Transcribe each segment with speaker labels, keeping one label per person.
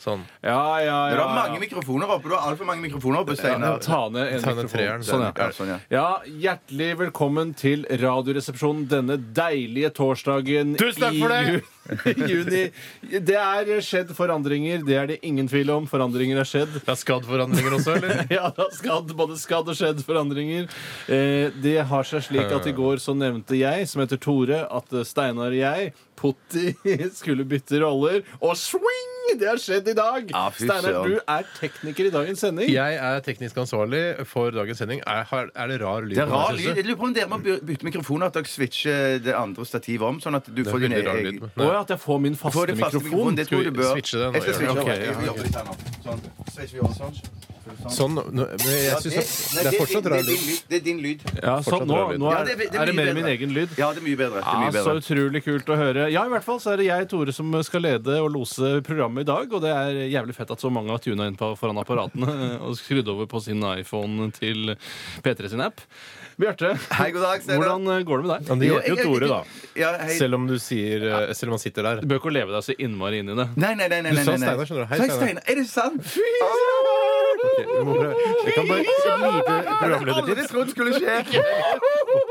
Speaker 1: Sånn.
Speaker 2: Ja, ja,
Speaker 3: Du
Speaker 2: ja,
Speaker 3: har
Speaker 2: ja.
Speaker 3: mange mikrofoner oppe. Du har altfor mange mikrofoner oppe, Steinar.
Speaker 2: Ta ned en
Speaker 1: Ta ned
Speaker 2: mikrofon.
Speaker 1: treeren,
Speaker 2: Sånn, ja.
Speaker 3: Ja, sånn, ja.
Speaker 2: Ja, Hjertelig velkommen til Radioresepsjonen denne deilige torsdagen
Speaker 1: Tusen takk for det!
Speaker 2: i ju- juni. Det er skjedd forandringer, det er det ingen tvil om. Forandringer er skjedd.
Speaker 1: Det er skadd forandringer også, eller?
Speaker 2: Ja, det har skadd, både skadd og skjedd forandringer. Eh, det har seg slik at i går så nevnte jeg, som heter Tore, at eh, Steinar og jeg, Potti, skulle bytte roller. Og swing! Det har skjedd i dag!
Speaker 3: Ja, fy
Speaker 2: Steinar,
Speaker 3: søren.
Speaker 2: du er tekniker i dagens sending.
Speaker 1: Jeg er teknisk ansvarlig for dagens sending. Er, har- er det rar lyd?
Speaker 3: Det er
Speaker 1: nå,
Speaker 3: rar
Speaker 1: synes
Speaker 3: lyd.
Speaker 1: du?
Speaker 3: Jeg lurer på om dere må by- bytte mikrofoner, at dere switcher det andre stativet om, sånn at du
Speaker 1: Det
Speaker 3: får
Speaker 1: er
Speaker 3: din
Speaker 1: veldig rar lyd.
Speaker 3: egen
Speaker 1: men-
Speaker 2: Å ja, at jeg får min faste,
Speaker 3: Får din faste mikrofon.
Speaker 2: mikrofon.
Speaker 3: Det tror
Speaker 1: Skal
Speaker 3: jeg
Speaker 1: vi
Speaker 3: du bør.
Speaker 1: switche det nå?
Speaker 3: Jeg skal switche
Speaker 1: Ok,
Speaker 3: over.
Speaker 1: ja,
Speaker 3: Jeg
Speaker 1: ok.
Speaker 3: jobber litt her nå. Sånn. Switcher vi over sånn?
Speaker 1: Sånn, nå- men jeg synes
Speaker 3: Ja,
Speaker 1: at det er fortsatt
Speaker 3: det
Speaker 1: rar
Speaker 3: er din
Speaker 1: lyd.
Speaker 3: lyd. Det er din lyd.
Speaker 2: Ja, så
Speaker 1: Fortsatt
Speaker 2: nå,
Speaker 1: rar lyd.
Speaker 2: nå
Speaker 3: Ja,
Speaker 2: er,
Speaker 3: det er- det er
Speaker 2: er det
Speaker 3: mye
Speaker 2: mer
Speaker 3: bedre.
Speaker 2: min egen lyd.
Speaker 3: Ja, det er mye bedre. Det er
Speaker 2: Ja,
Speaker 3: mye
Speaker 2: så
Speaker 3: bedre.
Speaker 2: utrolig kult å høre. Ja, i hvert fall så er det jeg, Tore, som skal lede og lose programmet i dag. Og det er jævlig fett at så mange har tuna inn på, foran apparatene og skrudd over på sin iPhone til P3 sin app. Bjarte,
Speaker 3: Hei, god dag, Steinar.
Speaker 2: hvordan går det med
Speaker 1: Men
Speaker 2: deg?
Speaker 1: det
Speaker 3: Jo,
Speaker 1: hjelper jo
Speaker 3: jeg-
Speaker 1: Tore, da.
Speaker 3: Ja, hei.
Speaker 1: Selv om, du sier, eh, selv om han sitter der.
Speaker 2: Du bør ikke leve deg så innmari inn i det.
Speaker 3: Nei, nei, nei. nei,
Speaker 1: Du
Speaker 3: nei,
Speaker 1: sa
Speaker 3: nei.
Speaker 1: Steinar, skjønner du. Hei,
Speaker 3: Sa jeg
Speaker 1: Steinar.
Speaker 3: Steinar. Er det sant? Fy
Speaker 1: Ok, vi må prøve. Jeg kan bare et lite
Speaker 3: Aldri
Speaker 1: programledertips.
Speaker 3: trodd skulle skje!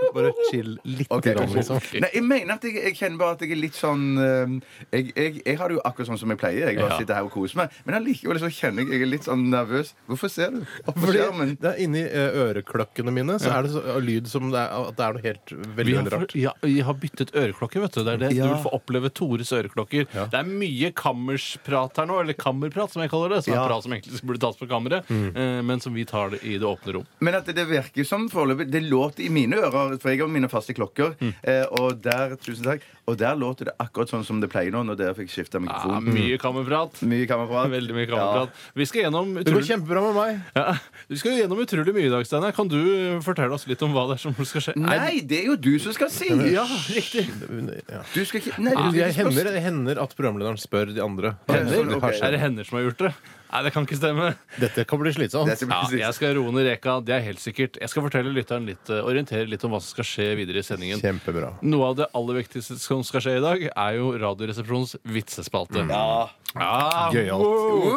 Speaker 1: Bare chill litt.
Speaker 3: Ok,
Speaker 1: grann,
Speaker 3: kanskje.
Speaker 1: liksom.
Speaker 3: Nei, jeg mener at jeg, jeg kjenner bare at jeg er litt sånn eh, jeg, jeg, jeg har det jo akkurat sånn som jeg pleier. Jeg bare
Speaker 2: Ja.
Speaker 3: sitter her og koser meg. Men allikevel så kjenner jeg jeg er litt sånn nervøs. Hvorfor ser du? Opp på
Speaker 1: Fordi
Speaker 3: skjermen.
Speaker 1: det er Inni eh, øreklokkene mine så er det så, lyd som det er, at det er noe helt veldig,
Speaker 2: Vi har,
Speaker 1: veldig rart.
Speaker 2: ja, vi har byttet øreklokker, vet du. Det er det.
Speaker 3: Ja.
Speaker 2: Du vil få oppleve Tores øreklokker. Det er mye kammersprat her nå, eller kammerprat, som jeg kaller det. Som
Speaker 3: Ja.
Speaker 2: er prat som egentlig burde tas på kammeret, eh, men som vi tar det i det åpne rom.
Speaker 3: Men at det virker som foreløpig Det låter i mine ører, for jeg har mine faste klokker. Eh, og der tusen takk Og der låter det akkurat sånn som det pleier nå, når dere fikk skifta
Speaker 2: Ja,
Speaker 3: mikrofon.
Speaker 2: Ah, mye kammerprat.
Speaker 3: Mye kammerprat.
Speaker 2: Veldig mye kammerprat. Vi, skal gjennom
Speaker 1: Det går
Speaker 2: utrolig,
Speaker 1: kjempebra med meg.
Speaker 2: ja, vi skal gjennom utrolig mye i dag, Steinar. Kan du fortelle oss litt om hva det er som skal skje?
Speaker 3: Ja. Nei, det er jo du som skal si!
Speaker 2: Ja, riktig.
Speaker 1: Ja.
Speaker 3: Du skal ikke Nei,
Speaker 1: Det
Speaker 3: du skal ikke spørre-
Speaker 1: hender, det hender at programlederen spør de andre.
Speaker 3: Hender?
Speaker 1: Det har
Speaker 3: Ok.
Speaker 2: Er
Speaker 1: skjedd.
Speaker 2: det hender som har gjort det? Nei, det kan ikke stemme.
Speaker 1: Dette kan bli slitsomt.
Speaker 3: Dette blir
Speaker 2: Ja,
Speaker 3: sist.
Speaker 2: jeg skal roe ned reka, det er helt sikkert. Jeg skal fortelle lytteren litt, eh, orientere litt om hva som skal skje videre i sendingen.
Speaker 1: Kjempebra.
Speaker 2: Noe av det aller viktigste som skal skje i dag, er jo Radioresepsjonens vitsespalte.
Speaker 3: Ja.
Speaker 2: Ah,
Speaker 1: Gøyalt.
Speaker 2: wow.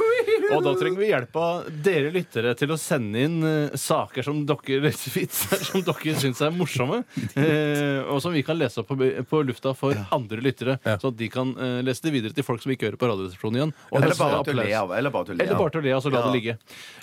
Speaker 2: Og da trenger vi hjelp av dere lyttere til å sende inn eh, saker som dere vitser som dere syns er morsomme, eh, og som vi kan lese opp på, på lufta for andre lyttere,
Speaker 1: Ja.
Speaker 2: så at de kan eh, lese det videre til folk som ikke hører på Radioresepsjonen igjen. og
Speaker 3: Eller
Speaker 2: høste
Speaker 3: bare til å le
Speaker 2: applaus.
Speaker 3: av. Eller bare til å le
Speaker 2: Eller
Speaker 3: av.
Speaker 2: bare til å le, altså la
Speaker 3: Ja.
Speaker 2: det ligge.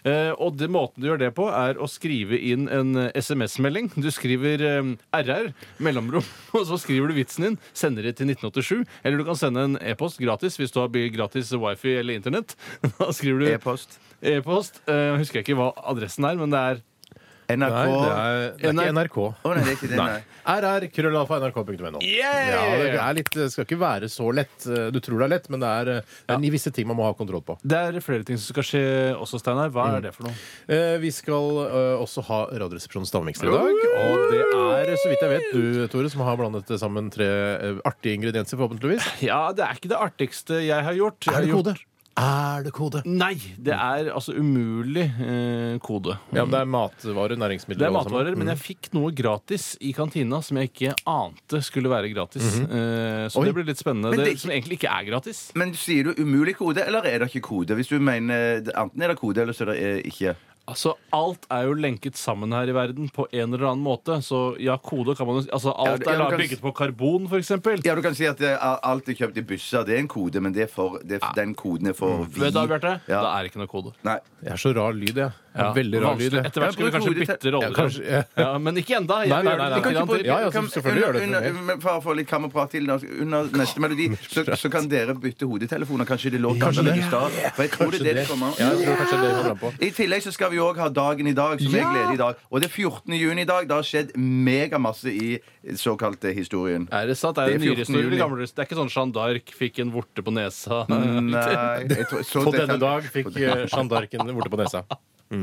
Speaker 2: Eh, og det, måten du gjør det på, er å skrive inn en eh, SMS-melding. Du skriver eh, RR, mellomrom, og så skriver du vitsen din, sender det til 1987. Eller du kan sende en e-post gratis hvis du har gratis wifi eller internett. Da skriver du
Speaker 3: E-post.
Speaker 2: e-post. Eh, husker jeg ikke hva adressen er, men det er
Speaker 3: NRK
Speaker 1: Nei, det er, det er ikke NRK.
Speaker 3: Å nei, det er ikke det, nei.
Speaker 1: rr.krøllalfa.nrk.no. Ja, det er litt, det skal ikke være så lett. Du tror det er lett, men det er, det er visse ting man må ha kontroll på.
Speaker 2: det er flere ting som skal skje også, Steinar. Hva
Speaker 3: Mm.
Speaker 2: er det for noe?
Speaker 1: Eh, Vi skal eh, også ha Radioresepsjonens stavmikser i dag. Og det er, så vidt jeg vet, du Tore, som har blandet sammen tre eh, artige ingredienser, forhåpentligvis.
Speaker 2: Ja, det er ikke det artigste jeg har gjort. Jeg har gjort-
Speaker 1: Er det kode?
Speaker 2: Nei! Det er altså umulig eh, kode.
Speaker 1: Ja, men det er matvarer, næringsmidler
Speaker 2: Det er
Speaker 1: og sånn. alt sammen.
Speaker 2: matvarer, men jeg fikk noe gratis i kantina som jeg ikke ante skulle være gratis. Eh, Så
Speaker 1: Oi.
Speaker 2: det blir litt spennende.
Speaker 3: Men
Speaker 2: Det,
Speaker 3: det er ikke-
Speaker 2: som egentlig ikke er gratis.
Speaker 3: Men sier du umulig kode, eller er det ikke kode? Hvis du mener det- Enten er det kode, eller så er det eh, ikke.
Speaker 2: Altså, Alt er jo lenket sammen her i verden på en eller annen måte. Så ja, kode kan man jo si. Altså,
Speaker 3: Ja,
Speaker 2: Alt
Speaker 3: det- ja,
Speaker 2: er
Speaker 3: du
Speaker 2: da
Speaker 3: kan-
Speaker 2: bygget på karbon, f.eks.
Speaker 3: Ja, du kan si at eh, alt er kjøpt i busser. Det er en kode, men det er for, det
Speaker 1: Ah.
Speaker 3: er, den koden er for
Speaker 1: Mm.
Speaker 3: vi.
Speaker 2: Vet du, hva, Bjarte?
Speaker 3: Ja.
Speaker 2: Da er det ikke noe kode.
Speaker 3: Nei.
Speaker 1: Jeg er så rar lyd, jeg. jeg
Speaker 2: Ja,
Speaker 1: er Veldig rar lyd.
Speaker 2: vanskelig.
Speaker 1: jeg.
Speaker 2: Etter hvert skal vi
Speaker 3: Ja, bruk
Speaker 2: kanskje
Speaker 3: ordet til-
Speaker 2: bytte roller.
Speaker 1: Ja, kanskje, ja.
Speaker 2: men ikke ennå.
Speaker 1: Nei, nei, nei, nei.
Speaker 3: Du kan ikke bruke-
Speaker 1: Ja, ja,
Speaker 3: kan-
Speaker 1: selvfølgelig gjør det
Speaker 3: under,
Speaker 1: det.
Speaker 3: under, For å få litt kammerprat til da, under neste melodi, så, så kan dere bytte hodetelefoner. Kanskje det låter
Speaker 1: Kanskje det.
Speaker 3: annerledes da. For jeg tror det er det det kommer
Speaker 1: Ja, jeg tror kanskje det kommer an på.
Speaker 3: I tillegg så skal vi òg ha dagen i dag, som jeg gleder i dag. Og det er 14. juni i dag. Det har skjedd megamasse i såkalte historien.
Speaker 2: Er det sant? Er det,
Speaker 3: Det er 14.
Speaker 2: nyere eller
Speaker 3: juni.
Speaker 2: gamlere? Det er ikke sånn Jeanne d'Arc fikk en vorte på nesa.
Speaker 3: Mm. Nei, jeg tror, så
Speaker 1: På
Speaker 3: det
Speaker 1: denne
Speaker 3: kan-
Speaker 1: dag fikk eh, Jeanne d'Arc en vorte på nesa.
Speaker 3: Det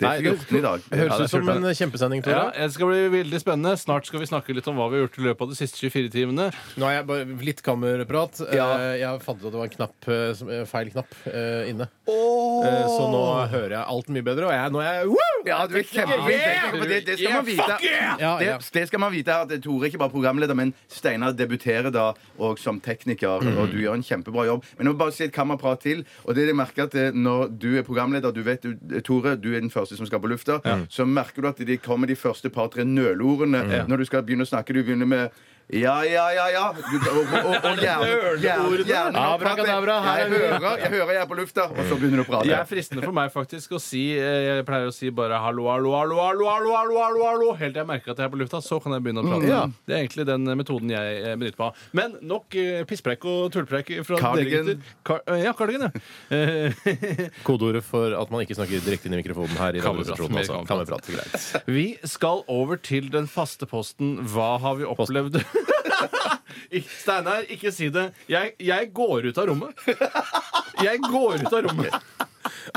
Speaker 1: Nei,
Speaker 3: er
Speaker 1: det-
Speaker 3: 14 i dag.
Speaker 1: Høres
Speaker 3: Ja, det
Speaker 1: ut
Speaker 3: er
Speaker 1: som
Speaker 3: 14 i
Speaker 1: en
Speaker 3: dag.
Speaker 1: kjempesending,
Speaker 2: Ja,
Speaker 1: Tore.
Speaker 2: det skal bli veldig spennende. Snart skal vi snakke litt om hva vi har gjort i løpet av de siste 24 timene.
Speaker 1: Nå er jeg bare litt kammerprat.
Speaker 2: Ja.
Speaker 1: Eh, Jeg fant ut at det var en knapp, eh, som- eh, feil knapp eh, inne. Eh, Så nå hører jeg alt mye bedre, og jeg, nå er jeg Woo!
Speaker 3: Ja, du er
Speaker 1: Yeah!
Speaker 3: kjempeflink. for Det, det skal man vite.
Speaker 1: Ja, ja.
Speaker 3: Det, det skal man vite at Tore er ikke bare programleder, men Steinar debuterer da og som tekniker.
Speaker 1: Mhm.
Speaker 3: Og du gjør en kjempebra jobb. Men jeg må bare si et kammerprat til. Og det jeg merker at eh, Når du er programleder, du vet du- Tore, du er den første som skal på lufta, så merker du at de kommer de første par-tre nølordene når du skal begynne å snakke. Du begynner med ja, ja, ja, ja. Du, og, og, og, og gjerne, gjerne, gjerne
Speaker 1: Abrakadabra, her er
Speaker 3: Jeg
Speaker 1: vi.
Speaker 3: hører, jeg hører jeg er på lufta, og så begynner du å prate.
Speaker 2: Det er fristende for meg faktisk å si eh, Jeg pleier å si bare hallo, hallo, hallo, hallo, hallo, hallo, hallo, hallo helt til jeg merker at jeg er på lufta. Så kan jeg begynne å prate.
Speaker 1: Ja.
Speaker 2: Det er egentlig den eh, metoden jeg eh, benytter meg av. Men nok eh, pisspreik og tullpreik fra
Speaker 3: Cardigan.
Speaker 2: dere gutter. Car eh, ja, Cardigan, ja. Eh,
Speaker 1: Kodeordet for at man ikke snakker direkte inn i mikrofonen her. i radioresepsjonen, altså. Kammerprat. Greit.
Speaker 2: vi skal over til den faste posten Hva har vi opplevd? Ikke- Steinar, ikke si det. Jeg, jeg går ut av rommet. Jeg går ut av rommet.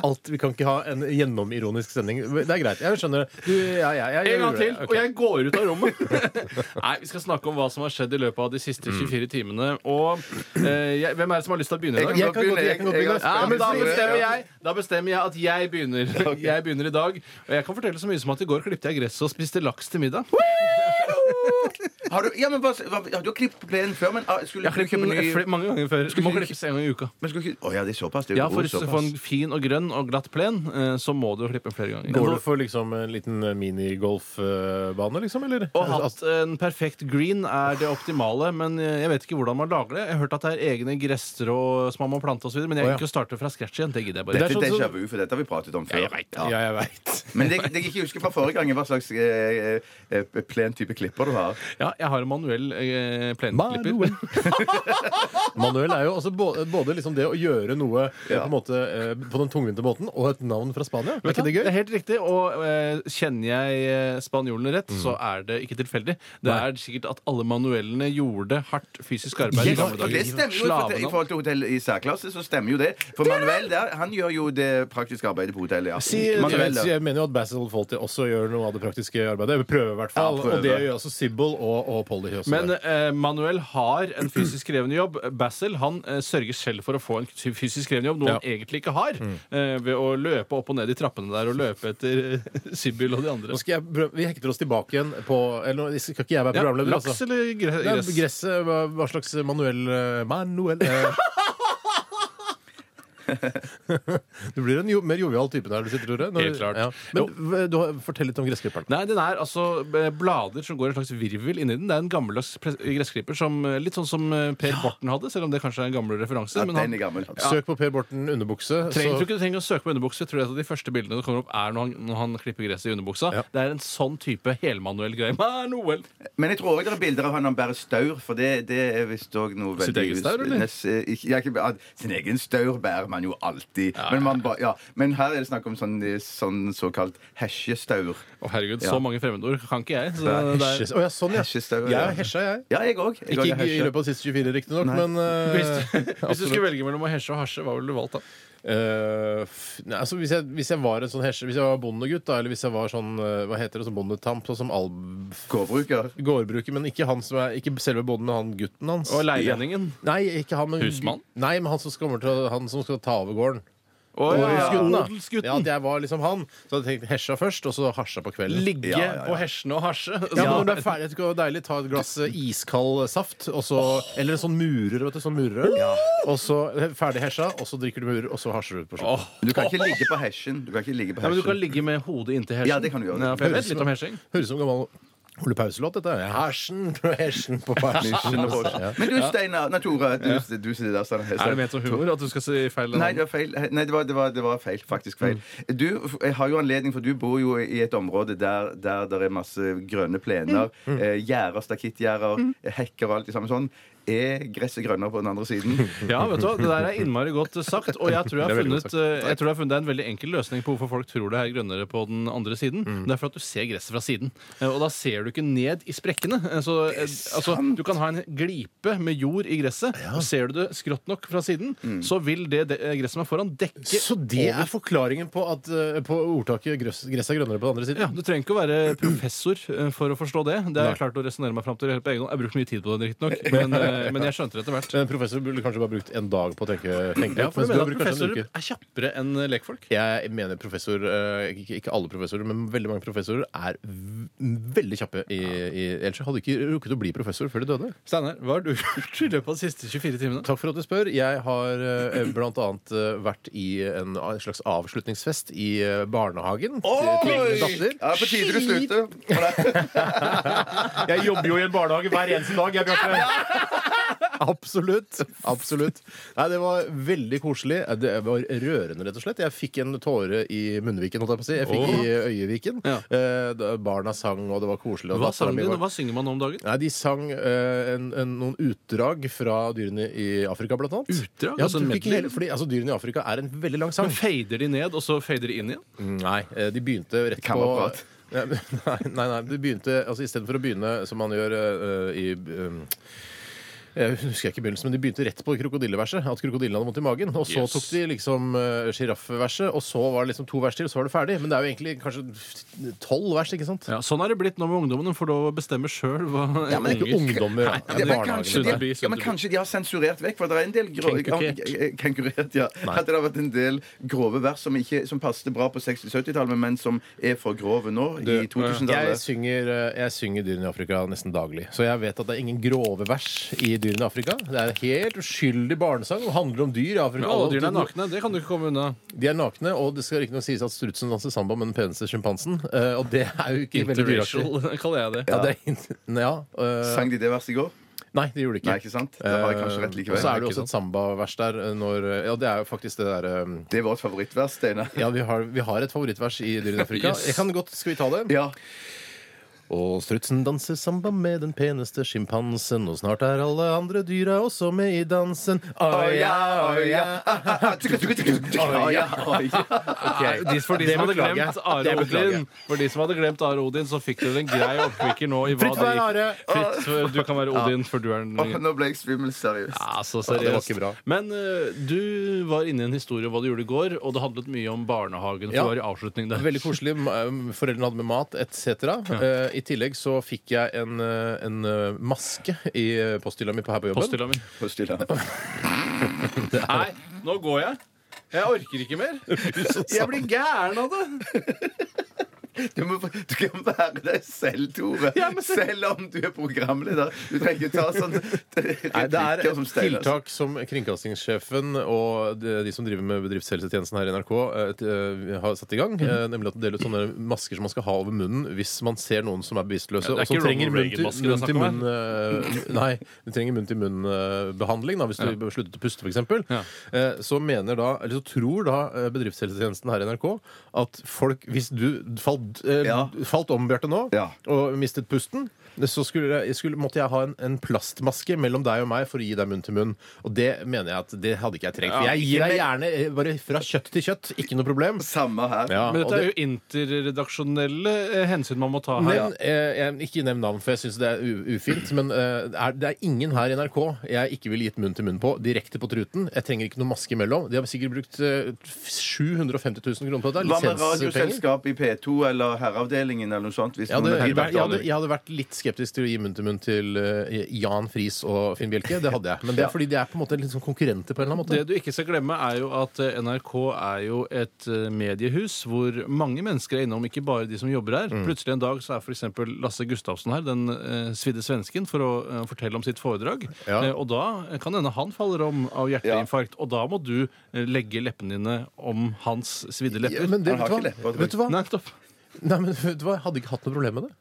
Speaker 1: Alt, Vi kan ikke ha en gjennomironisk sending. Det er greit. Jeg skjønner det. Du, ja, ja, ja, jeg
Speaker 2: En gang
Speaker 1: gjorde
Speaker 2: til,
Speaker 1: det. Ok.
Speaker 2: og jeg går ut av rommet. Nei, Vi skal snakke om hva som har skjedd i løpet av de siste 24 timene. Og eh, jeg, hvem er det som har lyst til å begynne i dag?
Speaker 1: Jeg kan godt- jeg kan godt begynne.
Speaker 2: Ja, men da
Speaker 1: Store,
Speaker 2: bestemmer jeg Da bestemmer jeg at jeg begynner. Jeg begynner i dag. Og jeg kan fortelle så mye som at i går klippte jeg gresset og spiste laks til middag.
Speaker 3: Har du, ja, men hva, hva, ja, du har klippet plenen før, men ah, skulle
Speaker 2: Jeg har
Speaker 3: skulle du
Speaker 2: klippet
Speaker 3: kjøpe
Speaker 2: den
Speaker 3: ny
Speaker 2: fl- mange ganger før. Du må
Speaker 3: ikke-
Speaker 2: klippes en gang i uka.
Speaker 3: Men skulle ikke Å ja, det er såpass? Det er jo
Speaker 2: Ja, For å
Speaker 3: såpass.
Speaker 2: få en fin og grønn og glatt plen, eh, så må du jo klippe flere ganger.
Speaker 1: Går du for liksom en liten minigolfbane, liksom? Eller?
Speaker 2: Å ha hatt en perfekt green er det optimale, men eh, jeg vet ikke hvordan man lager det. Jeg har hørt at det er egne gresstrå som man må plante osv., men jeg
Speaker 1: Å, ja.
Speaker 2: liker ikke å starte fra scratch igjen. Det gidder jeg bare.
Speaker 1: Det er
Speaker 3: Dette
Speaker 1: sånn
Speaker 3: er
Speaker 1: som-
Speaker 3: déjà vu, for dette har vi pratet om før.
Speaker 2: jeg vet det.
Speaker 1: Ja, jeg veit.
Speaker 3: Men det, det jeg ikke husker fra forrige gang, er hva slags eh, eh, plen type klipper du har.
Speaker 2: sånn Ja, jeg har en manuell eh, plenklipper.
Speaker 1: Manuel er jo også både, både liksom det å gjøre noe eh,
Speaker 3: Ja.
Speaker 1: på, en måte, eh, på den tungvinte måten, og et navn fra Spania. Er ikke det
Speaker 2: Det
Speaker 1: gøy?
Speaker 2: er helt riktig, og eh, kjenner jeg eh, spanjolene rett, så er det ikke tilfeldig. Det
Speaker 1: Mm. Nei.
Speaker 2: er sikkert at alle manuellene gjorde hardt fysisk arbeid
Speaker 1: Yes,
Speaker 2: i gamle
Speaker 3: For det
Speaker 2: dager.
Speaker 3: stemmer jo i forhold til- I forhold til hotell i særklasse så stemmer jo det. For Manuel der, han gjør jo det praktiske arbeidet på hotellet. Ja.
Speaker 1: Si, jeg,
Speaker 3: Manuel,
Speaker 1: vet- jeg mener jo at Basil Fawlty også gjør noe av det praktiske arbeidet. Vi prøver i hvert fall.
Speaker 3: Ja, prøver.
Speaker 1: Og det gjør også Sibbel og, og Polly. Også
Speaker 2: Men
Speaker 1: der.
Speaker 2: eh, Manuel har en fysisk krevende jobb. Basil han eh, sørger selv for å få en fysisk krevende jobb, noe han
Speaker 1: Ja.
Speaker 2: egentlig ikke har, eh, ved å løpe opp og ned i trappene der og løpe etter eh, Sibyl og de andre.
Speaker 1: nå skal jeg prøve, vi hekter oss tilbake igjen på Eller nå skal ikke jeg være
Speaker 2: Ja,
Speaker 1: programleder,
Speaker 2: laks
Speaker 1: altså.
Speaker 2: eller
Speaker 1: Nei,
Speaker 2: gre- gress?
Speaker 1: Gresset, hva, hva slags manuell eh, Manuel eh. Du blir en jo, mer jovial type der du sitter, Tore. når-
Speaker 2: Helt klart.
Speaker 1: Ja. Men hva- du, har- fortell litt om gressklipperen.
Speaker 2: Nei, den er altså eh, blader som går en slags virvel inni den. Det er en gammeldags pres- gressklipper, som, eh, litt sånn som eh, Per Borten hadde, selv om det kanskje er en gammel referanse.
Speaker 3: ja,
Speaker 2: men
Speaker 3: den
Speaker 2: han
Speaker 3: er gammel.
Speaker 1: Søk på Per Borten underbukse.
Speaker 2: trenger,
Speaker 1: så-
Speaker 2: tror ikke du trenger å søke på underbukse. Jeg Tror et av de første bildene som kommer opp, er når han, når han klipper gresset i underbuksa.
Speaker 1: Ja.
Speaker 2: Det er en sånn type helmanuell greie. Manuel!
Speaker 3: Men jeg tror også det er bilder av han han bærer staur, for det, det er visst òg noe veldig
Speaker 2: Sitt eget staur, eller?
Speaker 3: Nes- eh, ikke- ja, ikke- ja, sin egen staur bærer man jo alltid. Men, man ba, ja. Men her er det snakk om sånn, eh, sånn såkalt hesjestaur.
Speaker 2: Å, herregud,
Speaker 3: Ja.
Speaker 2: så mange fremmedord kan ikke jeg. Så
Speaker 3: Nei.
Speaker 2: det er,
Speaker 1: Hesjes- Å, ja, sånn, ja.
Speaker 3: Hesjestaur,
Speaker 1: Jeg
Speaker 3: ja.
Speaker 1: har hesja, jeg.
Speaker 3: Ja, jeg òg.
Speaker 1: Ikke i i løpet av de siste 24, riktignok, men eh,
Speaker 2: hvis, hvis du
Speaker 1: absolutt.
Speaker 2: skulle velge mellom å hesje og hasje, hva ville du valgt da?
Speaker 1: Eh, f- nei, altså hvis, jeg, hvis jeg var en sånn hesje, hvis jeg var bondegutt, da, eller hvis jeg var sånn eh, hva heter det, sånn bondetamp, sånn som Alb...
Speaker 3: Gårdbruker.
Speaker 1: Gårdbruker, men ikke, han som er, ikke selve bonden, men han gutten hans.
Speaker 2: Og leielendingen.
Speaker 1: Nei, ikke han, men
Speaker 2: Husmann?
Speaker 1: Nei, men han som, skal- kommer til, å- han som skal ta over gården.
Speaker 2: Å, ja.
Speaker 1: Odelsgutten, da.
Speaker 2: Odelsgutten.
Speaker 1: Ja, at jeg var liksom han. Så hadde jeg tenkt hesja først, og så hasja på kvelden.
Speaker 2: Ligge
Speaker 3: Ja, ja, ja.
Speaker 2: på hesjene og hasje.
Speaker 1: ja, men når du er ferdig, det er deilig, ta et glass eh, iskald saft, og så, eller en sånn murer, vet du, sånn murerøl. Og så eh, ferdig hesja, og så drikker du murer, og så hasjer du ut på slutten.
Speaker 2: Åh.
Speaker 3: Du kan ikke ligge på hesjen. Du kan ikke ligge på
Speaker 2: Ja, men du kan
Speaker 3: hesjen.
Speaker 2: ligge med hodet inntil hesjen.
Speaker 3: Ja, det kan du gjøre.
Speaker 2: Ja, for jeg vet litt om hesjing.
Speaker 1: Høres ut som gammel Ole Pause-låt, dette. Hersen på hersen på
Speaker 3: Hesjen og
Speaker 1: persen.
Speaker 3: hesjen. Men du, Steinar Nei, Tore. Du, du sitter der. Sånn,
Speaker 2: Er det ment som humor at du skal si feil?
Speaker 3: Nei, det var feil. Nei, det var, det var, det var feil. Faktisk feil.
Speaker 1: Mm.
Speaker 3: Du f- jeg har jo anledning, for du bor jo i et område der,
Speaker 1: Mm.
Speaker 3: der det er masse grønne plener, eh, gjerder, stakittgjerder, hekker og alt det samme sånn. er gresset grønnere på den andre siden.
Speaker 2: Ja, vet du hva, Det der er innmari godt sagt. Og jeg tror jeg
Speaker 1: Det
Speaker 2: har
Speaker 1: er veldig godt
Speaker 2: funnet, eh, jeg tror jeg har funnet det er en veldig enkel løsning på hvorfor folk tror det er grønnere på den andre siden.
Speaker 1: Mm.
Speaker 2: Det er for at du ser gresset fra siden. Eh, Og da ser du ikke ned i sprekkene. Eh, Så, eh, altså, du kan ha en glipe med jord i gresset, og ser du det skrått nok fra siden, så vil det, det eh, gresset som er foran, dekke
Speaker 1: Mm. Så det er forklaringen på, at, eh, på ordtaket 'grøss- 'gresset er grønnere på den andre
Speaker 2: ja,
Speaker 1: siden'?
Speaker 2: Du trenger ikke å være professor eh, for å forstå det. Det har jeg
Speaker 1: Nei.
Speaker 2: klart å resonnere meg fram til helt på egen hånd. Jeg har brukt mye tid på det, riktignok, men, eh, men jeg skjønte det etter hvert.
Speaker 1: Men En professor burde kanskje bare brukt en dag på å tenke, tenke
Speaker 2: Ja,
Speaker 1: det.
Speaker 2: for
Speaker 1: mens du
Speaker 2: du
Speaker 1: har
Speaker 2: mener at
Speaker 1: brukt kanskje en
Speaker 2: professorer
Speaker 1: uke.
Speaker 2: er kjappere enn lekfolk?
Speaker 1: Jeg mener professor eh, Ikke ikke alle professorer, men veldig mange professorer er v- veldig kjappe. I, i, ellers hadde du ikke rukket å bli professor før de døde.
Speaker 2: Steinar, hva har du gjort i løpet av de siste 24 timene?
Speaker 1: Takk for at du spør. Jeg har eh, blant annet eh, vært i en a- slags avslutningsfest i eh, barnehagen. til Tvillingenes datter.
Speaker 3: Ja, på tide du slutter.
Speaker 4: Jeg jobber jo i en barnehage hver eneste dag. Jeg, Bjarte.
Speaker 1: Absolutt. absolutt Nei, Det var veldig koselig. Eh, Det var rørende, rett og slett. Jeg fikk en tåre i munnviken, holdt jeg på å si. Jeg fikk i øyeviken.
Speaker 2: Ja.
Speaker 1: Eh, da barna sang, og det var koselig. og
Speaker 2: Hva
Speaker 1: datteren
Speaker 2: sang
Speaker 1: min
Speaker 2: du,
Speaker 1: var-
Speaker 2: og hva synger man nå om dagen?
Speaker 1: Nei, De sang eh, en, en, noen utdrag fra dyrene i Afrika, blant annet.
Speaker 2: Utdrag?
Speaker 1: Ja,
Speaker 2: Altså
Speaker 1: du
Speaker 2: en
Speaker 1: fikk ikke
Speaker 2: medley?
Speaker 1: hele, fordi, altså, dyrene i Afrika er en veldig lang sang.
Speaker 2: Men fader de ned, og så fader de inn igjen?
Speaker 1: Nei, eh, de begynte rett på
Speaker 3: Kammerprat.
Speaker 1: Nei, nei, nei, de begynte altså Istedenfor å begynne som man gjør eh, i eh, jeg husker ikke begynnelsen, men De begynte rett på krokodilleverset. At krokodillen hadde vondt i magen. Og så
Speaker 2: Yes.
Speaker 1: tok de liksom eh, sjiraffverset, og så var det liksom to vers til, og så var det ferdig. Men det er jo egentlig kanskje tolv vers, ikke sant?
Speaker 2: Ja, sånn er det blitt nå med ungdommen. De får lov å bestemme sjøl hva
Speaker 1: Ja, men det er ikke
Speaker 2: unger-
Speaker 1: ungdommer.
Speaker 2: Nei,
Speaker 1: det
Speaker 3: Ja,
Speaker 1: er
Speaker 3: men,
Speaker 1: barnehagen.
Speaker 3: kanskje de,
Speaker 2: Sundeby,
Speaker 3: ja, men
Speaker 2: Sundeby.
Speaker 3: kanskje de har sensurert vekk, for det er en del grove
Speaker 2: Kenkurert.
Speaker 3: Ja, Kenkurert, ja. At det har vært en del grove vers som, ikke, som passet bra på 60-70-tallet, men som er for grove nå, i
Speaker 1: Jeg
Speaker 3: 2000-tallet.
Speaker 1: synger, eh, jeg synger Dyrene i Afrika nesten daglig. Så jeg vet at det er ingen grove vers i Dyrene i Afrika. Det er en helt uskyldig barnesang og handler om dyr i Afrika.
Speaker 2: Men alle
Speaker 1: Og
Speaker 2: dyrene er
Speaker 1: de-
Speaker 2: nakne. Det kan du ikke komme unna.
Speaker 1: De er nakne, og det skal riktignok sies at strutsen danser samba med den peneste sjimpansen. eh, Og det er jo ikke veldig dyraktig.
Speaker 2: Interracial kaller jeg det.
Speaker 1: Ja, det er, inter- ja, eh,
Speaker 3: Sang de det verset i går?
Speaker 1: nei, det gjorde det ikke.
Speaker 3: Nei, ikke sant? Da har jeg
Speaker 1: Eh, Og
Speaker 3: kanskje rett
Speaker 1: så er
Speaker 3: likevel.
Speaker 1: det jo også et sambavers der eh, når eh, Ja, det er jo faktisk det derre
Speaker 3: Det er vårt favorittvers, Steinar.
Speaker 1: ja, vi har, vi har et favorittvers i Dyrene i Afrika.
Speaker 2: Yes.
Speaker 1: Jeg kan godt, Skal vi ta det?
Speaker 3: Ja.
Speaker 1: Og strutsen danser samba med den peneste sjimpansen, og snart er alle andre dyra også med i dansen.
Speaker 3: Å ja,
Speaker 1: oh,
Speaker 3: å ja. Å ja, å ja.
Speaker 2: Nei, de- For de
Speaker 1: Det
Speaker 2: som hadde
Speaker 1: beklager jeg.
Speaker 2: glemt Are
Speaker 1: Det beklager jeg.
Speaker 2: Odin, For de som hadde glemt Are Odin, så fikk dere en grei oppkvikker nå i hva
Speaker 1: Fritt vær,
Speaker 2: de
Speaker 1: Are!
Speaker 2: Fritt, for du kan være Odin, for du er den
Speaker 3: Å, Nå ble jeg svimmel, seriøst.
Speaker 2: Ja, så
Speaker 1: Ja, det var
Speaker 2: seriøst.
Speaker 1: ikke bra.
Speaker 2: Men eh, du var inne i en historie om hva du gjorde i går, og det handlet mye om barnehagen. For
Speaker 1: Ja.
Speaker 2: du var i avslutning der.
Speaker 1: Veldig koselig. M- Foreldrene hadde med mat etc. Eh, I tillegg så fikk jeg en, eh, en eh, maske i eh, posthylla mi på her på jobben.
Speaker 2: Posthylla mi.
Speaker 3: Postilla.
Speaker 2: Nei, nå går jeg. Jeg orker ikke mer. Jeg blir gæren av det.
Speaker 3: Du, må, du kan være deg selv, Tore.
Speaker 2: Ja, men-
Speaker 3: Selv om du er programleder. Du trenger ikke ta sånn
Speaker 1: Nei, det er
Speaker 3: replikker
Speaker 1: et
Speaker 3: som Steinar.
Speaker 1: tiltak som kringkastingssjefen og de de som driver med bedriftshelsetjenesten her i NRK, eh, t- eh, har satt i gang.
Speaker 2: Mhm.
Speaker 1: eh, Nemlig at de deler ut sånne masker som man skal ha over munnen hvis man ser noen som er bevisstløse.
Speaker 2: Ja,
Speaker 1: og
Speaker 2: det er
Speaker 1: som
Speaker 2: ikke
Speaker 1: trenger
Speaker 2: Ronald
Speaker 1: munn til,
Speaker 2: Reagan-masker det
Speaker 1: munn
Speaker 2: er
Speaker 1: til
Speaker 2: snakk om
Speaker 1: munn eh, Nei, de trenger munn til munn-behandling hvis du sluttet å puste, f.eks.
Speaker 2: Ja.
Speaker 1: Så mener da, eller så tror da eh, bedriftshelsetjenesten her i NRK at folk Hvis du falt, eh,
Speaker 3: Ja.
Speaker 1: falt om, Bjarte, nå,
Speaker 3: Ja.
Speaker 1: og mistet pusten, så skulle, jeg- skulle, måtte jeg ha en, en plastmaske mellom deg og meg for å gi deg munn til munn. Og det mener jeg at det hadde ikke jeg trengt. For jeg gir deg gjerne eh, bare fra kjøtt til kjøtt. Ikke noe problem.
Speaker 3: Samme her.
Speaker 1: Ja,
Speaker 2: Men
Speaker 1: og
Speaker 2: dette
Speaker 1: det-
Speaker 2: er jo interredaksjonelle eh, hensyn man må ta her.
Speaker 1: men eh, jeg, Ikke nevn navn, for jeg syns det er u ufint. Men eh, det er, det er ingen her i NRK jeg ikke ville gitt munn til munn på. Direkte på truten. Jeg trenger ikke noe maske imellom. De har sikkert brukt eh, 750 000 kroner på dette.
Speaker 3: Hva med
Speaker 1: Lisenspenger.
Speaker 3: radioselskapet i P2 eller Herreavdelingen eller noe sånt? Hvis
Speaker 1: Jeg hadde,
Speaker 3: noen
Speaker 1: jeg,
Speaker 3: hadde vært
Speaker 1: hadde, jeg hadde vært litt skeptisk til å gi munn til munn til eh, Jan Friis og Finn Bjelke. Det hadde jeg. Men det er fordi de er på en måte litt sånn konkurrenter på en eller annen måte.
Speaker 2: Det du ikke skal glemme, er jo at eh, NRK er jo et eh, mediehus hvor mange mennesker er innom, ikke bare de som jobber her.
Speaker 1: Mm.
Speaker 2: Plutselig en dag så er f.eks. Lasse Gustavsen her, den eh, svidde svensken, for å eh, fortelle om sitt foredrag.
Speaker 1: Ja.
Speaker 2: Eh, og da kan hende han faller om av hjerteinfarkt, og da må du eh, legge leppene dine om hans svidde
Speaker 1: Ja,
Speaker 2: lepper.
Speaker 1: men det,
Speaker 3: Han har
Speaker 1: vet,
Speaker 3: ikke
Speaker 1: du
Speaker 3: lepper,
Speaker 1: hva?
Speaker 3: tror jeg.
Speaker 1: vet du hva?
Speaker 2: Nei, stopp.
Speaker 1: Nei, men vet du hva? Jeg hadde ikke hatt noe problem med det.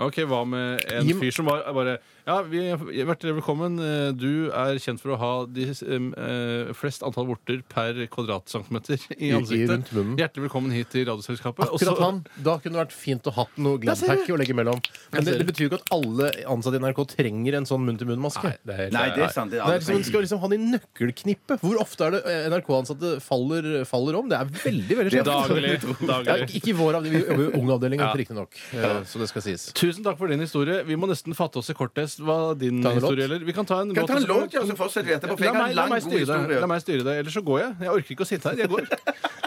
Speaker 2: Ok, Hva med en
Speaker 1: Jim-
Speaker 2: fyr som var bare Ja, vi hjertelig velkommen. Eh, Du er kjent for å ha de em, eh, flest antall vorter per kvadratcentimeter i
Speaker 1: I- i
Speaker 2: ansiktet.
Speaker 1: rundt munnen.
Speaker 2: Hjertelig velkommen hit til Radioselskapet. Og så-
Speaker 1: Akkurat han. Da kunne det vært fint å hatt noe Gladpack å legge imellom. Men det, det betyr jo ikke at alle ansatte i NRK trenger en sånn munn-til-munn-maske.
Speaker 2: Nei, det er helt-
Speaker 3: Nei, det er sant. Det er
Speaker 1: Det er
Speaker 3: alle
Speaker 1: liksom,
Speaker 3: som
Speaker 1: man skal liksom ha den i nøkkelknippet. Hvor ofte er det eh, NRK-ansatte faller, faller om? Det er veldig veldig
Speaker 3: Det er
Speaker 1: sjelden.
Speaker 2: Daglig.
Speaker 1: Ja,
Speaker 2: daglig.
Speaker 1: ikke i vår avdeling. Vi jobber jo i ung avdeling,
Speaker 2: Ja.
Speaker 1: riktignok. Eh, Så det skal sies.
Speaker 2: Tusen takk for din historie. Vi må nesten fatte oss i kortest hva din
Speaker 1: Ta en låt.
Speaker 2: historie gjelder. Vi kan ta en
Speaker 3: Kan ta en
Speaker 2: også.
Speaker 3: låt, ja, så fortsetter vi etterpå. For
Speaker 2: La
Speaker 3: jeg har
Speaker 2: meg,
Speaker 3: en
Speaker 2: la,
Speaker 3: lang,
Speaker 2: meg
Speaker 3: god
Speaker 2: styre deg.
Speaker 3: historie.
Speaker 2: la meg styre deg, ellers så går jeg. Jeg orker ikke å sitte her. Jeg går.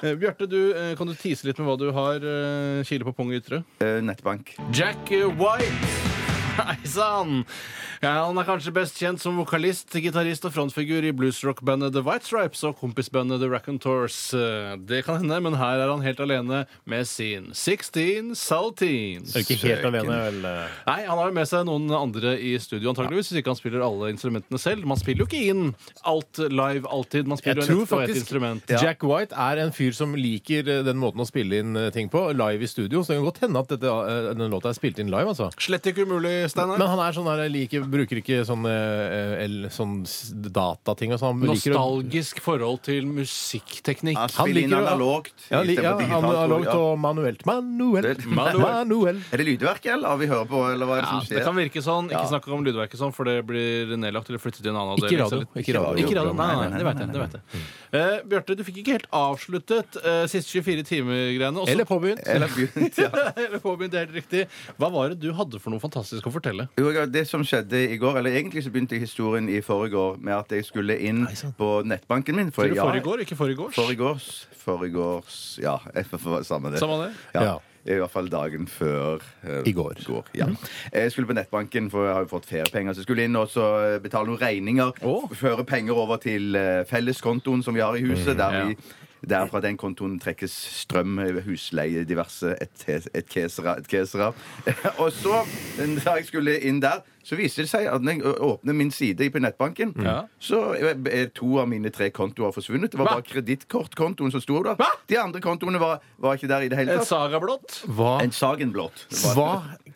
Speaker 2: Eh, Bjarte, du, eh, kan du tise litt med hva du har eh, kile på pung og ytre?
Speaker 3: Eh, Nettbank.
Speaker 2: Jack White. Hei sann! Ja, han er kanskje best kjent som vokalist, gitarist og frontfigur i bluesrockbandet The White Stripes og kompisbandet The Raconteurs. Eh, Det kan hende, men her er han helt alene med sin 16 Saltines.
Speaker 1: Er du ikke helt alene, vel? eh?
Speaker 2: Nei, han har jo med seg noen andre i studio, antageligvis, hvis ikke han spiller alle instrumentene selv. Man spiller jo ikke inn alt live alltid. Man
Speaker 1: Jeg
Speaker 2: spiller jo
Speaker 1: tror
Speaker 2: nettopp et
Speaker 1: faktisk
Speaker 2: instrument.
Speaker 1: Jack White er en fyr som liker eh, den måten å spille inn eh, ting på, live i studio. Så det kan godt hende at dette, eh, den låta er spilt inn live, altså.
Speaker 2: Slett ikke umulig,
Speaker 1: Men
Speaker 2: Steinar.
Speaker 1: han er sånn her, liker, bruker ikke sånn, eh, el- sånn s- datating og sånn. Han liker å-
Speaker 2: Nostalgisk forhold til musikkteknikk.
Speaker 3: Ja, spille inn
Speaker 1: liker å-
Speaker 3: analogt.
Speaker 1: Ja, li, ja,
Speaker 3: istedenfor digitalt,
Speaker 1: analogt
Speaker 3: tror jeg.
Speaker 1: og manuelt. Manuelt.
Speaker 3: Det-
Speaker 1: Manuelt.
Speaker 3: Er det lydverket, eller har vi hører på, eller hva er det
Speaker 2: Ja,
Speaker 3: som
Speaker 2: det kan
Speaker 3: skjer?
Speaker 2: virke sånn. Ikke snakk om lydverket sånn, for det blir nedlagt eller flyttet til en annen
Speaker 1: Ikke
Speaker 2: avdeling.
Speaker 1: radio.
Speaker 2: Så litt-
Speaker 1: Ikke radio.
Speaker 2: Ikke radio. Nei, nei, nei, det vet jeg. Det vet jeg.
Speaker 3: Mm.
Speaker 2: Eh, Bjarte, du fikk ikke helt avsluttet eh, siste 24 timer-greiene. og så-
Speaker 1: Eller påbegynt.
Speaker 3: Eller begynt, ja.
Speaker 2: Eller påbegynt, det er helt riktig. Hva var det du hadde for noe fantastisk å fortelle?
Speaker 3: Jo, ja, Det som skjedde i går, eller egentlig så begynte historien i forrgår med at jeg skulle inn på nettbanken min. For,
Speaker 2: Eller
Speaker 3: ja,
Speaker 2: foregårs, ikke foregårs?
Speaker 3: Foregårs. Foregårs Ja, jeg får- får samme det.
Speaker 2: Samme det.
Speaker 1: Ja.
Speaker 3: Ja. I hvert fall dagen før eh,
Speaker 1: I går.
Speaker 3: ja.
Speaker 2: Mhm.
Speaker 3: Jeg skulle på nettbanken, for jeg har jo fått feriepenger. Så jeg skulle inn og så eh, betale noen regninger.
Speaker 2: Å.
Speaker 3: f- Føre penger over til eh, felleskontoen som vi har i huset. Der
Speaker 2: Mhm. ja.
Speaker 3: vi der fra den kontoen trekkes strøm, eh, husleie, diverse etkesera. Et kesera. og så, da jeg skulle inn der, så viste det seg at når jeg å- åpner min side på nettbanken,
Speaker 2: Mhm. Ja.
Speaker 3: så eh, er to av mine tre kontoer forsvunnet. Det var
Speaker 2: Hva?
Speaker 3: bare kredittkortkontoen som sto der. De andre kontoene var, var ikke der i det hele
Speaker 2: Et
Speaker 3: tatt.
Speaker 2: sagablått.
Speaker 1: Hva
Speaker 3: En sagenblått.
Speaker 1: Hva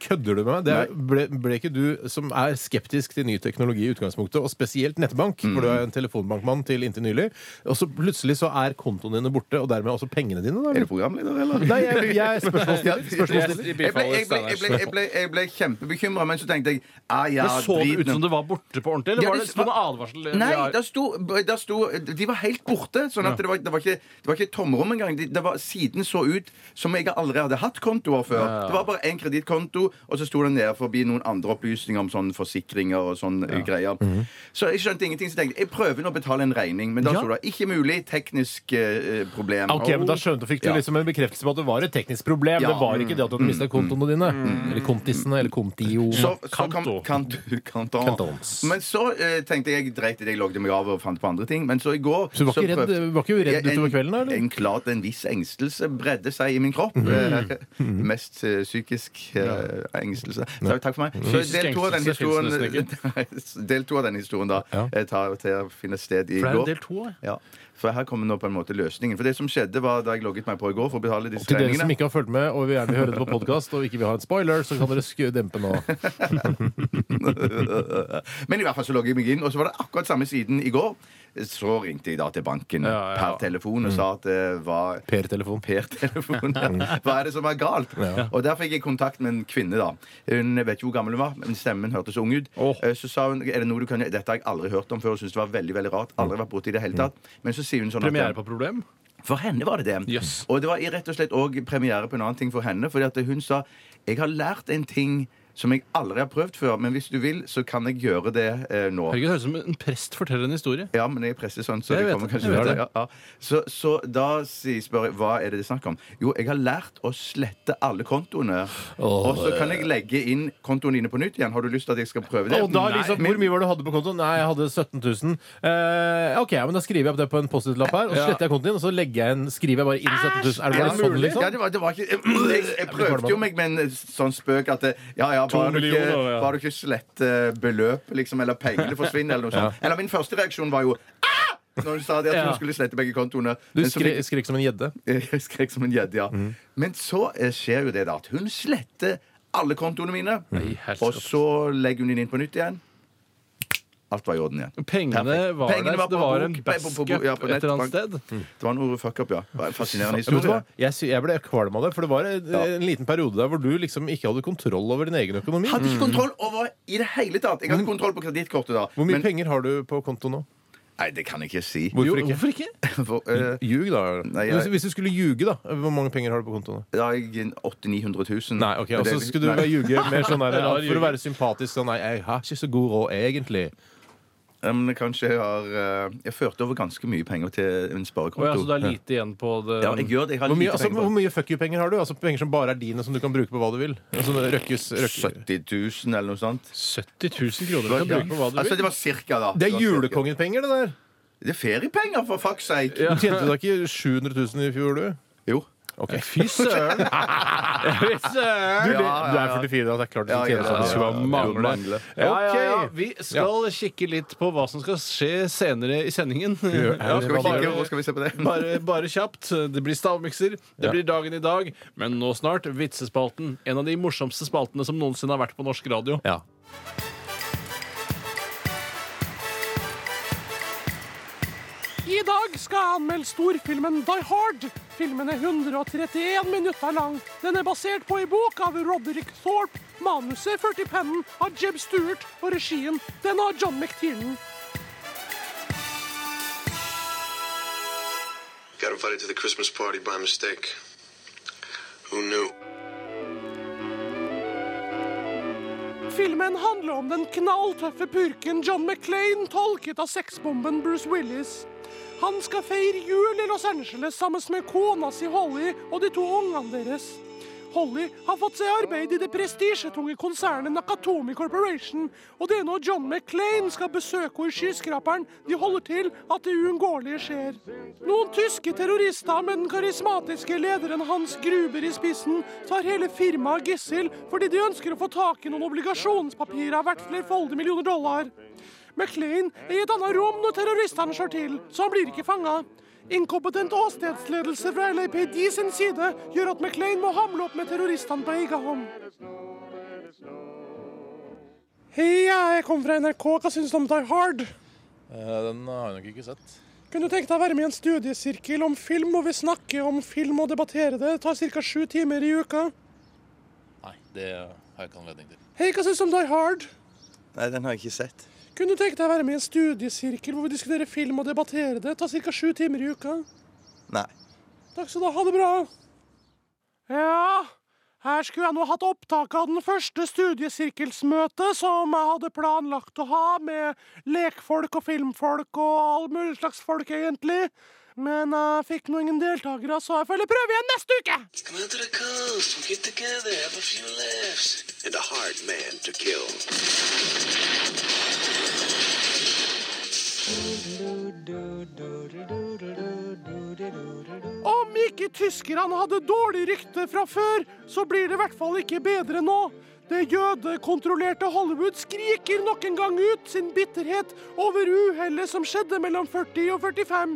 Speaker 1: kødder du med? Det er, ble, ble ikke du som er skeptisk til ny teknologi i utgangspunktet, og spesielt nettbank, for du er en telefonbankmann til inntil nylig, og så plutselig så er kontoene dine borte, og dermed også pengene dine, da?
Speaker 3: Er du
Speaker 1: eller?
Speaker 3: programleder, eller?
Speaker 1: Nei, jeg, jeg er spørsmålsstiller.
Speaker 2: Jeg-
Speaker 1: spørsmålsstiller.
Speaker 2: jeg
Speaker 3: Jeg ble,
Speaker 2: bifaller
Speaker 3: jeg ble, jeg ble, jeg
Speaker 2: Steiners.
Speaker 3: ble, jeg ble kjempebekymra, men så tenkte jeg ah, ja,
Speaker 2: Men så det
Speaker 3: drit
Speaker 2: ut
Speaker 3: nå.
Speaker 2: som det var borte på ordentlig, eller
Speaker 3: Ja,
Speaker 2: var
Speaker 3: det
Speaker 2: det sto det
Speaker 3: var-
Speaker 2: advarsel?
Speaker 3: Nei,
Speaker 2: Ja.
Speaker 3: der sto, der sto De var helt borte. Sånn at det, var, det, var ikke, det var ikke et tomrom engang. Det, det var, siden så ut som jeg allerede hadde hatt kontoer før. Det var bare én kredittkonto, og så sto det nede forbi noen andre opplysninger om sånn forsikringer og sånn eh, greier. Så jeg skjønte ingenting, så tenkte jeg jeg prøver nå å betale en regning. Men da
Speaker 2: Mhm. Ja. Ah,
Speaker 3: sto det 'ikke mulig', teknisk eh, problem.
Speaker 1: Ok, men Da skjønte fikk du
Speaker 3: Ja.
Speaker 1: liksom en bekreftelse på at det var et teknisk problem.
Speaker 3: Ja.
Speaker 1: Det var ikke det at du hadde mista kontoene dine. Eller kontisene, eller kontio.
Speaker 3: Så, så kan,
Speaker 2: Kanto.
Speaker 3: kanto- kanto.
Speaker 1: Kantons.
Speaker 3: Men så eh, tenkte jeg dreit i det, jeg logget meg av og fant på andre ting. Men så i går
Speaker 1: Så du var ikke redd-
Speaker 3: prøvde-
Speaker 1: du var ikke redd
Speaker 3: Ja, en-
Speaker 1: utover kvelden, da, eller? Mhm.
Speaker 3: En, klart en viss engstelse bredde seg i min kropp. Eh, mest eh, psykisk eh, engstelse. Takk, takk for meg. Så
Speaker 2: Fysisk
Speaker 3: del to av den
Speaker 2: engstelse
Speaker 3: historien
Speaker 2: finnes nesten
Speaker 3: Del to av den historien da
Speaker 1: Ja.
Speaker 3: eh, tar til å finne sted i
Speaker 2: For det er en
Speaker 3: går.
Speaker 2: del to, ja.
Speaker 3: Ja, for her kommer nå på en måte løsningen. For det som skjedde var da jeg logget meg på i går for å betale disse
Speaker 1: Til dere som
Speaker 3: regningene
Speaker 1: ikke har fulgt med og vil gjerne høre det på podkast og ikke vil ha en spoiler, så kan dere skru dempe nå.
Speaker 3: Men i hvert fall så logget jeg meg inn, og så var det akkurat samme siden i går. Så ringte jeg da til banken
Speaker 2: Ja, Mm. ja.
Speaker 3: per telefon og sa at eh, det var
Speaker 1: Per-telefon.
Speaker 3: Per-telefon.
Speaker 2: Mm.
Speaker 3: Hva er det som er galt? Og Der fikk jeg kontakt med en kvinne. da Hun jeg vet ikke hvor gammel hun var, men stemmen hørtes ung ut.
Speaker 2: Åh.
Speaker 3: Eh, Så sa hun er det noe du kan gjøre? Dette har jeg aldri hørt om før. Og syntes det var veldig veldig rart. Aldri vært borti det i det hele tatt. Men så sier hun sånn
Speaker 2: Mm. Premiere på problem?
Speaker 3: for henne var det det.
Speaker 2: Jøss.
Speaker 3: Og det var i- rett og slett òg premiere på en annen ting for henne. Fordi at hun sa jeg har lært en ting som jeg aldri har prøvd før, men hvis du vil, så kan jeg gjøre det eh, nå.
Speaker 2: Herregud, det høres ut som en prest forteller en historie.
Speaker 3: Ja, men jeg presser sånn, så
Speaker 2: Jeg vet
Speaker 3: det kommer
Speaker 2: det,
Speaker 3: kanskje
Speaker 2: jeg vet
Speaker 3: til det. Ja, ja. Så, så da sier- spør jeg hva er det det er snakk om? Jo, jeg har lært å slette alle kontoene. og så kan jeg legge inn kontoene dine på nytt igjen. Har du lyst til at jeg skal prøve det?
Speaker 1: Og da
Speaker 3: Nei.
Speaker 1: liksom, Hvor mye var det du hadde på kontoen? Nei, jeg hadde 17 000. Eh, ok, ja, men da skriver jeg opp det på en Post-It-lapp her, og så
Speaker 2: Ja.
Speaker 1: sletter jeg kontoen din, og så legger jeg en, skriver jeg bare inn 17 000. Er det
Speaker 3: Ja,
Speaker 1: bare sånn, liksom?
Speaker 3: ja, det var, det var ikke jeg, jeg prøvde jo meg med en sånn spøk at det- Ja, ja,
Speaker 2: To
Speaker 3: bare du ikke,
Speaker 2: millioner, ja.
Speaker 3: bare du ikke sletter beløp, liksom, eller pengene forsvinner, eller noe sånt. Eller min første reaksjon var jo «Ah!» når hun sa det at
Speaker 2: Ja.
Speaker 3: hun skulle slette begge kontoene.
Speaker 1: Du Mm.
Speaker 3: Men så
Speaker 1: skrek, skrek som en gjedde.
Speaker 3: fikk- jeg skrek som en gjedde, ja. Men så eh, skjer jo det, da, at hun sletter alle kontoene mine.
Speaker 1: Mm.
Speaker 5: herskap.
Speaker 3: Og så legger hun den inn på nytt igjen. Alt var i orden igjen.
Speaker 5: Pengene
Speaker 3: Perfekt.
Speaker 5: var
Speaker 3: Pengene
Speaker 5: der, så det
Speaker 3: på
Speaker 5: var
Speaker 3: bok-
Speaker 5: en
Speaker 3: på- på- på-
Speaker 5: basket
Speaker 3: ja, på
Speaker 5: et eller annet
Speaker 3: nettbank.
Speaker 5: sted.
Speaker 3: Det var noe fuck up, ja. Det var en fascinerende
Speaker 1: Mm. Vet du hva?
Speaker 3: historie.
Speaker 1: Jeg, sy- jeg ble kvalm av det, for det var en, en liten periode der hvor du liksom ikke hadde kontroll over din egen økonomi.
Speaker 3: Hadde ikke kontroll over i det hele tatt. Jeg hadde kontroll på kredittkortet da.
Speaker 1: Mm. Hvor mye
Speaker 3: men-
Speaker 1: penger har du på konto nå?
Speaker 3: Nei, det kan jeg ikke si.
Speaker 1: Hvorfor
Speaker 5: Jo,
Speaker 1: ikke?
Speaker 5: Hvorfor ikke?
Speaker 3: For, eh,
Speaker 1: Ljug, da.
Speaker 3: Nei, jeg-
Speaker 1: Hvis- Hvis du skulle ljuge, da. Hvor mange penger har du på kontoen?
Speaker 3: da har jeg 800 900 000.
Speaker 1: Nei, ok,
Speaker 3: Men
Speaker 1: og så
Speaker 3: det-
Speaker 1: skulle du
Speaker 3: Nei.
Speaker 1: ljuge mer sånn der, for
Speaker 5: Rar
Speaker 1: å
Speaker 5: ljuging.
Speaker 1: være sympatisk. Sånn, nei, jeg har ikke så god råd, egentlig.
Speaker 3: Ja, men kanskje jeg har eh, Jeg førte over ganske mye penger til en
Speaker 5: Å ja, så
Speaker 3: sparekonto.
Speaker 5: det er lite igjen på det
Speaker 3: Ja, jeg gjør det. Jeg har
Speaker 1: Hvor mye,
Speaker 3: lite
Speaker 1: altså,
Speaker 3: penger.
Speaker 1: hvor
Speaker 3: på-
Speaker 1: mye fuck you-penger har du? Altså Penger som bare er dine, som du kan bruke på hva du vil? Altså, røkkes, røkkes.
Speaker 3: 70 000 eller noe sånt.
Speaker 5: 70 000 kroner du kan
Speaker 3: Ja.
Speaker 5: bruke på hva du
Speaker 3: Altså,
Speaker 5: vil.
Speaker 3: det var cirka, da.
Speaker 1: Det
Speaker 3: var
Speaker 1: er
Speaker 3: cirka.
Speaker 1: julekongepenger, det der!
Speaker 3: Det er feriepenger, for fuck's sake!
Speaker 5: Ja.
Speaker 1: Du tjente da ikke 700 000 i fjor, du? Eh,
Speaker 3: Jo.
Speaker 1: Ok.
Speaker 5: Fy søren! Fy
Speaker 1: Du,
Speaker 5: søren!
Speaker 1: det-
Speaker 3: Ja, ja, ja.
Speaker 1: du er 44, da. Det er klart du
Speaker 3: Ja,
Speaker 1: tjener
Speaker 3: ja, ja,
Speaker 1: sånn.
Speaker 3: ja.
Speaker 1: Skulle bare mangle.
Speaker 3: mangle.
Speaker 5: Ja, ja, ja.
Speaker 1: Ok.
Speaker 5: Vi skal kikke litt på hva som skal skje senere i sendingen.
Speaker 1: gjør-
Speaker 5: Ja,
Speaker 3: Skal
Speaker 1: Hva
Speaker 3: vi kikke,
Speaker 5: bare-
Speaker 3: hvor skal vi se på det?
Speaker 5: Bare, bare kjapt. Det blir stavmikser. Det
Speaker 1: Ja.
Speaker 5: blir dagen i dag. Men nå snart Vitsespalten. En av de morsomste spaltene som noensinne har vært på norsk radio.
Speaker 1: Ja.
Speaker 2: I dag skal jeg anmelde storfilmen Die Hard. Filmen er 131 minutter lang. Den er basert på en bok av Roderick Thorpe. Manuset er ført i pennen av Jeb Stewart, og regien den av John McTiernan.
Speaker 6: Got invited to the Christmas party by mistake. Who knew?
Speaker 2: Filmen handler om den knalltøffe purken John McClain, tolket av sexbomben Bruce Willis. Han skal feire jul i Los Angeles sammen med kona si Holly og de to ungene deres. Holly har fått seg arbeid i det prestisjetunge konsernet Nakatomi Corporation, og det er når John McClain skal besøke henne i skyskraperen de holder til, at det uunngåelige skjer. Noen tyske terrorister med den karismatiske lederen Hans Gruber i spissen tar hele firmaet gissel fordi de ønsker å få tak i noen obligasjonspapirer verdt flerfoldige millioner dollar. McLean er i et annet rom når terroristene slår til, så han blir ikke fanga. Inkompetent åstedsledelse fra LAPD sin side gjør at McLean må hamle opp med terroristene på egen hånd. Heia, jeg kom fra NRK. Hva syns du om Die Hard?
Speaker 1: Eh, Den har jeg nok ikke sett.
Speaker 2: Kunne du tenke deg å være med i en studiesirkel om film, hvor vi snakker om film og debatterer det? Det tar ca. sju timer i uka.
Speaker 1: Nei, det har jeg ikke anledning til.
Speaker 2: Hei, hva syns du om Die Hard?
Speaker 7: Nei, den har jeg ikke sett.
Speaker 2: Kunne du tenke deg å være med i en studiesirkel hvor vi diskuterer film og debatterer det? Det tar ca. sju timer i uka.
Speaker 7: Nei.
Speaker 2: Takk skal du ha. Ha det bra. Ja, her skulle jeg nå hatt opptak av den første studiesirkelsmøtet som jeg hadde planlagt å ha med lekfolk og filmfolk og all mulig slags folk, egentlig. Men jeg fikk nå ingen deltakere, så jeg føler prøve igjen neste uke.
Speaker 6: Come out to the coast. We'll get together. Have a few laughs. And a hard man to kill.
Speaker 2: Om ikke tyskerne hadde dårlig rykte fra før, så blir det i hvert fall ikke bedre nå. Det jødekontrollerte Hollywood skriker nok en gang ut sin bitterhet over uhellet som skjedde mellom 40 og 45.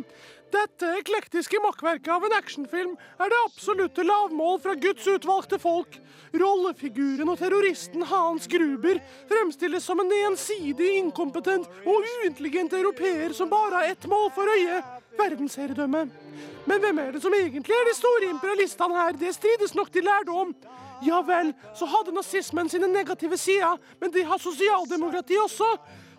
Speaker 2: Dette eklektiske makkverket av en actionfilm er det absolutte lavmål fra Guds utvalgte folk. Rollefiguren og terroristen Hans Gruber fremstilles som en ensidig, inkompetent og uintelligent europeer som bare har ett mål for øye verdensherredømme. Men hvem er det som egentlig er de store imperialistene her? Det strides nok de lærde om. Ja vel, så hadde nazismen sine negative sider, men de har sosialdemokrati også.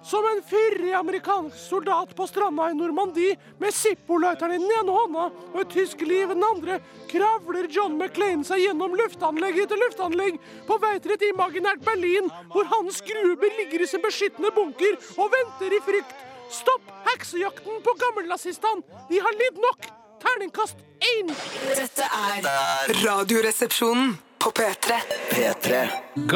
Speaker 2: Som en fyrig amerikansk soldat på stranda i Normandie med Zippo-lighteren i den ene hånda og et tysk liv i den andre, kravler John McClain seg gjennom luftanlegg etter luftanlegg på vei til et imaginært Berlin, hvor Hans Gruber ligger i sin beskyttende bunker og venter i frykt. Stopp heksejakten på gammelnazistene! De har lidd nok! Terningkast én!
Speaker 8: Dette er Radioresepsjonen på P3. P3.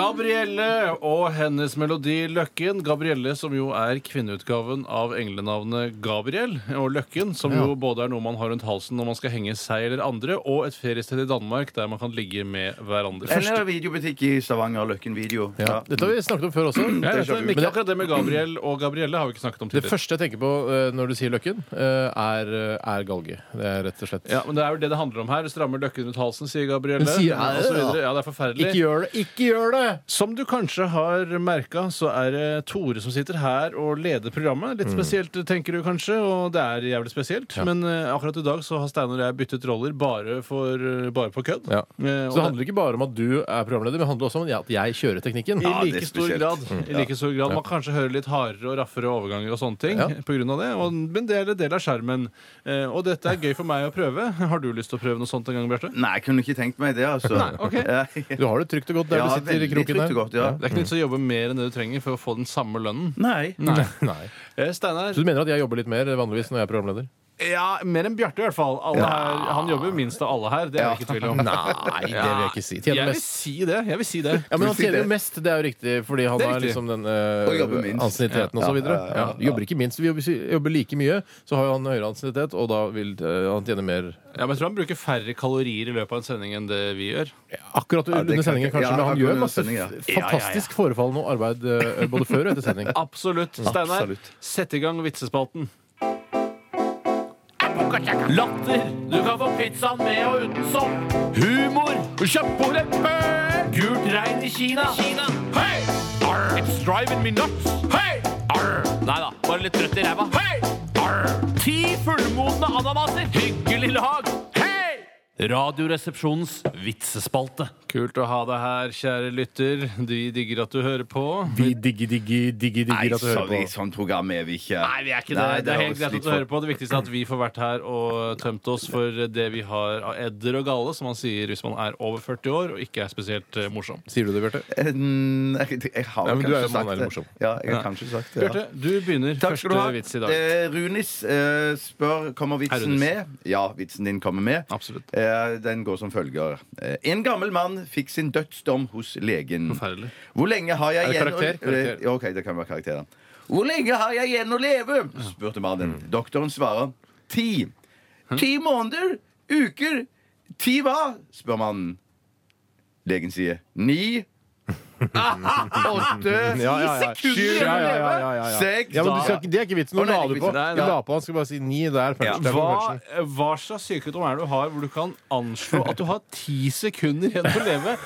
Speaker 5: Gabrielle og hennes melodi Løkken. Gabrielle som jo er kvinneutgaven av englenavnet Gabriel. Og Løkken som jo både er noe man har rundt halsen når man skal henge seg eller andre, og et feriested i Danmark der man kan ligge med hverandre.
Speaker 3: Eller videobutikk i Stavanger. Løkken video.
Speaker 1: Ja. Dette har vi snakket om før også.
Speaker 5: Ja, jeg vet det, men
Speaker 1: Men
Speaker 5: ikke
Speaker 1: det-
Speaker 5: akkurat det med Gabriel og Gabrielle har vi ikke snakket om
Speaker 1: Det
Speaker 5: tidligere.
Speaker 1: første jeg tenker på eh, når du sier Løkken, eh, er, eh, er galge. Det er rett og slett
Speaker 5: Ja, men Det er jo det det handler om her. Strammer løkken rundt halsen, sier Gabrielle.
Speaker 1: Men sier jeg
Speaker 5: og
Speaker 1: det,
Speaker 5: så videre.
Speaker 1: da?
Speaker 5: ja, det er forferdelig.
Speaker 1: Ikke gjør det! Ikke gjør gjør det!
Speaker 2: Som du kanskje har merka, så er det Tore som sitter her og leder
Speaker 1: Mm.
Speaker 2: programmet. Litt spesielt, tenker du kanskje, og det er jævlig spesielt. Men eh, akkurat i dag så har Steinar og jeg byttet roller bare, for, bare på kødd.
Speaker 1: Ja.
Speaker 2: Eh, og
Speaker 1: Så det handler ikke bare om at du er programleder, men det handler også om at jeg kjører teknikken.
Speaker 2: I like,
Speaker 3: det er
Speaker 2: stor
Speaker 3: spesielt.
Speaker 2: grad,
Speaker 1: Mm.
Speaker 2: I like stor grad. Man kanskje hører litt hardere og raffere overganger og sånne ting.
Speaker 1: Ja.
Speaker 2: På grunn av det, og, Men det er en del av skjermen. Eh, og dette er gøy for meg å prøve. Har du lyst til å prøve noe sånt en gang, Bjarte?
Speaker 3: Nei, jeg kunne ikke tenkt meg det, altså.
Speaker 2: Nei, ok.
Speaker 3: Ja.
Speaker 1: Du har det trygt og godt der
Speaker 3: Ja,
Speaker 1: du sitter i
Speaker 3: veldig
Speaker 1: kroken
Speaker 3: trygt og godt, ja.
Speaker 2: Det er ikke nytt å jobbe mer enn det du trenger for å få den samme lønnen.
Speaker 3: Nei.
Speaker 2: Nei.
Speaker 1: Nei.
Speaker 2: Eh, Steinar,
Speaker 1: Så du mener at jeg jobber litt mer vanligvis når jeg er programleder?
Speaker 2: Ja, mer enn Bjarte i hvert fall. Alle her, han jobber minst av alle her. Det er det ikke tvil om.
Speaker 1: Nei, det vil jeg ikke si. Tjener
Speaker 2: Jeg vil
Speaker 1: mest.
Speaker 2: si det. jeg vil si det
Speaker 1: Ja, Men han
Speaker 3: Du sier
Speaker 1: tjener jo
Speaker 3: det.
Speaker 1: mest, det er jo riktig, fordi han
Speaker 2: Det er
Speaker 1: har
Speaker 2: riktig.
Speaker 1: liksom den
Speaker 3: Og jobber
Speaker 1: eh,
Speaker 3: minst.
Speaker 1: ansienniteten og så videre. Ja, Jobber ikke minst. Vi jobber, jobber like mye, så har jo han høyere ansiennitet, og da vil eh, han tjene mer
Speaker 2: ja, men Jeg tror han bruker færre kalorier i løpet av en sending enn det vi gjør.
Speaker 1: akkurat
Speaker 3: det kan
Speaker 1: under sendingen, kanskje.
Speaker 3: ikke-
Speaker 1: men han
Speaker 3: ja, akkurat
Speaker 1: gjør
Speaker 3: under
Speaker 1: masse
Speaker 3: sendingen, ja.
Speaker 1: f- fantastisk forefallende arbeid eh, både før og etter sending.
Speaker 2: Absolutt. Steinar,
Speaker 3: Absolutt.
Speaker 2: sett i gang vitsespalten. Latter. Du kan få pizzaen med og uten sopp. Humor. Kjøttbordet bøk. Gult regn i Kina. Hei! Arr. It's driving me nuts. Hei! Arr. Nei da, bare litt trøtt i ræva. Hei! Arr. Ti fullmodne ananaser. Hyggelig lag. Hei! Radioresepsjonens vitsespalte. Kult å ha deg her, kjære lytter. De digger at du hører på.
Speaker 1: Vi digger, digger, digger,
Speaker 3: Nei,
Speaker 1: digger at du hører
Speaker 3: sorry,
Speaker 1: på.
Speaker 3: sånn program er vi ikke.
Speaker 2: Nei, vi er ikke det. det, er helt
Speaker 3: høres
Speaker 2: greit
Speaker 3: litt
Speaker 2: at du hører på. Det viktigste er at vi får vært her og tømt oss for det vi har av edder og gale, som man sier hvis man er over 40 år og ikke er spesielt eh, morsom.
Speaker 1: Sier du det, Bjarte?
Speaker 3: Eh, Nei, jeg, jeg har
Speaker 1: Nei, men du er jo mann, er
Speaker 3: kanskje sagt
Speaker 1: det
Speaker 3: det.
Speaker 1: morsom.
Speaker 3: Ja, jeg har kanskje sagt det. Ja.
Speaker 2: Bjarte, du begynner
Speaker 3: Takk skal du
Speaker 2: første
Speaker 3: ha.
Speaker 2: vits i dag.
Speaker 3: Eh, Runis eh, spør kommer
Speaker 2: Hei,
Speaker 3: vitsen
Speaker 2: Runis.
Speaker 3: med. Ja, vitsen din kommer med.
Speaker 2: Absolutt.
Speaker 3: Eh, den går som følger. Eh, en gammel mann fikk sin dødsdom hos legen.
Speaker 2: Forferdelig.
Speaker 3: Hvor lenge har jeg
Speaker 1: Er det
Speaker 3: igjen
Speaker 1: karakter? Karakter.
Speaker 3: Eh, ja, OK, det kan være karakteren. Hvor lenge har jeg igjen å leve? spurte mannen.
Speaker 1: Mm.
Speaker 3: Doktoren svarer ti. Ti måneder? Uker? Ti hva? spør mannen. Legen sier ni. Åtte.
Speaker 1: Sju,
Speaker 3: sekunder
Speaker 1: ja,
Speaker 3: igjen å
Speaker 1: ja, ja,
Speaker 3: leve.
Speaker 1: ja, ja.
Speaker 3: Seks
Speaker 1: Ja, men du
Speaker 3: da-
Speaker 1: skal, ikke- det er ikke vitsen.
Speaker 3: Å,
Speaker 1: Nå
Speaker 3: nei,
Speaker 1: la
Speaker 3: det er
Speaker 1: du
Speaker 3: ikke
Speaker 1: på.
Speaker 3: vitsen.
Speaker 2: Nei,
Speaker 1: Du
Speaker 2: nei.
Speaker 1: la på, han skal bare si ni. Det er punch. Det er
Speaker 2: Hva,
Speaker 1: punchen.
Speaker 2: hva slags sykdom er det du har hvor du kan anslå at du har ti sekunder igjen å leve?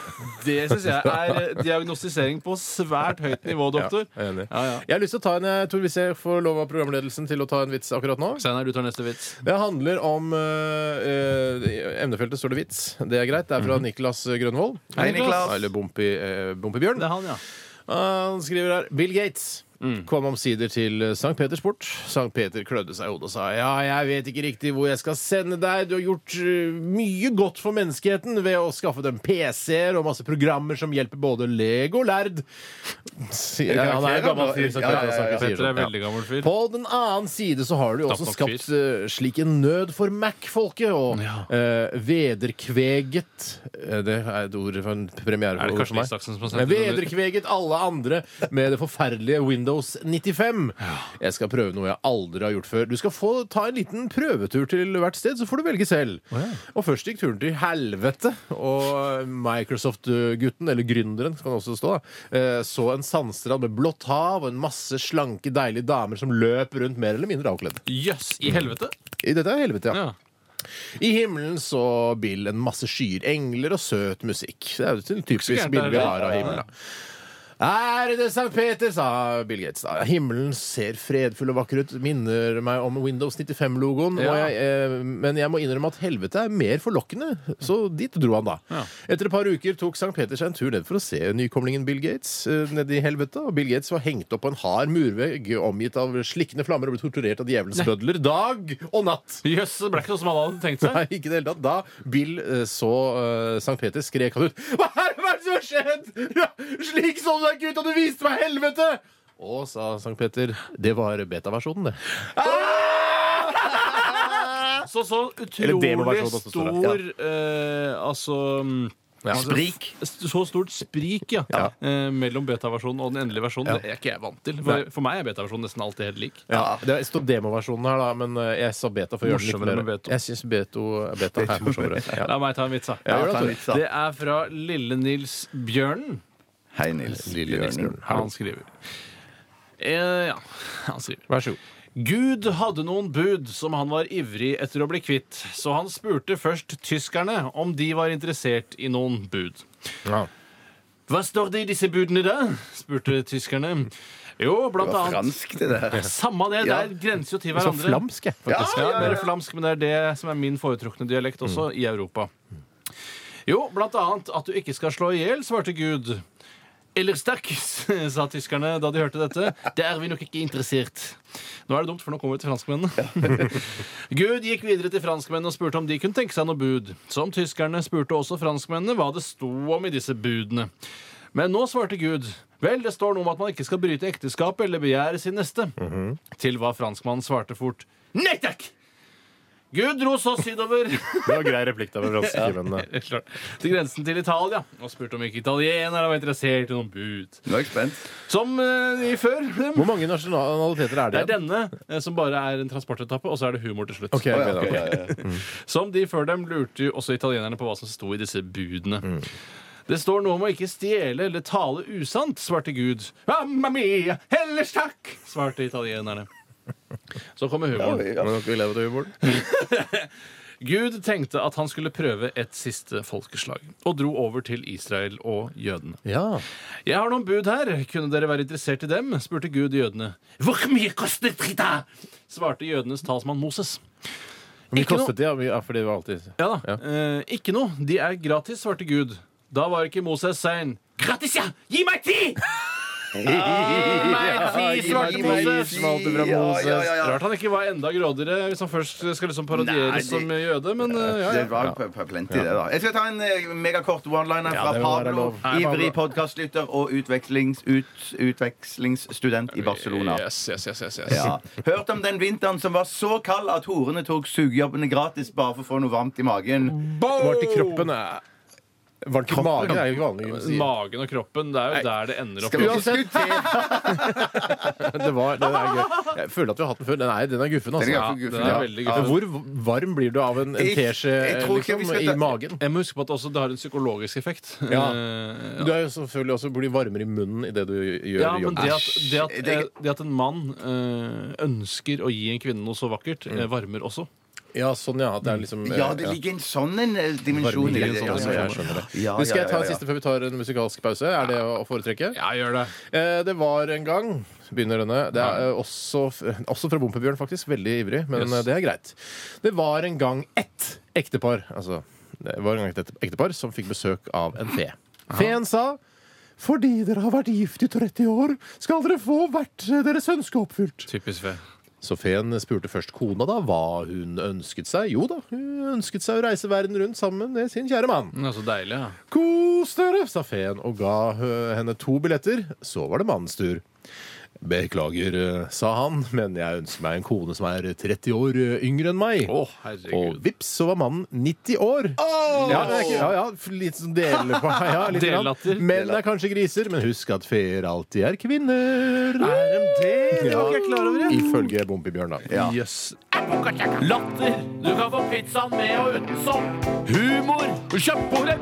Speaker 2: Det syns jeg er eh, diagnostisering på svært høyt nivå, doktor.
Speaker 1: Ja, jeg er enig.
Speaker 2: Ja, ja.
Speaker 1: Jeg har lyst til å ta en, eh, Tor, hvis jeg får lov av programledelsen til å ta en vits akkurat nå.
Speaker 2: Steinar, du tar neste vits.
Speaker 1: Det handler om eh, eh, Emnefeltet står det vits. Det er greit. Det er fra
Speaker 2: Mhm.
Speaker 1: Niklas Grønvold.
Speaker 3: Hei, Niklas.
Speaker 1: Eller Bompi, eh, Bompibjørn.
Speaker 2: Det er han, ja.
Speaker 1: Han skriver her Bill Gates. Kom omsider til St. Peters port. St. Peter klødde seg i hodet og sa ja, jeg vet ikke riktig hvor jeg skal sende deg. Du har gjort eh, mye godt for menneskeheten ved å skaffe dem PC-er og masse programmer som hjelper både lege og lærd. Sier, ja, han er en gammel fyr. som
Speaker 3: Ja, ja, ja, ja.
Speaker 1: sier sånn.
Speaker 2: Petter er veldig gammel fyr.
Speaker 1: På den annen side så har du jo også
Speaker 2: Knapp nok
Speaker 1: skapt eh, slik en nød for Mac-folket, og
Speaker 2: Ja.
Speaker 1: eh, vederkveget eh, Det er et ord for en premiere
Speaker 2: Er det
Speaker 1: ord
Speaker 2: Karsten
Speaker 1: for meg.
Speaker 2: Isaksen som har
Speaker 1: Men
Speaker 2: sendt den under?
Speaker 1: Vederkveget alle andre med det forferdelige Windows 95. Jeg skal prøve noe jeg aldri har gjort før. Du skal få ta en liten prøvetur til hvert sted, så får du velge selv. Og først gikk turen til helvete, og Microsoft-gutten, eller gründeren, kan det også stå, da, eh, så en sandstrand med blått hav og en masse slanke, deilige damer som løp rundt mer eller mindre avkledd.
Speaker 2: Jøss, i helvete!
Speaker 1: I dette er helvete, ja.
Speaker 2: Ja.
Speaker 1: I himmelen så Bill en masse skyer, engler og søt musikk. Det er jo et typisk
Speaker 2: gærent,
Speaker 1: bilde vi
Speaker 2: det er
Speaker 1: har av himmelen. da. Ærede Sankt Peter, sa Bill Gates. da. Himmelen ser fredfull og vakker ut. Minner meg om Windows 95-logoen. og
Speaker 2: Ja.
Speaker 1: jeg, eh, Men jeg må innrømme at helvete er mer forlokkende, så dit dro han da. Etter et par uker tok Sankt Peter seg en tur ned for å se nykomlingen Bill Gates eh, nede i helvete. Og Bill Gates var hengt opp på en hard murvegg omgitt av slikkende flammer og ble torturert av djevelens bødler dag og natt.
Speaker 2: Jøss, det ble ikke noe som alle hadde tenkt seg.
Speaker 1: Nei, ikke i det hele tatt. Da Bill eh, så eh, Sankt Peter, skrek han ut Hva er det hva er det som har skjedd? Ja, slik så du deg ikke ut, og du viste meg helvete! Å, sa Sankt Peter, det var beta-versjonen, det.
Speaker 2: Så så
Speaker 1: Eller demoversjonen
Speaker 2: utrolig
Speaker 1: også, står det.
Speaker 2: stor eh, Altså mm,
Speaker 3: Sprik.
Speaker 2: s- Så stort sprik, ja.
Speaker 1: Ja.
Speaker 2: Eh, mellom beta-versjonen og den endelige versjonen. Det er ikke jeg vant til. For, for meg er beta-versjonen nesten alltid helt lik.
Speaker 1: Ja, Det står demoversjonen her, da, men eh, jeg sa beta for å gjøre det litt
Speaker 2: Morsommere med
Speaker 1: mer
Speaker 2: beto.
Speaker 1: Jeg syns beto, beta er morsommere. Ja.
Speaker 2: La meg ta en vits, da.
Speaker 1: Ja,
Speaker 3: Ta en
Speaker 1: Tore.
Speaker 3: vits, da.
Speaker 5: sånn.
Speaker 2: Det er fra Lille Nils Bjørnen.
Speaker 3: Hei, Nils.
Speaker 1: Lille
Speaker 3: Bjørnen.
Speaker 1: Nils Bjørnen.
Speaker 2: Han skriver. Eh, ja, han skriver.
Speaker 1: Vær så god.
Speaker 2: Gud hadde noen bud som han var ivrig etter å bli kvitt, så han spurte først tyskerne om de var interessert i noen bud.
Speaker 1: Ja.
Speaker 5: Hva står det i disse budene, da? spurte tyskerne. Jo, blant
Speaker 3: Det var
Speaker 5: annet
Speaker 3: fransk, det der.
Speaker 5: Samme det.
Speaker 3: Ja.
Speaker 5: Det er grenser jo til
Speaker 1: Så
Speaker 5: hverandre.
Speaker 1: flamsk, jeg.
Speaker 5: Ja,
Speaker 1: faktisk.
Speaker 5: ja, ja, Mer flamsk, men det Mm. er det som er min foretrukne dialekt også i Europa. Jo, blant annet at du ikke skal slå i hjel, svarte Gud. Eller sterk, sa tyskerne da de hørte dette. Det er vi nok ikke interessert. Nå er det dumt, for nå kommer vi til franskmennene. Gud gikk videre til franskmennene og spurte om de kunne tenke seg noe bud. Som tyskerne spurte også franskmennene hva det sto om i disse budene. Men nå svarte Gud. Vel, det står noe om at man ikke skal bryte ekteskapet eller begjære sin neste. Til hva franskmannen svarte fort. Nei takk! Gud dro så sydover
Speaker 1: Det var grei replikk der med franskmennene.
Speaker 5: Helt klart. til grensen til Italia og spurte om ikke italienere var interessert i noen bud.
Speaker 3: Nå er jeg spent.
Speaker 5: Som eh, i før.
Speaker 1: Hvor mange nasjonaliteter er
Speaker 5: Det
Speaker 1: det
Speaker 5: er
Speaker 1: igjen?
Speaker 5: denne eh, som bare er en transportetappe, og så er det humor til slutt.
Speaker 1: Ok, jeg gleder meg.
Speaker 3: Ja, ja, ja.
Speaker 5: Som de før dem lurte jo også italienerne på hva som sto i disse budene. Det står noe om å ikke stjele eller tale usant, svarte Gud. Mamma mia, ellers takk, svarte italienerne. Så kommer humoren.
Speaker 3: Ja,
Speaker 1: Men dere vil leve til humoren?
Speaker 5: Gud tenkte at han skulle prøve et siste folkeslag, og dro over til Israel og jødene.
Speaker 1: Ja.
Speaker 5: Jeg har noen bud her. Kunne dere være interessert i dem? spurte Gud jødene. Hvor mye koster trita? svarte jødenes talsmann Moses.
Speaker 1: Hvor mye
Speaker 5: Ikke noe-
Speaker 1: kostet det? Ja, mye- Ja, fordi det var alltid
Speaker 5: Ja da.
Speaker 1: Ja.
Speaker 5: Eh, ikke noe. De er gratis, svarte Gud. Da var ikke Moses sein. Gratis, ja! Gi meg ti! Gi meg ti, svarte Moses.
Speaker 3: ja, ja, ja.
Speaker 5: Rart han ikke var enda grådigere hvis han først skal liksom parodieres
Speaker 3: Nei, det-
Speaker 5: som jøde, men eh, ja,
Speaker 3: Det
Speaker 5: ja.
Speaker 3: var p- p- plenty, det, da. Jeg skal ta en eh, megakort one-liner fra
Speaker 1: det må være
Speaker 3: Pablo.
Speaker 1: lov.
Speaker 3: Ivrig podkastlytter og utvekslings, ut, utvekslingsstudent i Barcelona.
Speaker 5: Yes, yes, yes, yes, yes.
Speaker 3: Ja. Hørt om den vinteren som var så kald at horene tok sugejobbene gratis bare for å få noe varmt i magen.
Speaker 1: Varmt i kroppen er Varmt i
Speaker 3: Kroppen,
Speaker 1: magen er jo ikke vanlig å si.
Speaker 5: Magen og kroppen, det er jo der det ender opp.
Speaker 3: Skal vi ikke
Speaker 1: Uansett.
Speaker 3: diskutere?
Speaker 1: Det var, den er gøy. Jeg føler at vi har hatt den før. Den er, den er guffen, altså.
Speaker 3: Den er
Speaker 1: Ja,
Speaker 3: guffen, guffen,
Speaker 1: den er
Speaker 3: ja.
Speaker 1: veldig guffen. Hvor varm blir du av en, en
Speaker 3: Jeg-
Speaker 1: teskje
Speaker 3: jeg tror ikke
Speaker 1: liksom,
Speaker 3: vi skal ta-
Speaker 1: i magen?
Speaker 5: Jeg må huske på at også det har en psykologisk effekt.
Speaker 1: Ja.
Speaker 5: Eh,
Speaker 1: Du er jo selvfølgelig også blir varmere i munnen idet du gjør
Speaker 5: Ja, men
Speaker 1: jobben.
Speaker 5: det at, det at,
Speaker 3: Æsj, det er
Speaker 5: eh, det at en mann eh, ønsker å gi en kvinne noe så vakkert, eh, varmer også.
Speaker 1: Ja, sånn, ja. at Det er liksom eh,
Speaker 3: Ja, det ligger en sånn en eh,
Speaker 1: varme
Speaker 3: dimensjon i
Speaker 1: i en
Speaker 3: det.
Speaker 1: sånn
Speaker 3: Ja,
Speaker 1: som
Speaker 3: ja,
Speaker 1: jeg
Speaker 3: ja.
Speaker 1: skjønner det.
Speaker 3: Ja,
Speaker 1: Men skal
Speaker 3: ja,
Speaker 1: jeg ta
Speaker 3: ja,
Speaker 1: en
Speaker 3: ja.
Speaker 1: siste før vi tar en musikalsk pause? Er det å foretrekke?
Speaker 5: Ja, gjør det.
Speaker 1: Eh, Det var en gang Begynner denne. Det er eh, også, f- også fra Bompebjørn, faktisk. Veldig ivrig, men
Speaker 5: Yes.
Speaker 1: eh, det er greit. Det var en gang ett ektepar Altså, det var en gang et ektepar som fikk besøk av en fe. Feen sa fordi dere har vært gift i 30 år, skal dere få hvert eh, deres ønske oppfylt.
Speaker 5: Typisk fe.
Speaker 1: Så feen spurte først kona da hva hun ønsket seg. Jo da, hun ønsket seg å reise verden rundt sammen med sin kjære mann.
Speaker 5: Det er så deilig, ja.
Speaker 1: Kos dere, sa feen og ga øh, henne to billetter. Så var det mannens tur. Beklager, øh, sa han, men jeg ønsker meg en kone som er 30 år øh, yngre enn meg.
Speaker 5: Å,
Speaker 1: og
Speaker 5: herregud.
Speaker 1: vips, så var mannen 90 år. Ja, det er ikke- ja, ja, litt sånn dele på ja, litt grann.
Speaker 5: Dellatter.
Speaker 1: Menn er kanskje griser, men husk at feer alltid er kvinner.
Speaker 5: Er de det? Det var ikke jeg klar over, jeg.
Speaker 1: Ifølge Bompebjørn, da.
Speaker 5: Jøss. Latter. Du kan få pizzaen med og uten sopp. Humor. Kjøttbordet.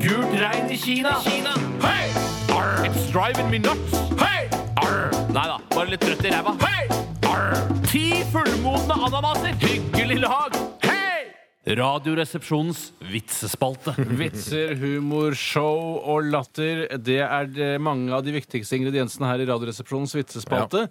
Speaker 5: Gult regn i Kina. Hei! Arr. It's driving me nuts. Hei! Arr. Nei da, bare litt trøtt i ræva. Hei! Arr. Ti fullmodne ananaser. Hyggelig lag. Hei! Radioresepsjonens vitsespalte. Vitser, humor, show og latter. Det er det- mange av de viktigste ingrediensene her i Radioresepsjonens vitsespalte.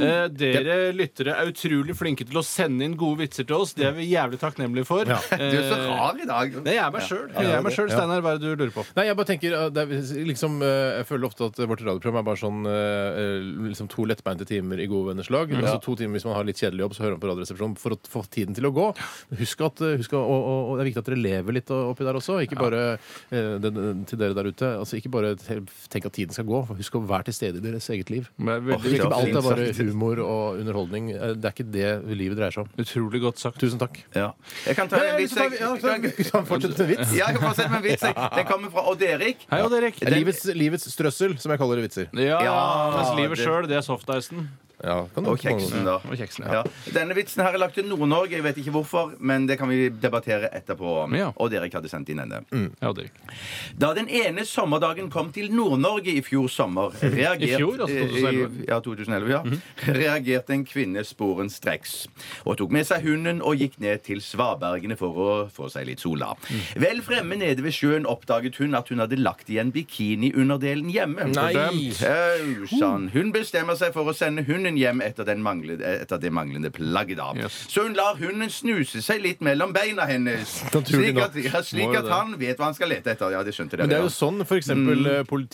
Speaker 5: Eh, dere lyttere er utrolig flinke til å sende inn gode vitser til oss. Det er vi jævlig takknemlige for.
Speaker 3: Du er så
Speaker 5: Eh,
Speaker 3: rar i dag.
Speaker 5: Nei, jeg er meg sjøl. Jeg er meg selv. Steinar, hva er det du lurer på?
Speaker 1: Nei, Jeg bare tenker, uh, det er liksom, uh, jeg føler ofte at vårt radioprogram er bare sånn uh, liksom to lettbeinte timer i gode venners lag. Altså to timer Hvis man har litt kjedelig jobb, så hører man på Radioresepsjonen for å få tiden til å gå. Husk at, uh, husk at og, og, og Det er viktig at dere lever litt oppi der også. Ikke bare uh, den- den- til dere der ute. Altså Ikke bare te- tenk at tiden skal gå. Husk å være til stede i deres eget liv.
Speaker 5: Men
Speaker 1: Åh,
Speaker 5: veldig
Speaker 1: ikke
Speaker 5: bra.
Speaker 1: alt er bare humor og underholdning. Uh, Det er ikke det livet dreier seg om.
Speaker 5: Utrolig godt sagt.
Speaker 1: Tusen takk.
Speaker 3: Ja. Jeg kan ta en vits. jeg.
Speaker 1: Fortsett med vits.
Speaker 3: Ja, jeg kan fortsette med en vits. jeg. Den kommer fra Odd-Erik.
Speaker 5: Hei, Odd Erik.
Speaker 1: Livets, livets strøssel, som jeg kaller det vitser.
Speaker 5: Ja, mens livet
Speaker 3: det-
Speaker 5: sjøl, det er softicen.
Speaker 1: Ja, kan du
Speaker 3: Og
Speaker 1: ikke mange
Speaker 3: kjeksen,
Speaker 1: ganger.
Speaker 3: da.
Speaker 5: og kjeksen, ja.
Speaker 3: ja. Denne vitsen her er lagt til Nord-Norge. Jeg vet ikke hvorfor, men det kan vi debattere etterpå.
Speaker 5: Ja.
Speaker 3: Og Derek hadde sendt inn denne.
Speaker 5: Ja, det er ikke.
Speaker 3: Da den ene sommerdagen kom til Nord-Norge i fjor sommer reagerte-
Speaker 5: I fjor, altså 2011?
Speaker 3: i- Ja, 2011, ja.
Speaker 5: Mhm.
Speaker 3: Reagerte en kvinne sporenstreks. Og tok med seg hunden og gikk ned til svabergene for å få seg litt sola.
Speaker 5: Mm.
Speaker 3: Vel fremme nede ved sjøen oppdaget hun at hun hadde lagt igjen bikiniunderdelen hjemme.
Speaker 1: Nei.
Speaker 3: Au, sann. Hun bestemmer seg for å sende hunden hjem etter, den manglede, etter det manglende plagget. da.
Speaker 5: Yes.
Speaker 3: Så hun lar hunden snuse seg litt mellom beina hennes.
Speaker 1: Naturlig
Speaker 3: Slik at,
Speaker 1: nok.
Speaker 3: ja,
Speaker 5: Må
Speaker 3: slik
Speaker 5: jo
Speaker 3: at
Speaker 5: det.
Speaker 3: han vet hva han skal lete etter. Ja, det skjønte
Speaker 1: Men
Speaker 3: dere.
Speaker 1: det er
Speaker 3: ja.
Speaker 1: jo sånn f.eks.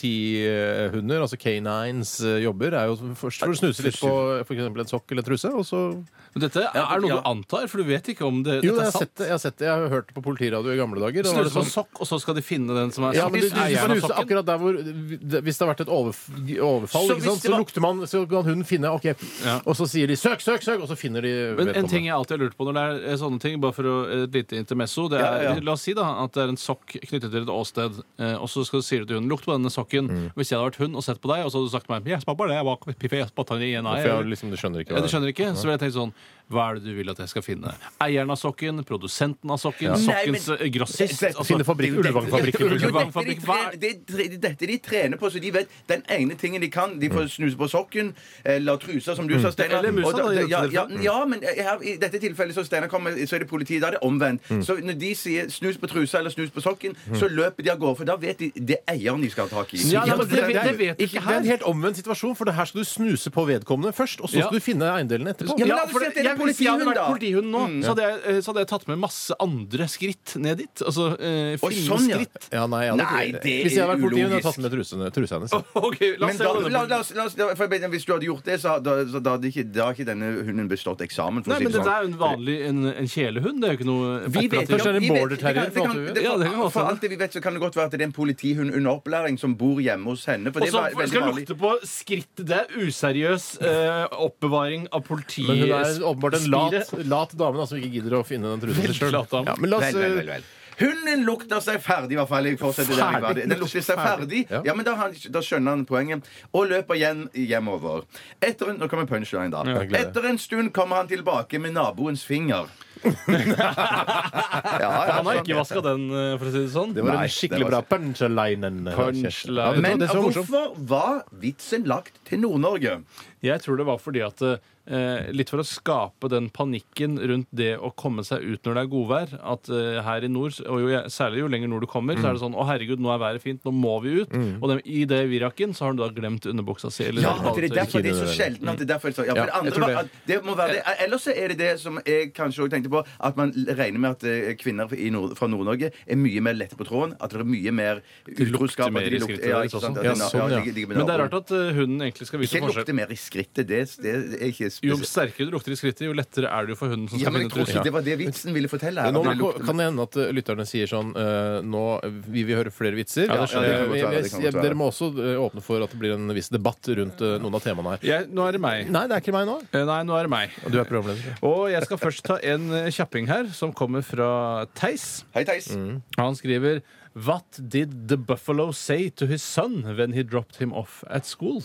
Speaker 1: politihunder, altså canines, eh, jobber. er jo Først får du snuse litt på for eksempel en sokk eller truse, og så
Speaker 5: Men dette er, er noe du antar, for du vet ikke om det,
Speaker 1: Jo, jeg
Speaker 5: dette
Speaker 1: har
Speaker 5: er sant.
Speaker 1: sett det. Jeg har, sett det. jeg har hørt det på politiradio i gamle dager. Da var det
Speaker 5: Snuse på en
Speaker 1: sånn-
Speaker 5: sokk, og så skal de finne den som er
Speaker 1: Ja, men du, du,
Speaker 5: eieren av
Speaker 1: snuser
Speaker 5: sokken.
Speaker 1: akkurat der hvor det- Hvis det har vært et overf overfall,
Speaker 3: Så
Speaker 1: ikke
Speaker 3: hvis
Speaker 1: sant?
Speaker 3: det
Speaker 1: så
Speaker 3: var-
Speaker 1: lukter man Så kan hun finne OK. Og så sier de 'søk, søk, søk', og så finner de
Speaker 5: Men en ting jeg alltid har lurt på når det er eh, sånne ting, bare for å, et lite intermesso det er,
Speaker 3: Ja, ja.
Speaker 5: La oss si da at det er en sokk knyttet til et åsted, eh, og så skal du si det til hunden. Lukt på denne sokken.
Speaker 1: Mm.
Speaker 5: Hvis jeg hadde vært hund og sett på deg, og så hadde du sagt til meg Yes, pappa, det er bak piffet, yes, pappa, det er en
Speaker 1: For
Speaker 5: eier».
Speaker 1: jeg liksom, du skjønner ikke
Speaker 5: ja,
Speaker 1: hva
Speaker 5: du skjønner ikke? Så ville jeg tenkt sånn Hva er det du vil at jeg skal finne? Eieren av sokken? Produsenten av sokken?
Speaker 3: Nei, men-
Speaker 5: Sokkens eh, grossist?
Speaker 3: Dette-
Speaker 5: altså-
Speaker 1: Finne fabrikk, Ulvangfabrikken.
Speaker 3: Jo, dette de
Speaker 5: Ulvangfabrikk, hva
Speaker 3: tre-
Speaker 5: er-
Speaker 3: det tre- det er Dette de trener på, så de vet den ene tingen de kan. De får snuse på sokken eller trusa, som du sa, Steinar.
Speaker 5: Mm. Eller musa,
Speaker 3: Og
Speaker 5: da, i dette
Speaker 3: ja, ja,
Speaker 5: tilfellet.
Speaker 3: ja, men eh, her, i dette tilfellet, så Steinar kommer, så er det politiet. Da er det omvendt.
Speaker 5: Mm.
Speaker 3: Så når de sier 'snus på trusa' eller 'snus på sokken', så løper de av gårde, for da vet de det er eieren de skal ha tak i.
Speaker 5: Ja, nei, men det-
Speaker 3: Ja,
Speaker 5: det vet du ikke
Speaker 1: Det er en
Speaker 5: her.
Speaker 1: helt omvendt situasjon, for det her skal du snuse på vedkommende først, og så
Speaker 5: Ja.
Speaker 1: skal du finne eiendelen etterpå.
Speaker 3: Ja, men
Speaker 5: Ja,
Speaker 3: la oss
Speaker 5: for
Speaker 3: si
Speaker 5: det,
Speaker 3: at det er
Speaker 5: jeg,
Speaker 3: en
Speaker 5: hvis jeg hadde
Speaker 3: politihund,
Speaker 5: vært
Speaker 3: da. Mm.
Speaker 5: politihund nå, så, hadde jeg, eh, så hadde jeg tatt med masse andre skritt ned dit. Altså
Speaker 3: Oi,
Speaker 5: eh,
Speaker 3: sånn, ja.
Speaker 5: filmskritt.
Speaker 1: Ja, nei, jeg hadde,
Speaker 3: Nei,
Speaker 1: ikke-
Speaker 3: det er
Speaker 1: Hvis jeg hadde vært politi, hadde jeg
Speaker 3: ulogisk.
Speaker 1: tatt med trusene, trusa hennes.
Speaker 5: OK, la
Speaker 3: Men
Speaker 5: oss
Speaker 3: da,
Speaker 5: se hva
Speaker 3: Altså, la,
Speaker 5: denne
Speaker 3: la, oss- la, oss- for jeg mener, hvis du hadde gjort det, så, da, så da, hadde ikke, da hadde ikke denne hunden bestått eksamen. For å
Speaker 5: Nei,
Speaker 3: si
Speaker 5: men
Speaker 3: det
Speaker 5: dette
Speaker 3: sånn.
Speaker 5: er jo en vanlig en, en kjælehund. Det er jo ikke noe
Speaker 3: Vi vet
Speaker 5: operativt.
Speaker 1: Kanskje det er en
Speaker 3: vi vet-
Speaker 1: border terrier,
Speaker 3: det kan- det
Speaker 1: for
Speaker 3: kan-
Speaker 1: alt vi vet.
Speaker 3: det-
Speaker 5: Ja, det kan godt
Speaker 3: For
Speaker 5: hende.
Speaker 3: alt det vi vet, så kan det godt være at det er en politihund under opplæring som bor hjemme hos henne. For
Speaker 5: Og
Speaker 3: det
Speaker 5: så
Speaker 3: var veldig
Speaker 5: skal
Speaker 3: vanlig.
Speaker 5: lukte på skrittet. Det er useriøs eh, oppbevaring av politi...
Speaker 1: Men hun er åpenbart en lat,
Speaker 5: spiret.
Speaker 1: lat dame da, som ikke gidder å finne den trusen
Speaker 5: Veldig
Speaker 1: selv.
Speaker 5: lat dame.
Speaker 1: Ja, men la oss, eh,
Speaker 3: Vel, vel, vel, vel. Hunden lukter seg ferdig, i hvert fall. Jeg fortsetter der jeg var. Den lukter seg ferdig.
Speaker 1: Ja.
Speaker 3: Ja, men da, har han, da skjønner han poenget. Og løper igjen hjemover. Etter en, nå kommer punchline, da.
Speaker 1: jeg gleder.
Speaker 3: Etter en stund kommer han tilbake med naboens finger. ja, ja,
Speaker 5: Han har
Speaker 3: sånn.
Speaker 5: ikke vaska den, eh, for å si det sånn.
Speaker 1: Det var
Speaker 3: Nei,
Speaker 1: en skikkelig
Speaker 3: det
Speaker 1: bra
Speaker 3: var-
Speaker 1: punchline.
Speaker 5: Punchline.
Speaker 1: Ja, vet du hva,
Speaker 3: Men
Speaker 1: det er så morsomt.
Speaker 3: hvorfor var vitsen lagt til Nord-Norge?
Speaker 5: Jeg tror det var fordi at eh, Litt for å skape den panikken rundt det å komme seg ut når det er godvær. At eh, her i nord, og jo, særlig jo lenger nord du kommer, så er det
Speaker 3: Mm.
Speaker 5: sånn Å, herregud, nå er været fint, nå må vi ut. Og den, i det viraken så har du da glemt underbuksa si. Eller
Speaker 3: Ja, at det er derfor det er så
Speaker 1: Bikini,
Speaker 3: sjelden. At det er derfor det er så,
Speaker 1: Ja,
Speaker 3: ja, for det
Speaker 1: jeg
Speaker 3: andre
Speaker 1: tror
Speaker 3: var,
Speaker 1: det.
Speaker 3: at det må være det. Ellers så er det det som jeg kanskje også tenkte på, at man regner med at eh, kvinner i Nord, fra Nord-Norge er mye mer lette på tråden. At det er mye mer utroskap.
Speaker 5: mer
Speaker 3: at de
Speaker 5: i
Speaker 3: lukter-
Speaker 5: skrittet
Speaker 3: ja,
Speaker 5: deres
Speaker 3: ikke sant,
Speaker 5: også.
Speaker 3: at de-
Speaker 1: Ja, sånn,
Speaker 3: ja,
Speaker 1: ja.
Speaker 3: de ligger med
Speaker 5: Men det er
Speaker 3: naboen.
Speaker 5: rart at eh, hunden egentlig skal vise
Speaker 3: Ikke lukte
Speaker 5: forskjell.
Speaker 3: mer i skrittet. Det, det er ikke
Speaker 5: Jo
Speaker 3: spesielt.
Speaker 5: sterkere du lukter i skrittet, jo lettere er det jo for hunden som
Speaker 3: Ja,
Speaker 5: skal
Speaker 3: men jeg
Speaker 5: finne
Speaker 3: tror
Speaker 5: trusen.
Speaker 3: ikke det var det vitsen ville fortelle. her,
Speaker 1: Nå
Speaker 3: at det lukter-
Speaker 1: kan det hende at eh, lytterne sier sånn eh, Nå vil vi høre flere vitser.
Speaker 5: Ja, det skjønner
Speaker 1: Eh,
Speaker 3: jeg. Det kan godt være, det kan
Speaker 1: jeg-
Speaker 3: godt være.
Speaker 1: Dere må også eh, åpne for at det blir en viss debatt rundt eh, noen av temaene her.
Speaker 5: Jeg, nå er det meg.
Speaker 1: Nei, det er ikke meg nå.
Speaker 5: Eh, Nei, nå er det meg.
Speaker 1: Og du er programleder.
Speaker 5: Og jeg skal først ta en eh, kjapping her, som kommer fra Theis.
Speaker 3: Hei, Theis.
Speaker 5: Han skriver What did the buffalo say to his son when he dropped him off at school?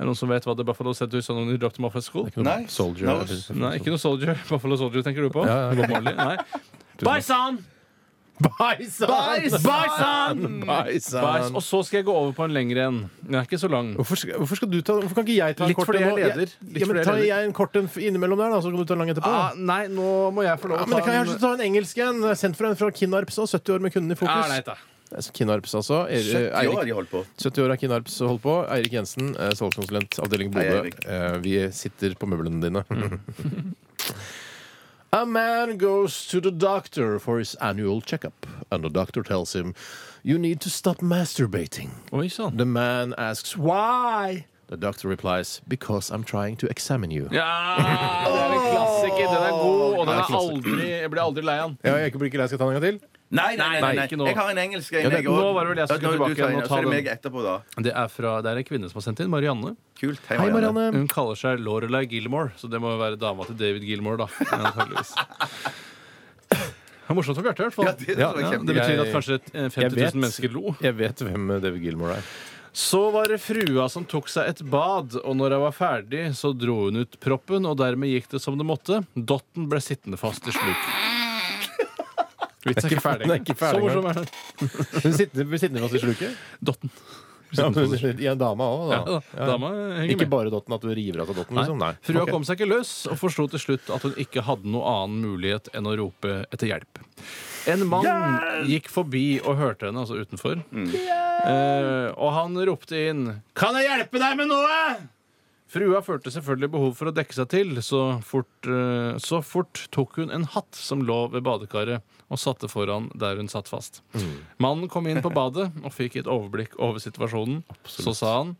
Speaker 5: Er det noen som vet hva the buffalo said to his son when he dropped him off at school?
Speaker 3: Nei.
Speaker 1: Soldier.
Speaker 3: No.
Speaker 5: Nei, ikke noe soldier. Buffalo soldier tenker du på?
Speaker 1: Ja, ja.
Speaker 5: Bob Marley? Nei. Bye, son!
Speaker 1: Bison!
Speaker 3: Bison!
Speaker 5: Bye, son!
Speaker 1: Bison!
Speaker 5: Bye. Og så skal jeg gå over på en lengre en. Den er ikke så lang.
Speaker 1: Hvorfor skal, hvorfor skal du ta Hvorfor kan ikke jeg ta en
Speaker 5: Litt
Speaker 1: kort
Speaker 5: fordi jeg
Speaker 1: nå?
Speaker 5: leder. Litt
Speaker 1: Ja, men
Speaker 5: fordi jeg
Speaker 1: tar
Speaker 5: leder.
Speaker 1: jeg en kort en f- innimellom der, da, så kan du ta en lang etterpå?
Speaker 5: Ah, nei, nå må jeg få lov
Speaker 1: Ja,
Speaker 5: å
Speaker 1: men det kan
Speaker 5: ta
Speaker 1: jeg kanskje ta en engelsk en. eh, Sendt fra en fra Kinnarps, og 70 år med kunden i fokus.
Speaker 5: Ah, nei, da.
Speaker 1: Altså, Kinnarps, altså. Er,
Speaker 5: Eh,
Speaker 3: 70 år har de holdt på.
Speaker 1: 70 år er Kinnarps holdt på. Eirik Jensen, eh, salgskonsulent, avdeling
Speaker 3: Hei,
Speaker 1: Bodø.
Speaker 3: Eirik.
Speaker 1: Eh, Vi sitter på møblene dine.
Speaker 5: Mm.
Speaker 1: A man goes to the doctor for his annual checkup, and the doctor tells him, You need to stop masturbating.
Speaker 5: Oi sånn. sann.
Speaker 1: The man asks, Why? The doctor replies, Because I'm trying to examine you.
Speaker 5: Ja, det er en klassiker. Den er god, og den er aldri, jeg blir aldri lei av den.
Speaker 1: Ja, jeg blir ikke lei, skal jeg ta den en gang til?
Speaker 3: Nei, nei, nei,
Speaker 5: Nei,
Speaker 3: nei.
Speaker 5: ikke nå.
Speaker 3: Jeg har en engelsk en.
Speaker 5: Ja, det-
Speaker 3: jeg også.
Speaker 5: nå var det vel jeg som
Speaker 3: Ja,
Speaker 5: skulle
Speaker 3: nå er du
Speaker 5: tilbake igjen og
Speaker 3: Steinar,
Speaker 5: ta
Speaker 3: Så er det
Speaker 5: den.
Speaker 3: meg etterpå, da.
Speaker 5: Det er, fra, det er en kvinne som har sendt inn. Marianne.
Speaker 3: Kult.
Speaker 1: Hei, Marianne.
Speaker 5: Hun kaller seg Lorelei Gilmore, så det må jo være dama til David Gilmore, da. antageligvis. Det var morsomt for Bjarte, i hvert fall.
Speaker 3: Ja, det tror jeg
Speaker 5: Ja,
Speaker 3: kjempe-
Speaker 5: det betyr at kanskje eh, 50
Speaker 1: Jeg vet-
Speaker 5: 000 mennesker lo.
Speaker 1: Jeg vet hvem eh, David Gilmore er.
Speaker 5: Så var det frua som tok seg et bad, og når hun var ferdig, så dro hun ut proppen, og dermed gikk det som det måtte. Dotten ble sittende fast til slutt. Vitsen er ikke ferdig.
Speaker 1: Den er ikke ferdig
Speaker 5: så morsom er den.
Speaker 1: Hun sitter, blir sittende fast i sluket.
Speaker 5: Dotten.
Speaker 1: Ja, men, ja, dama òg, da.
Speaker 5: Ja, da. Dama henger
Speaker 1: Ikke
Speaker 5: med.
Speaker 1: bare dotten, at du river av seg dotten, liksom. Nei.
Speaker 5: Frua
Speaker 1: Ok.
Speaker 5: kom seg ikke løs, og forsto til slutt at hun ikke hadde noe annen mulighet enn å rope etter hjelp. En mann gikk forbi og hørte henne, altså utenfor.
Speaker 1: Mm.
Speaker 5: Eh, og han ropte inn 'Kan jeg hjelpe deg med noe?' Frua følte selvfølgelig behov for å dekke seg til, så fort, eh, så fort tok hun en hatt som lå ved badekaret, og satte foran der hun satt fast.
Speaker 1: Mm.
Speaker 5: Mannen kom inn på badet og fikk et overblikk over situasjonen. Så sa han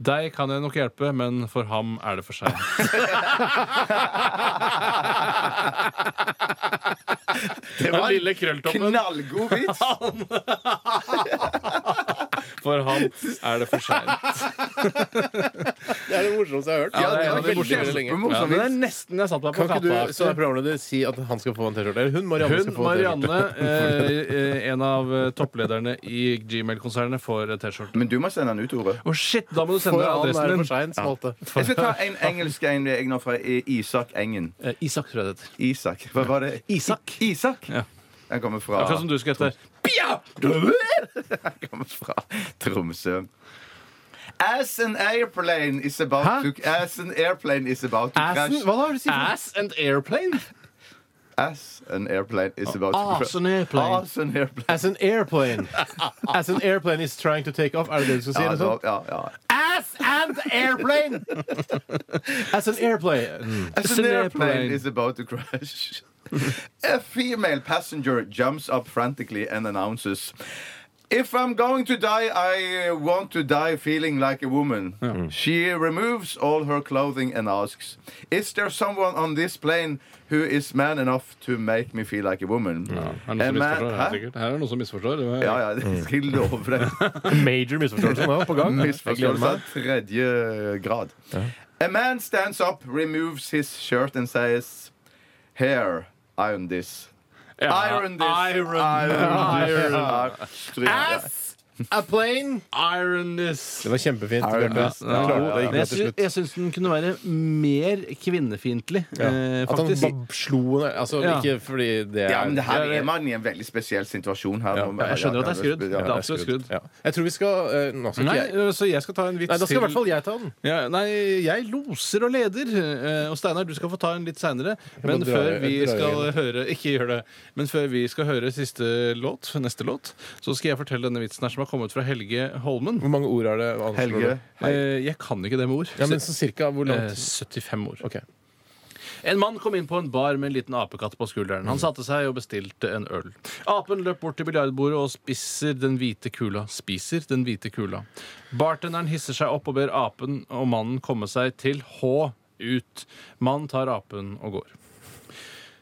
Speaker 5: deg kan jeg nok hjelpe, men for ham er det for seg. det var lille krølltoppen.
Speaker 3: Knallgod vits!
Speaker 5: For ham er det for seint.
Speaker 1: Det er det morsomste jeg har hørt.
Speaker 5: Ja, det
Speaker 1: det
Speaker 5: er en av de
Speaker 1: veldig,
Speaker 5: morsomste.
Speaker 1: veldig lenge.
Speaker 5: Ja, men det er nesten jeg satt meg på
Speaker 1: Kan ikke
Speaker 5: kappa.
Speaker 1: du som er programleder si at han skal få en T-skjorte? Eller hun, Marianne,
Speaker 5: Hun,
Speaker 1: skal få en T-skjorte.
Speaker 5: Marianne, eh, eh, en av eh, topplederne i Gmail-konsernet, får eh, T-skjorte.
Speaker 3: Men du må sende den ut, Tore.
Speaker 5: Å, shit! Da må du sende
Speaker 1: For han er
Speaker 5: adressen
Speaker 1: for
Speaker 5: din.
Speaker 1: sein, smalte.
Speaker 3: Jeg skal ta en engelsk en jeg nå fra I- Isak Engen.
Speaker 5: Eh, Isak, tror jeg det heter.
Speaker 3: Isak. Hva var det?
Speaker 5: Isak.
Speaker 3: Isak?
Speaker 5: Ja.
Speaker 3: Den kommer fra,
Speaker 5: Akkurat som du skal hete.
Speaker 3: den kommer fra Tromsø. As an airplane is about to As an airplane is about to crash.
Speaker 1: Hva da? Har du sagt?
Speaker 5: Ass and airplane.
Speaker 3: As an airplane is about to crash.
Speaker 5: Ass and airplane.
Speaker 3: As an airplane.
Speaker 1: As an airplane. As an airplane is trying to take off. Er det det du skal si?
Speaker 3: Ja,
Speaker 1: eller sånn?
Speaker 3: det var- ja, ja.
Speaker 1: Ass and airplane! As an airplane.
Speaker 3: As an airplane is about to crash. A female passenger jumps up frantically and announces If I'm going to die, I uh, want to die feeling like a woman. She removes all her clothing and asks, Is there someone on this plane who is man enough to make me feel like a woman?
Speaker 5: Er det
Speaker 3: A
Speaker 5: noen
Speaker 3: man- Hæ?
Speaker 5: som misforstår? Her, sikkert. her er det noen som misforstår. Det var-
Speaker 3: Ja, ja,
Speaker 1: Mm.
Speaker 3: det skal jeg love deg.
Speaker 1: Major misforståelse nå på gang.
Speaker 3: Misforståelse av tredje grad. A man stands up, removes his shirt and says Here, iron this. Iron this.
Speaker 5: Iron.
Speaker 3: Iron. Stryk.
Speaker 1: A plane.
Speaker 5: Ironness.
Speaker 1: Det var kjempefint. Bjarte.
Speaker 5: Ja, ja,
Speaker 1: Klarte det, gikk
Speaker 5: Men
Speaker 1: bra
Speaker 5: jeg,
Speaker 1: til
Speaker 5: sy
Speaker 1: slutt.
Speaker 5: jeg syns den kunne være mer kvinnefiendtlig, eh,
Speaker 1: At han
Speaker 5: faktisk.
Speaker 1: bab- slo henne Altså
Speaker 5: Ja.
Speaker 1: ikke fordi det er
Speaker 3: Ja, men det her
Speaker 5: Ja, det-
Speaker 3: er man i en veldig spesiell situasjon her.
Speaker 1: Ja,
Speaker 5: jeg skjønner at det er skrudd.
Speaker 3: Ja,
Speaker 5: Det er absolutt skrudd.
Speaker 1: Ja. Jeg tror vi skal eh, Nå skal
Speaker 5: Nei,
Speaker 1: ikke jeg
Speaker 5: eh, så jeg skal ta en vits
Speaker 1: Nei, da skal i hvert
Speaker 5: til.
Speaker 1: fall jeg ta den.
Speaker 5: Ja, nei, jeg loser og leder. eh, Og Steinar, du skal få ta en litt seinere. Men
Speaker 1: må dra-
Speaker 5: før vi
Speaker 1: dra
Speaker 5: skal
Speaker 1: igjen.
Speaker 5: høre Ikke gjør det. Men før vi skal høre siste låt, neste låt, så skal jeg fortelle denne vitsen her som har kommet fra Helge Holmen.
Speaker 1: Hvor mange ord er det? anslår
Speaker 3: Helge.
Speaker 1: du?
Speaker 5: Eh, Jeg kan ikke det med ord.
Speaker 1: Ja, men så cirka hvor
Speaker 5: Eh,
Speaker 1: langt?
Speaker 5: 75 år.
Speaker 1: Ok.
Speaker 5: En mann kom inn på en bar med en liten apekatt på skulderen.
Speaker 1: Mm.
Speaker 5: Han satte seg og bestilte en øl. Apen løp bort til biljardbordet og spiser den hvite kula. Spiser den hvite kula. Bartenderen hisser seg opp og ber apen og mannen komme seg til H ut. Mannen tar apen og går.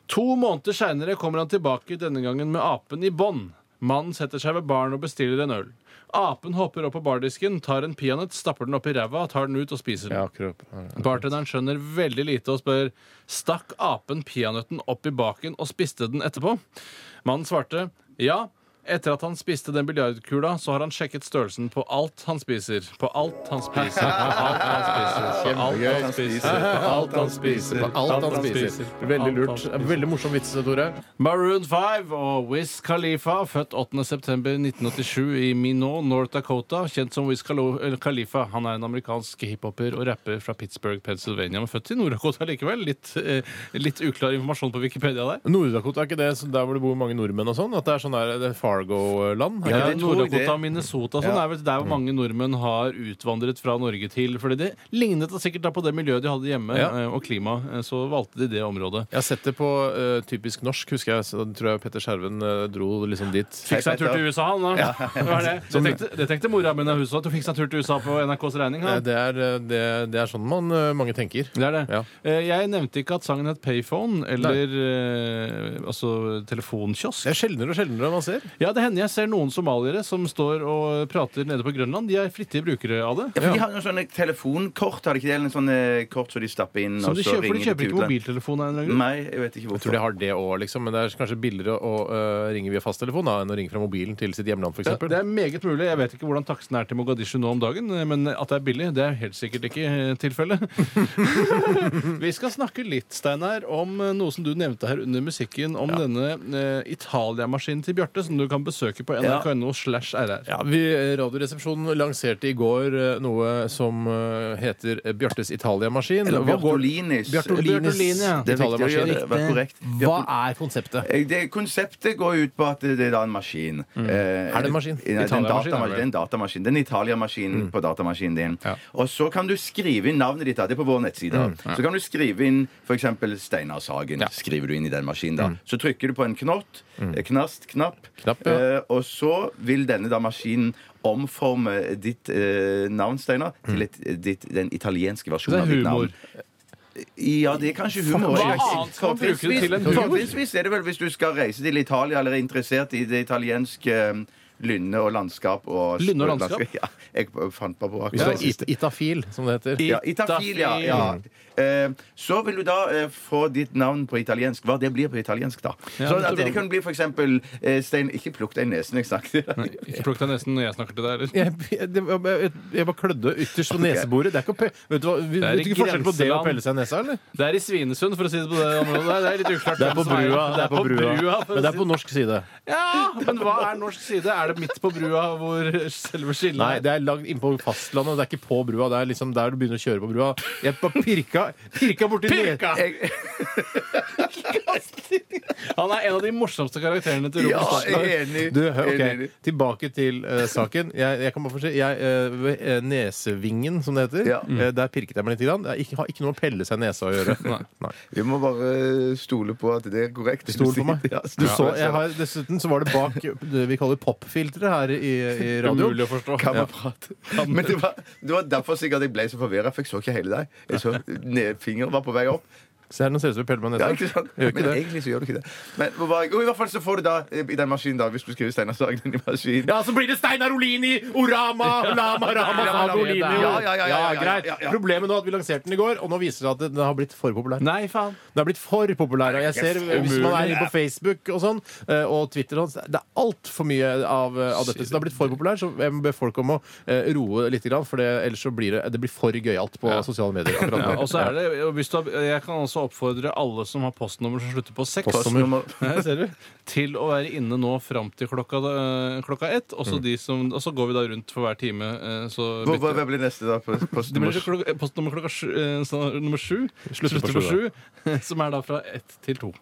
Speaker 5: To måneder seinere kommer han tilbake, denne gangen med apen i bånd. Mannen setter seg ved baren og bestiller en øl. Apen hopper opp på bardisken, tar en peanøtt, stapper den opp i ræva, tar den ut og spiser den.
Speaker 1: Ja, akkurat.
Speaker 5: Bartenderen skjønner veldig lite og spør Stakk apen peanøtten opp i baken og spiste den etterpå? Mannen svarte ja. Etter at han spiste den biljardkula, så har han sjekket størrelsen på alt han spiser. På alt han spiser. På alt han spiser. På alt han spiser. På alt han spiser.
Speaker 1: På alt han spiser. Veldig
Speaker 5: Alt han
Speaker 1: lurt. Veldig morsom vits, Tore.
Speaker 5: Maroon 5 og Wiz Khalifa, født 8.9.1987 i Minot, North Dakota, kjent som Wiz Khalo- eller Khalifa. Han er en amerikansk hiphoper og rapper fra Pittsburgh, Pennsylvania, men født i Nord-Dakota likevel. Litt, eh, litt uklar informasjon på Wikipedia der.
Speaker 1: Nord-Dakota er ikke det så der hvor det bor mange nordmenn og sånn? At det er sånn der det er Fargo-land? er
Speaker 5: Ja,
Speaker 1: ikke det?
Speaker 3: tror jeg
Speaker 5: Nord-Dakota
Speaker 3: det.
Speaker 5: og Minnesota og sånn er vel der hvor mange nordmenn har utvandret fra Norge til. Fordi det lignet da sikkert da på det miljøet de hadde hjemme,
Speaker 1: Ja.
Speaker 5: eh, og klimaet, eh, så valgte de det området.
Speaker 1: Jeg har sett det på eh, typisk norsk, husker jeg. Så tror jeg Petter Skjerven eh, dro liksom dit.
Speaker 5: Fikk seg en tur til USA, han da. Det, var det. det, tenkte, det tenkte mora mi da hun så at hun fikk seg en tur til USA på NRKs regning.
Speaker 1: Eh,
Speaker 5: Han.
Speaker 1: Det er, eh, det, det er sånn man, eh, mange tenker.
Speaker 5: Det er det.
Speaker 1: Ja.
Speaker 5: Eh, Jeg nevnte ikke at sangen het Payphone, eller eh, altså telefonkiosk.
Speaker 1: Det er sjeldnere og sjeldnere man ser.
Speaker 5: Ja, Ja, det hender jeg ser noen somaliere som står og prater nede på Grønland. De er flittige brukere av det.
Speaker 3: Ja, for De har noen sånne telefonkort, har de ikke det? Eller sånne kort som de stapper inn,
Speaker 5: Som
Speaker 3: og
Speaker 5: de
Speaker 3: så
Speaker 5: kjøper, for de
Speaker 3: ringer de
Speaker 5: kjøper
Speaker 3: til
Speaker 5: ikke
Speaker 3: utlandet?
Speaker 5: mobiltelefon. av en eller annen grunn.
Speaker 3: Nei, jeg vet ikke
Speaker 1: Jeg tror
Speaker 3: hvorfor.
Speaker 1: de har det òg, liksom. Men det er kanskje billigere å øh, ringe via fasttelefon da, enn å ringe fra mobilen til sitt hjemland, f.eks.
Speaker 5: Ja, det er meget mulig. Jeg vet ikke hvordan taksten er til Mogadishu nå om dagen, eh, men at det er billig, det er helt sikkert ikke eh, tilfellet. Vi skal snakke litt, Steinar, om eh, noe som du nevnte her under musikken, om denne eh, Italia-maskinen til Bjarte, som du kan besøke på nrk.no slash rr.
Speaker 1: Ja, vi, Radioresepsjonen lanserte i går eh, noe som eh, heter Bjørtes Italia-maskin.
Speaker 3: Eller
Speaker 1: Hva går-
Speaker 3: Bjartolinis.
Speaker 1: Bjartolinis
Speaker 5: Bjartolini, ja.
Speaker 3: Det er viktig å gjøre
Speaker 1: Italia-maskin.
Speaker 3: det. Det var korrekt.
Speaker 1: Hva er konseptet?
Speaker 3: Eh, Det, konseptet går ut på at det er da en maskin. Eh,
Speaker 1: Er det en maskin?
Speaker 3: Nei, det er en
Speaker 1: Italia-maskin,
Speaker 3: datamaskin.
Speaker 1: er det vel?
Speaker 3: Det er en datamaskin. Det er en Italia-maskin på datamaskinen din. Og så kan du skrive inn navnet ditt. da. Det er på vår nettside. Så kan du skrive inn f.eks. Steinar Sagen. Skriver du inn i den maskinen da. Så trykker du på en knott. eh, Knast, Mm. knapp.
Speaker 1: Knapp, ja.
Speaker 3: eh, og så vil denne da maskinen omforme ditt eh, navn, Steinar, til et, eh, ditt, den italienske versjonen
Speaker 5: Det er
Speaker 3: av ditt
Speaker 5: humor.
Speaker 3: navn. Ja, det er kanskje humor.
Speaker 5: Hva annet skal man bruke det til enn humor?
Speaker 3: Fortrinnsvis er det vel hvis du skal reise til Italia eller er interessert i det italienske eh, lynne og landskap. Og
Speaker 5: Lynne og landskap?
Speaker 3: Ja, jeg fant på akkurat
Speaker 1: Hvis du
Speaker 3: det
Speaker 1: er it
Speaker 3: siste.
Speaker 1: itafil, som det heter.
Speaker 3: Ja, Itafil, ja. ja. Eh, Så vil du da eh, få ditt navn på italiensk. Hva det blir på italiensk, da.
Speaker 5: Ja,
Speaker 3: Så
Speaker 5: det tror
Speaker 3: at det
Speaker 5: jeg.
Speaker 3: kan bli for eksempel eh, Stein, ikke plukk deg i nesen, jeg snakket
Speaker 5: Plukk deg nesten når jeg snakker til deg, eller?
Speaker 1: Jeg, jeg, det var- jeg, jeg bare klødde ytterst på neseboret. Det er ikke å pe vet du hva, vi,
Speaker 5: er
Speaker 1: vet du ikke forskjell på det å
Speaker 5: grenseland.
Speaker 1: pelle seg i nesa, eller?
Speaker 5: Det er i Svinesund, for å si det på det området. der. Det er litt uklart.
Speaker 1: Det er på
Speaker 5: hvem som
Speaker 1: brua.
Speaker 5: Det er på brua. for å
Speaker 1: Men det er
Speaker 5: si
Speaker 1: på norsk side.
Speaker 5: Ja, men hva er norsk side? Er det midt på brua hvor selve skillet
Speaker 1: Nei, det er lagd innpå fastlandet. Det er ikke på brua. Det er liksom der du begynner å kjøre på brua. Jeg bare pirka, pirka borti
Speaker 5: Pirka! Han er en av de morsomste karakterene til
Speaker 3: Ja,
Speaker 5: Robert
Speaker 3: jeg
Speaker 5: Stoltenberg.
Speaker 3: er enig.
Speaker 1: Du, hør,
Speaker 3: Jeg er
Speaker 1: ok,
Speaker 3: enig.
Speaker 1: Tilbake til eh, saken. Jeg, jeg kan bare få si, jeg, eh, ved, eh, Nesevingen, som det heter,
Speaker 3: Ja.
Speaker 1: eh,
Speaker 5: Mm.
Speaker 1: der pirket jeg meg litt. Grann. Det er ikke, har ikke noe med å pelle seg i nesa å gjøre. Nei.
Speaker 3: Vi må bare eh, stole på at det er korrekt.
Speaker 1: Stol på meg.
Speaker 3: Ja,
Speaker 1: Du så, jeg har, dessuten så var det bak det vi kaller popfilteret her i, i radioen.
Speaker 5: Umulig å forstå.
Speaker 3: Kan man prate? Men det var, det var derfor sikkert jeg ble så forvirra, for jeg så ikke hele deg. Jeg så ned, Fingeren var på vei opp.
Speaker 1: Se her, nå ser det ut som jeg peller meg i
Speaker 3: Ja, ikke
Speaker 1: nesa.
Speaker 3: sant?
Speaker 1: Gjør ikke
Speaker 3: Men
Speaker 1: det.
Speaker 3: egentlig så gjør du ikke det. Men hvor var jeg? jo, i hvert fall så får du da eh, i den maskinen, da, hvis du skriver Steinar Sagen inn i maskinen
Speaker 1: Ja, så blir det Steinar Olini, Orama, Lama, Rama,
Speaker 3: Ja,
Speaker 1: Sabo, Olini.
Speaker 3: ja, ja, ja, ja, ja, ja,
Speaker 1: greit.
Speaker 3: ja, ja.
Speaker 1: Problemet nå er at vi lanserte den i går, og nå viser det seg at den har blitt for populær.
Speaker 5: Nei, faen.
Speaker 1: Den har blitt for populær. og Jeg ser, hvis man er inne på Facebook og sånn, eh, og Twitter og sånn, det er altfor mye av, eh, av dette. Så det har blitt for populær, så jeg ber folk om å eh, roe litt, grann, for det, ellers så blir det, det blir for gøyalt på sosiale medier. akkurat
Speaker 5: Ja,
Speaker 1: nå.
Speaker 5: og så er det, og hvis du har, jeg kan også oppfordre alle som har postnummer som slutter på seks,
Speaker 1: Postnummer.
Speaker 5: Her ser du, til å være inne nå fram til klokka, eh, klokka ett. Og så de som, og så går vi da rundt for hver time. eh, Så
Speaker 3: Hvor-
Speaker 5: bytter-
Speaker 3: Hva blir neste, da? På, på
Speaker 5: Det blir klokka, postnummer klokka sju, eh, så nummer sju.
Speaker 1: Slutter
Speaker 5: Slutter
Speaker 1: på
Speaker 5: på sju. Som er da fra ett til to.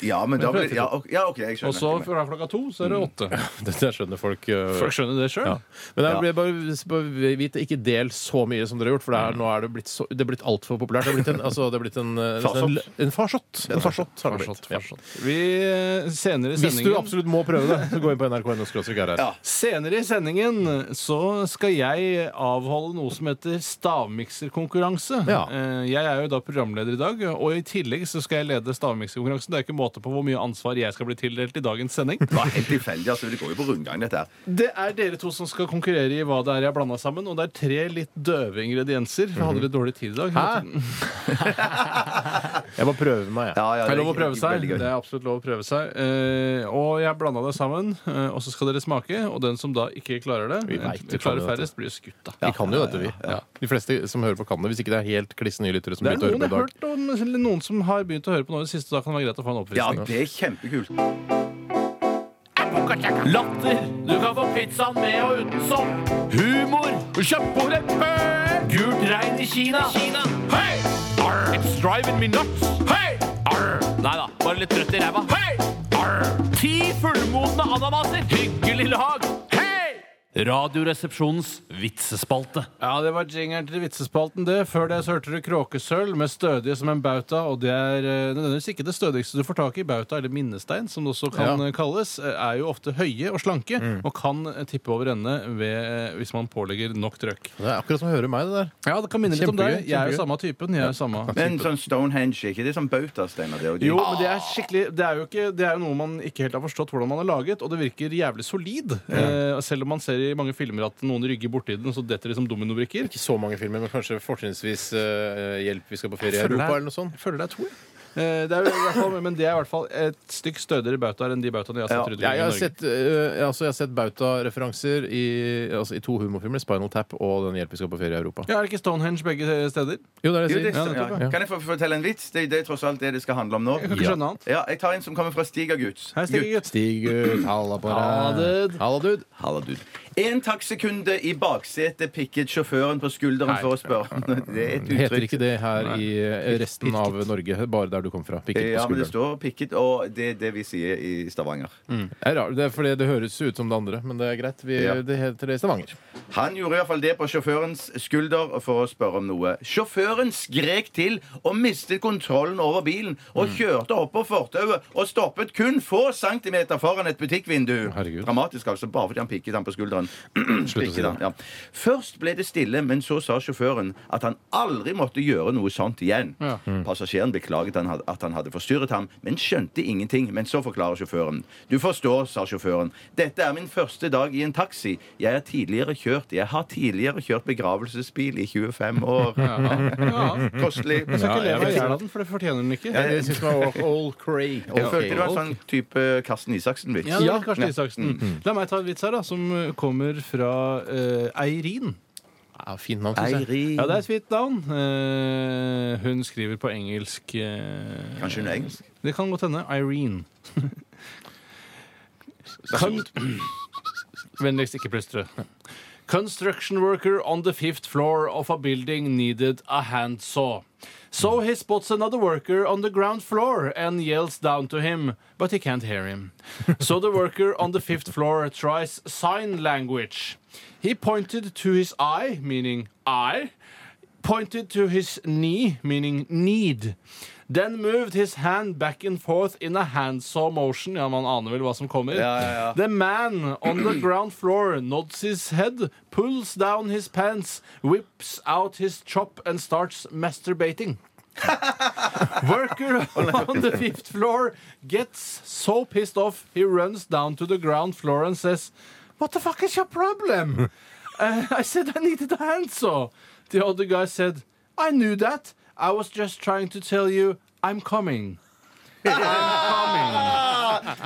Speaker 3: Ja, men da blir ja, ok, ja, OK, jeg
Speaker 5: Og så
Speaker 3: skjønner.
Speaker 5: fra klokka to så er det åtte.
Speaker 1: Dette skjønner folk. eh,
Speaker 5: Folk skjønner det sjøl.
Speaker 1: Ja. Men jeg ble bare, bare vite, ikke del så mye som dere har gjort, for det er, nå er det blitt, så- det er blitt altfor populært. Det er blitt en, altså, det er blitt en, eh, nesten en, en farsott. En farsott har det blitt. Ja.
Speaker 5: Vi eh, senere i
Speaker 1: Hvis du
Speaker 5: sendingen
Speaker 1: absolutt må prøve det, så gå inn på nrk.no. her.
Speaker 3: Ja.
Speaker 5: Senere i sendingen så skal jeg avholde noe som heter stavmikserkonkurranse.
Speaker 1: Ja.
Speaker 5: Eh, Jeg er jo da programleder i dag, og i tillegg så skal jeg lede stavmikserkonkurransen. Det er ikke måte på hvor mye ansvar jeg skal bli tildelt i dagens sending.
Speaker 3: Det var helt tilfeldig. altså, Det går jo på rundgang, dette her.
Speaker 5: Det er dere to som skal konkurrere i hva det er jeg har blanda sammen. Og det er tre litt døve ingredienser. Jeg hadde litt dårlig tid i dag.
Speaker 1: Hæ? Jeg må prøve meg, jeg.
Speaker 3: Ja, ja,
Speaker 5: Det er lov å
Speaker 3: gikk-
Speaker 5: prøve
Speaker 3: gikk
Speaker 5: seg.
Speaker 3: veldig gøy.
Speaker 5: Det er absolutt lov å prøve seg. Eh, og jeg blanda det sammen, eh, og så skal dere smake. Og den som da ikke klarer det,
Speaker 1: Vi vet
Speaker 5: eh,
Speaker 1: jo
Speaker 5: klarer
Speaker 1: faen det,
Speaker 5: færrest, blir skutt, da.
Speaker 1: Vi kan jo dette, vi. De fleste som hører på, kan det. Hvis ikke det er helt kliss nye lyttere som
Speaker 5: Det er
Speaker 1: begynte å høre
Speaker 5: noen
Speaker 1: på i
Speaker 5: jeg har
Speaker 1: dag.
Speaker 5: hørt om, eller noen som har begynt å høre på nå i det siste. Da kan det være greit å få en
Speaker 3: Ja,
Speaker 5: oppfriskning.
Speaker 3: det er kjempekult.
Speaker 9: Latter. Du kan få pizzaen med og uten sopp. Humor. Kjøttbordet bør. Gult regn i Kina. Kina. Hei! Arr. It's driving me nuts. Hei! Arr. Nei da, bare litt trøtt i ræva. Hei! Arr. Ti fullmodne ananaser. Hyggelig lag. Hei! Radioresepsjonens vitsespalte.
Speaker 5: Ja, det var jingeren til vitsespalten, det. Før det så hørte du Kråkesølv med stødige som en bauta, og det er eh, nødvendigvis ikke det stødigste du får tak i. Bauta, eller minnestein, som det også kan
Speaker 1: Ja.
Speaker 5: eh, kalles, eh, er jo ofte høye og slanke, og kan eh, tippe over ende ved, eh, hvis man pålegger nok trøkk.
Speaker 1: Det er akkurat som å høre meg, det der.
Speaker 5: Ja, det kan minne litt om
Speaker 1: Kjempegøy,
Speaker 5: deg. Jeg er
Speaker 1: kjempegøy.
Speaker 5: jo samme typen. Jeg er jo samme
Speaker 3: Men sånn Stonehenge, ikke det er sånn bauta, Steinar? det er
Speaker 5: Jo,
Speaker 3: dyrt.
Speaker 5: men det er skikkelig Det er jo ikke, det er jo noe man ikke helt har forstått hvordan man har laget, og det virker jævlig solid. Eh, selv om man ser i mange filmer at noen rygger borti den, og så detter de som dominobrikker.
Speaker 1: Ikke så mange filmer, men kanskje fortrinnsvis eh, Hjelp, vi skal på ferie i Europa,
Speaker 5: føler det er-
Speaker 1: eller noe sånt.
Speaker 5: Jeg føler det er to. jeg. Eh, Det er jo i hvert fall, men det er i hvert fall et stykk stødigere bautaer enn de bautaene jeg har sett rundt
Speaker 1: Ja,
Speaker 5: omkring i
Speaker 1: jeg har
Speaker 5: Norge.
Speaker 1: sett, eh, altså, jeg har sett Bauta-referanser i, altså, i to humorfilmer, 'Spinal Tap' og 'Den hjelp vi skal på ferie i Europa'.
Speaker 5: Ja, er det ikke Stonehenge begge steder?
Speaker 1: Jo, det er det
Speaker 3: Jo,
Speaker 1: jeg sier.
Speaker 3: det
Speaker 1: Ja,
Speaker 3: stemmer, ja.
Speaker 1: nettopp, ja.
Speaker 3: Kan jeg få fortelle en vits? Det, det er tross alt det det skal handle om nå.
Speaker 5: Jeg kan ikke skjønne han.
Speaker 3: Ja, jeg tar en som kommer fra Stigaguts.
Speaker 5: Hei, Stig gutt.
Speaker 1: Stig ut, halla på deg. Halla, dude.
Speaker 3: Halla, dude. En taxikunde i baksetet pikket sjåføren på skulderen for å spørre. Det er et
Speaker 1: Det heter
Speaker 3: uttrykk.
Speaker 1: ikke det her i eh, resten av Norge, bare der du kom fra. Pikket
Speaker 3: Ja,
Speaker 1: på
Speaker 3: men det
Speaker 1: skulderen.
Speaker 3: står pikket, og det er det vi sier i Stavanger.
Speaker 1: Det er rart, det, er fordi det høres ut som det andre, men det er greit. Vi,
Speaker 3: Ja.
Speaker 1: Det heter det i Stavanger.
Speaker 3: Han gjorde iallfall det på sjåførens skulder for å spørre om noe. Sjåføren skrek til og mistet kontrollen over bilen og
Speaker 1: Mm.
Speaker 3: kjørte opp på fortauet og stoppet kun få centimeter foran et butikkvindu.
Speaker 1: Herregud.
Speaker 3: Dramatisk, altså, bare fordi han pikket han på skulderen.
Speaker 1: Slutt å si
Speaker 3: Pikket
Speaker 1: det.
Speaker 3: han, ja. Først ble det stille, men så sa sjåføren at han aldri måtte gjøre noe sånt igjen.
Speaker 5: Mm.
Speaker 3: Passasjeren beklaget han had- at han hadde forstyrret ham, men skjønte ingenting. Men så forklarer sjåføren. Du forstår, sa sjåføren. Dette er min første dag i en taxi. Jeg er tidligere kjørt. Jeg har tidligere kjørt begravelsesbil i 25 år. Kostelig.
Speaker 5: Jeg skal ikke
Speaker 1: Ja,
Speaker 5: le meg i
Speaker 1: jeg-
Speaker 5: hjel av den, for det fortjener den ikke.
Speaker 1: Det syns jeg var all cray.
Speaker 3: Jeg følte det var en sånn type Karsten Isaksen-vits.
Speaker 5: Ja, det er Karsten Isaksen. La meg ta en vits her, da, som eh, kommer fra eh, Eirin.
Speaker 1: Ja, Fint navn, syns jeg.
Speaker 5: Ja, det er et fint navn. Eh, hun skriver på engelsk eh,
Speaker 3: Kanskje hun er engelsk?
Speaker 5: Det kan godt hende. Irene. Kan... Vennligst ikke plystre. Construction worker on the fifth floor of a building needed a handsaw. So he spots another worker on the ground floor and yells down to him, but he can't hear him. So the worker on the fifth floor tries sign language. He pointed to his eye, meaning I, pointed to his knee, meaning need. Then moved his hand back and forth in a handsaw motion. Ja, man aner vel hva som kommer. The man on the ground floor nods his head, pulls down his pants, whips out his chop and starts masturbating. Worker on the fifth floor gets so pissed off he runs down to the ground floor and says, What the fuck is your problem? Uh, I said I needed a handsaw. The other guy said, I knew that. I was just trying to tell you I'm coming. I'm coming.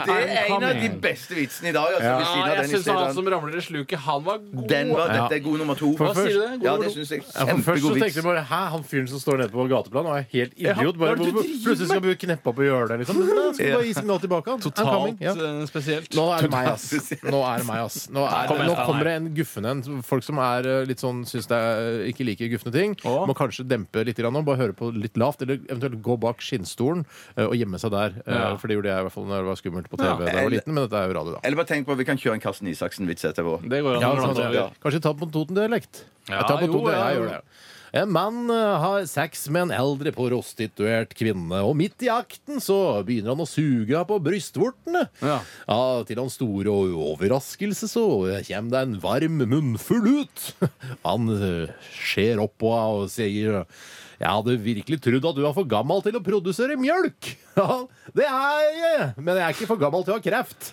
Speaker 3: Det er en av de
Speaker 5: Incoming.
Speaker 3: beste vitsene i dag. Altså, ved siden av den i
Speaker 5: Ja, Ah, jeg syns han
Speaker 3: stedet.
Speaker 5: som ramler i sluket, han var god.
Speaker 3: Den var, dette er god nummer to.
Speaker 5: Hva sier du? God
Speaker 3: Ja,
Speaker 5: nummer
Speaker 3: det
Speaker 5: to.
Speaker 3: syns jeg.
Speaker 1: Ja, for først så
Speaker 3: Kjempegod
Speaker 1: tenkte
Speaker 3: vits.
Speaker 1: jeg bare Hæ, han fyren som står nede på gateplan og er helt idiot. Bare,
Speaker 5: hva er det du
Speaker 1: hvor-
Speaker 5: driver
Speaker 1: plutselig skal
Speaker 5: med?
Speaker 1: du kneppe opp og gjøre det, liksom. Da skal du bare gi signal tilbake. han. I'm coming,
Speaker 5: Totalt
Speaker 1: ja.
Speaker 5: eh, spesielt.
Speaker 1: Nå er det meg, ass. Nå er det meg, ass. Nå, er,
Speaker 5: Kom igjen,
Speaker 1: nå
Speaker 5: Steinar.
Speaker 1: kommer det en guffen en. Folk som er eh, litt sånn, syns det er, ikke liker gufne ting.
Speaker 5: Å.
Speaker 1: Må kanskje dempe litt grann nå. Bare høre på litt lavt, eller eventuelt gå bak skinnstolen eh, og gjemme seg der. Eh,
Speaker 5: Ja.
Speaker 1: For det gjorde jeg i hvert fall når det var skummelt på TV
Speaker 5: Ja.
Speaker 1: da jeg var liten, men dette er jo radio, da.
Speaker 3: Eller bare tenk på, vi kan kjøre en Karsten Isaksen-vits etterpå.
Speaker 5: Det går an
Speaker 1: Ja,
Speaker 5: å
Speaker 1: sånn,
Speaker 5: ramle
Speaker 1: ja.
Speaker 5: over.
Speaker 1: Kanskje ta på en Toten-dialekt.
Speaker 5: Ja,
Speaker 1: jeg tar på
Speaker 5: jo,
Speaker 1: Toten,
Speaker 5: ja,
Speaker 1: jeg
Speaker 5: jo.
Speaker 1: gjør det. En mann eh, har sex med en eldre prostituert kvinne, og midt i akten så begynner han å suge henne på brystvortene.
Speaker 5: Ja.
Speaker 1: til hans store overraskelse så kommer det en varm munnfull ut. Han eh, ser opp på henne og sier jeg hadde virkelig trodd at du var for gammel til å produsere mjølk. Ja, det er jeg, men jeg er ikke for gammel til å ha kreft.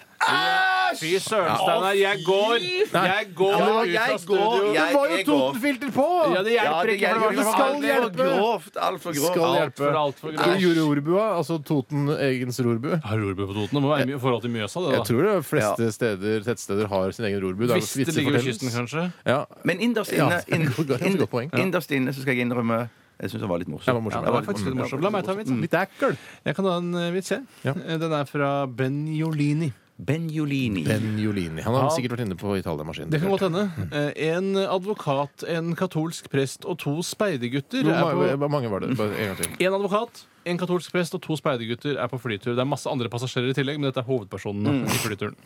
Speaker 5: Fy søren, Steinar. Jeg går, jeg går
Speaker 3: Ja,
Speaker 5: ut
Speaker 3: jeg
Speaker 5: av
Speaker 3: går,
Speaker 5: studio.
Speaker 1: Det
Speaker 3: jeg-
Speaker 1: var jo
Speaker 3: jeg går.
Speaker 1: Toten-filter på!
Speaker 5: Ja, det hjelper
Speaker 3: det
Speaker 5: ikke.
Speaker 3: hjelper
Speaker 5: for det
Speaker 1: Det
Speaker 5: var
Speaker 1: skal
Speaker 5: alt-
Speaker 1: hjelpe.
Speaker 3: Altfor grovt. Altfor grovt.
Speaker 1: Skal
Speaker 5: Alt
Speaker 1: hjelpe.
Speaker 5: for- alt for grovt.
Speaker 1: Skal du gjøre rorbua, altså Toten, egens rorbu?
Speaker 5: Har rorbu på Toten? Det må være mye i forhold til Mjøsa, det,
Speaker 1: Jeg
Speaker 5: da.
Speaker 1: tror de fleste steder, tettsteder har sin egen rorbu. er
Speaker 5: Hvis det ligger ved kysten, kanskje.
Speaker 1: Ja.
Speaker 3: Men innerst inne,
Speaker 1: Ja,
Speaker 3: inn-
Speaker 1: godt- godt
Speaker 3: inn-
Speaker 1: poeng.
Speaker 3: innerst inne så skal jeg innrømme jeg syns det var litt
Speaker 1: Det var morsomt.
Speaker 3: morsomt.
Speaker 5: Ja, det var faktisk litt morsomt. La meg ta en vits. da.
Speaker 1: Litt ekkel.
Speaker 5: Jeg kan ha en eh, vits, jeg.
Speaker 1: Ja.
Speaker 5: Eh, Den er fra Benjolini.
Speaker 3: Benjolini.
Speaker 1: Benjolini. Han har sikkert vært inne på Italia-maskinen.
Speaker 5: Det kan godt hende. Eh, En advokat, en katolsk prest og to speidergutter er
Speaker 1: Hvor
Speaker 5: på
Speaker 1: ma- hvor mange var det? Bare en gang til.
Speaker 5: En advokat, en katolsk prest og to speidergutter er på flytur. Det er masse andre
Speaker 1: Mm.
Speaker 5: passasjerer i tillegg, men dette er hovedpersonene i flyturen.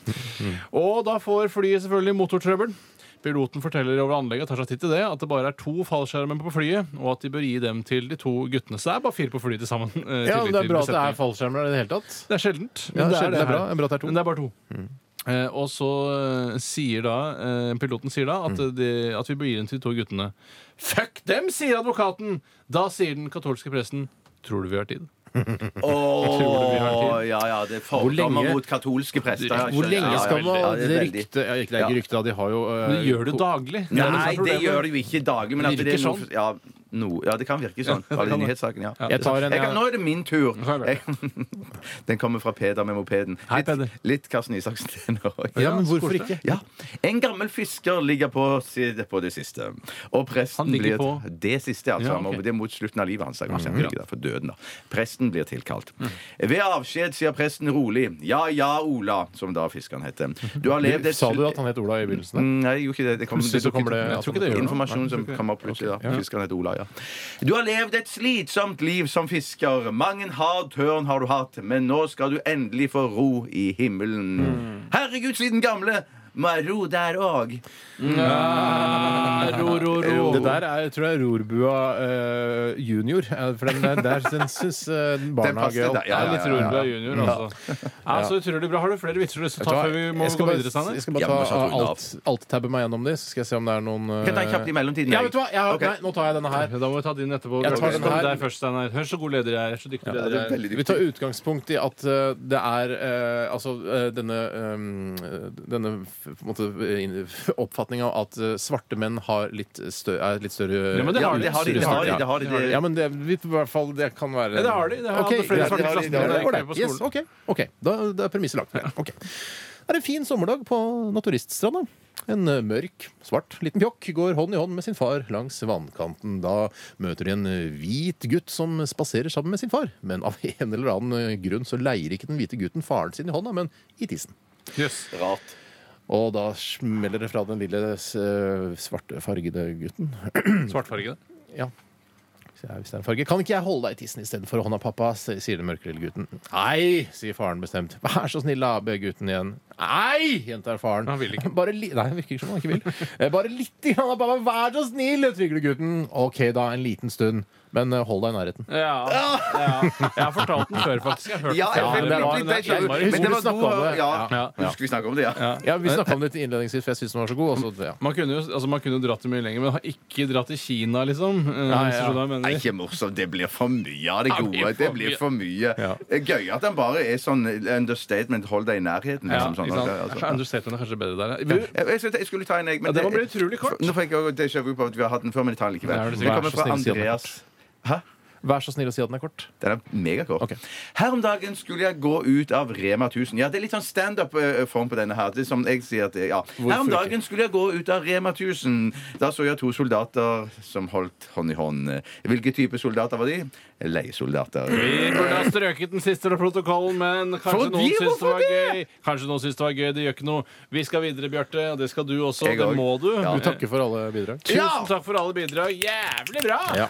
Speaker 5: Og da får flyet selvfølgelig motortrøbbel. Piloten forteller over anlegget tar seg tid til det, at det bare er to fallskjermer på flyet, og at de bør gi dem til de to guttene. Så det er bare fire på flyet til sammen. eh,
Speaker 1: Ja,
Speaker 5: til-
Speaker 1: det er
Speaker 5: til
Speaker 1: bra at det
Speaker 5: besetningen.
Speaker 1: er fallskjermer i det hele tatt.
Speaker 5: Det er sjeldent.
Speaker 1: Ja, det er
Speaker 5: sjelden
Speaker 1: det er
Speaker 5: her.
Speaker 1: bra. Det er bra at det er to. Mm.
Speaker 5: Men det er bare to. Eh, og så eh, sier da eh, piloten sier da
Speaker 1: Mm.
Speaker 5: at, de, at vi bør gi den til de to guttene. Fuck dem, sier advokaten! Da sier den katolske presten Tror du vi har tid?
Speaker 3: Åh, ja, ja, det er
Speaker 1: Hvor
Speaker 3: fordommer
Speaker 1: lenge-
Speaker 3: mot katolske prester. jeg
Speaker 1: Hvor
Speaker 3: skjønner.
Speaker 1: lenge
Speaker 3: Ja,
Speaker 1: skal
Speaker 3: ja,
Speaker 1: man
Speaker 3: ja,
Speaker 1: Det
Speaker 3: er veldig-
Speaker 1: ryktet ja, ikke- Det er ikke rykte, da. De har jo eh,
Speaker 5: Men de gjør det
Speaker 1: ko-
Speaker 3: Nei,
Speaker 5: daglig. som er
Speaker 3: det
Speaker 5: problemet.
Speaker 3: gjør det jo ikke daglig, men at
Speaker 5: Det
Speaker 3: det er
Speaker 5: virker
Speaker 1: sånn.
Speaker 3: noe, ja, no, ja, det kan virke sånn. Bare i nyhetssaken, ja.
Speaker 1: Jeg tar en
Speaker 3: Jeg kan,
Speaker 1: jeg,
Speaker 3: nå er det min tur.
Speaker 5: Ja, vel.
Speaker 3: Jeg- Den kommer fra Peder med mopeden.
Speaker 5: Hei, Peder.
Speaker 3: Litt, litt Karsten Isaksen den også.
Speaker 1: Ja, men hvorfor ikke?
Speaker 3: Ja. En gammel fisker ligger på, si- på det siste. Og
Speaker 5: Han
Speaker 3: presten blir
Speaker 5: ligger på-
Speaker 3: Det siste, altså.
Speaker 5: Ja,
Speaker 3: Han må-
Speaker 5: ok.
Speaker 3: Det er mot slutten av livet hans. da, kanskje. Ikke da, For døden, da. Presten blir tilkalt. Ved avskjed sier presten rolig 'Ja ja, Ola', som da fiskeren heter. Du har levd et
Speaker 1: Sa du at han het Ola i begynnelsen? der?
Speaker 3: Mm, Nei, jeg gjorde ikke det. Det kom,
Speaker 1: Plutselig så kommer det-
Speaker 3: dukket-
Speaker 1: jeg tror ikke det gjør noe.
Speaker 3: informasjon som kom opp plutselig. da. Fiskeren heter Ola, ja. Du har levd et slitsomt liv som fisker. Mange hard tørn har du hatt, men nå skal du endelig få ro i himmelen.
Speaker 1: Mm.
Speaker 3: Herregud, sliten gamle! Må jeg ro der òg?
Speaker 5: Ah, ro, ro, ro.
Speaker 1: eh, Det der er, tror jeg, Rorbua eh, junior. eh, For den der, der den syns eh, den barnehage
Speaker 3: passer der, ja,
Speaker 5: Ja,
Speaker 3: ja,
Speaker 5: litt
Speaker 3: ja, ja.
Speaker 5: Rorbua junior, altså. Ja, så utrolig bra. Har du flere vitser du har lyst til å ta før vi må
Speaker 1: Jeg skal
Speaker 5: gå videre,
Speaker 1: bare,
Speaker 5: Steinar?
Speaker 1: jeg skal
Speaker 3: Ja,
Speaker 1: bare
Speaker 3: men så
Speaker 1: ta
Speaker 3: tror jeg
Speaker 1: alt-
Speaker 3: den
Speaker 1: alt-tabbe meg gjennom det, så skal jeg se om det er noen eh,
Speaker 3: Kan ta en kjapt i mellomtiden.
Speaker 1: Ja,
Speaker 3: jeg.
Speaker 1: vet du hva? Jeg har,
Speaker 3: Ok.
Speaker 1: Nei, nå tar jeg denne her.
Speaker 5: Ja, da må vi ta din etterpå.
Speaker 1: Jeg tar den
Speaker 5: Stå med
Speaker 1: her.
Speaker 5: deg først, Steinar. Hør så god leder jeg er. Så dyktig leder
Speaker 3: det er
Speaker 5: jeg er.
Speaker 3: veldig
Speaker 1: Vi tar utgangspunkt i at eh, det er eh, Altså eh, denne, eh, denne f- på en måte, eh, inn- oppfatninga av at eh, svarte menn har litt større, er litt større
Speaker 5: Ja, men det
Speaker 3: Ja,
Speaker 5: har de.
Speaker 3: det har de. Det har de, det har de, det-
Speaker 1: Ja, men det, vi, i hvert fall, det kan være
Speaker 5: Ja, det har de. Det har
Speaker 1: Ok,
Speaker 5: alle flere
Speaker 1: greit.
Speaker 5: svarte
Speaker 3: det har de,
Speaker 5: klassen.
Speaker 3: det har de.
Speaker 5: Det er ikke
Speaker 1: Ålreit.
Speaker 5: på
Speaker 1: Yes,
Speaker 5: skolen.
Speaker 1: OK. ok. Da, da er premisset lagt. Ok. Det er en fin sommerdag på naturiststranda. En eh, mørk, svart liten pjokk går hånd i hånd med sin far langs vannkanten. Da møter de en eh, hvit gutt som spaserer sammen med sin far. Men av en eller annen eh, grunn så leier ikke den hvite gutten faren sin i hånda, men i tissen.
Speaker 5: Yes.
Speaker 3: Rart.
Speaker 1: Og da smeller det fra den lille eh, svarte fargede gutten.
Speaker 5: Svartfargede.
Speaker 1: Ja. Så jeg- Hvis det er en farge. Kan ikke jeg holde deg i tissen istedenfor hånda, pappa? s- sier den mørke lille gutten. Nei, sier faren bestemt. Vær så snill, da, ber gutten igjen. Nei, gjentar faren.
Speaker 5: Han vil ikke.
Speaker 1: Bare li Nei, det virker ikke som han ikke vil. Eh, Bare litt, grann, da, pappa. Vær så snill, trygler gutten. Ok, da, en liten stund. Men eh, hold deg i nærheten.
Speaker 5: Ja. ja. Jeg har fortalt den før, faktisk. Jeg har hørt
Speaker 3: Ja,
Speaker 5: den før.
Speaker 1: men
Speaker 3: jeg,
Speaker 1: det
Speaker 3: litt,
Speaker 1: var-
Speaker 3: litt, litt,
Speaker 1: det
Speaker 3: litt,
Speaker 1: var-
Speaker 3: men det
Speaker 1: vi
Speaker 3: var
Speaker 1: snakket
Speaker 3: god
Speaker 1: om det.
Speaker 3: ja.
Speaker 5: Ja.
Speaker 3: ja. Husker vi snakke om det, ja?
Speaker 1: Ja, Vi snakka om det innledningsvis, for jeg syns den var så god. Og så, ja.
Speaker 5: Man kunne jo altså man kunne jo dratt det mye lenger, men har ikke dratt til Kina, liksom. Eh,
Speaker 1: Nei,
Speaker 5: hvis du
Speaker 1: ja.
Speaker 5: skjønner hva jeg mener.
Speaker 3: Nei, ikke morsomt. Det blir for mye av det
Speaker 5: Ja, det blir
Speaker 3: gode.
Speaker 5: for
Speaker 3: Det blir for mye. Det er Gøy at den bare er sånn understatement. Hold deg i nærheten.
Speaker 5: Ja,
Speaker 3: Liksom, sånn,
Speaker 5: ikke sant?
Speaker 3: altså.
Speaker 5: Kanskje Understatement er kanskje bedre der. ja. Vi-
Speaker 3: Jeg, jeg, skulle- jeg skulle ta en, jeg.
Speaker 5: Ja, den var blitt utrolig kort.
Speaker 3: Nå fikk jeg også déjà vu på at vi har hatt den før, men jeg tar den likevel.
Speaker 5: Nei, er det
Speaker 3: det
Speaker 5: sikkert.
Speaker 1: Vær så
Speaker 3: kommer fra
Speaker 1: snill, si den er
Speaker 3: Andreas. Hæ?
Speaker 1: Vær så snill å si at den er kort.
Speaker 3: Den er megakort.
Speaker 1: Ok.
Speaker 3: Her om dagen skulle jeg gå ut av Rema 1000. Ja, det er litt sånn standup-form på denne her. Det er som jeg sier at, det- ja. Her om dagen skulle jeg gå ut av Rema 1000. Da så jeg to soldater som holdt hånd i hånd. Hvilke type soldater var de? Leiesoldater.
Speaker 5: Vi burde ha strøket den siste protokollen, men kanskje
Speaker 3: Fordi,
Speaker 5: noen syns det
Speaker 3: hvorfor
Speaker 5: var gøy. Kanskje noen syns det var gøy, det gjør ikke noe. Vi skal videre, Bjarte, og det skal du også.
Speaker 3: Jeg
Speaker 5: Det
Speaker 3: òg.
Speaker 5: må du.
Speaker 1: Du takker for alle bidrag.
Speaker 5: Tusen takk for alle bidrag. Jævlig bra!
Speaker 1: Ja.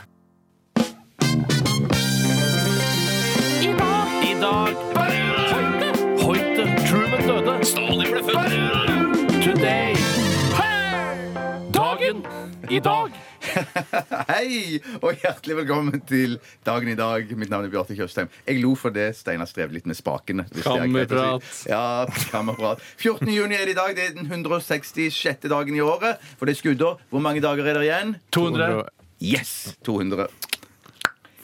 Speaker 9: I dag Hoite, Hoite, Truman døde Stalin ble født Today Dagen i dag
Speaker 3: Hei, og hjertelig velkommen til Dagen i dag. Mitt navn er Bjarte Tjøstheim. Jeg lo for det Steinar strevde litt med spakene. hvis det er greit å si. Ja, kammerprat. 14. juni er det i dag. Det er den 166. dagen i året. For det er skuddår. Hvor mange dager er det igjen?
Speaker 5: 200.
Speaker 3: Yes! 200.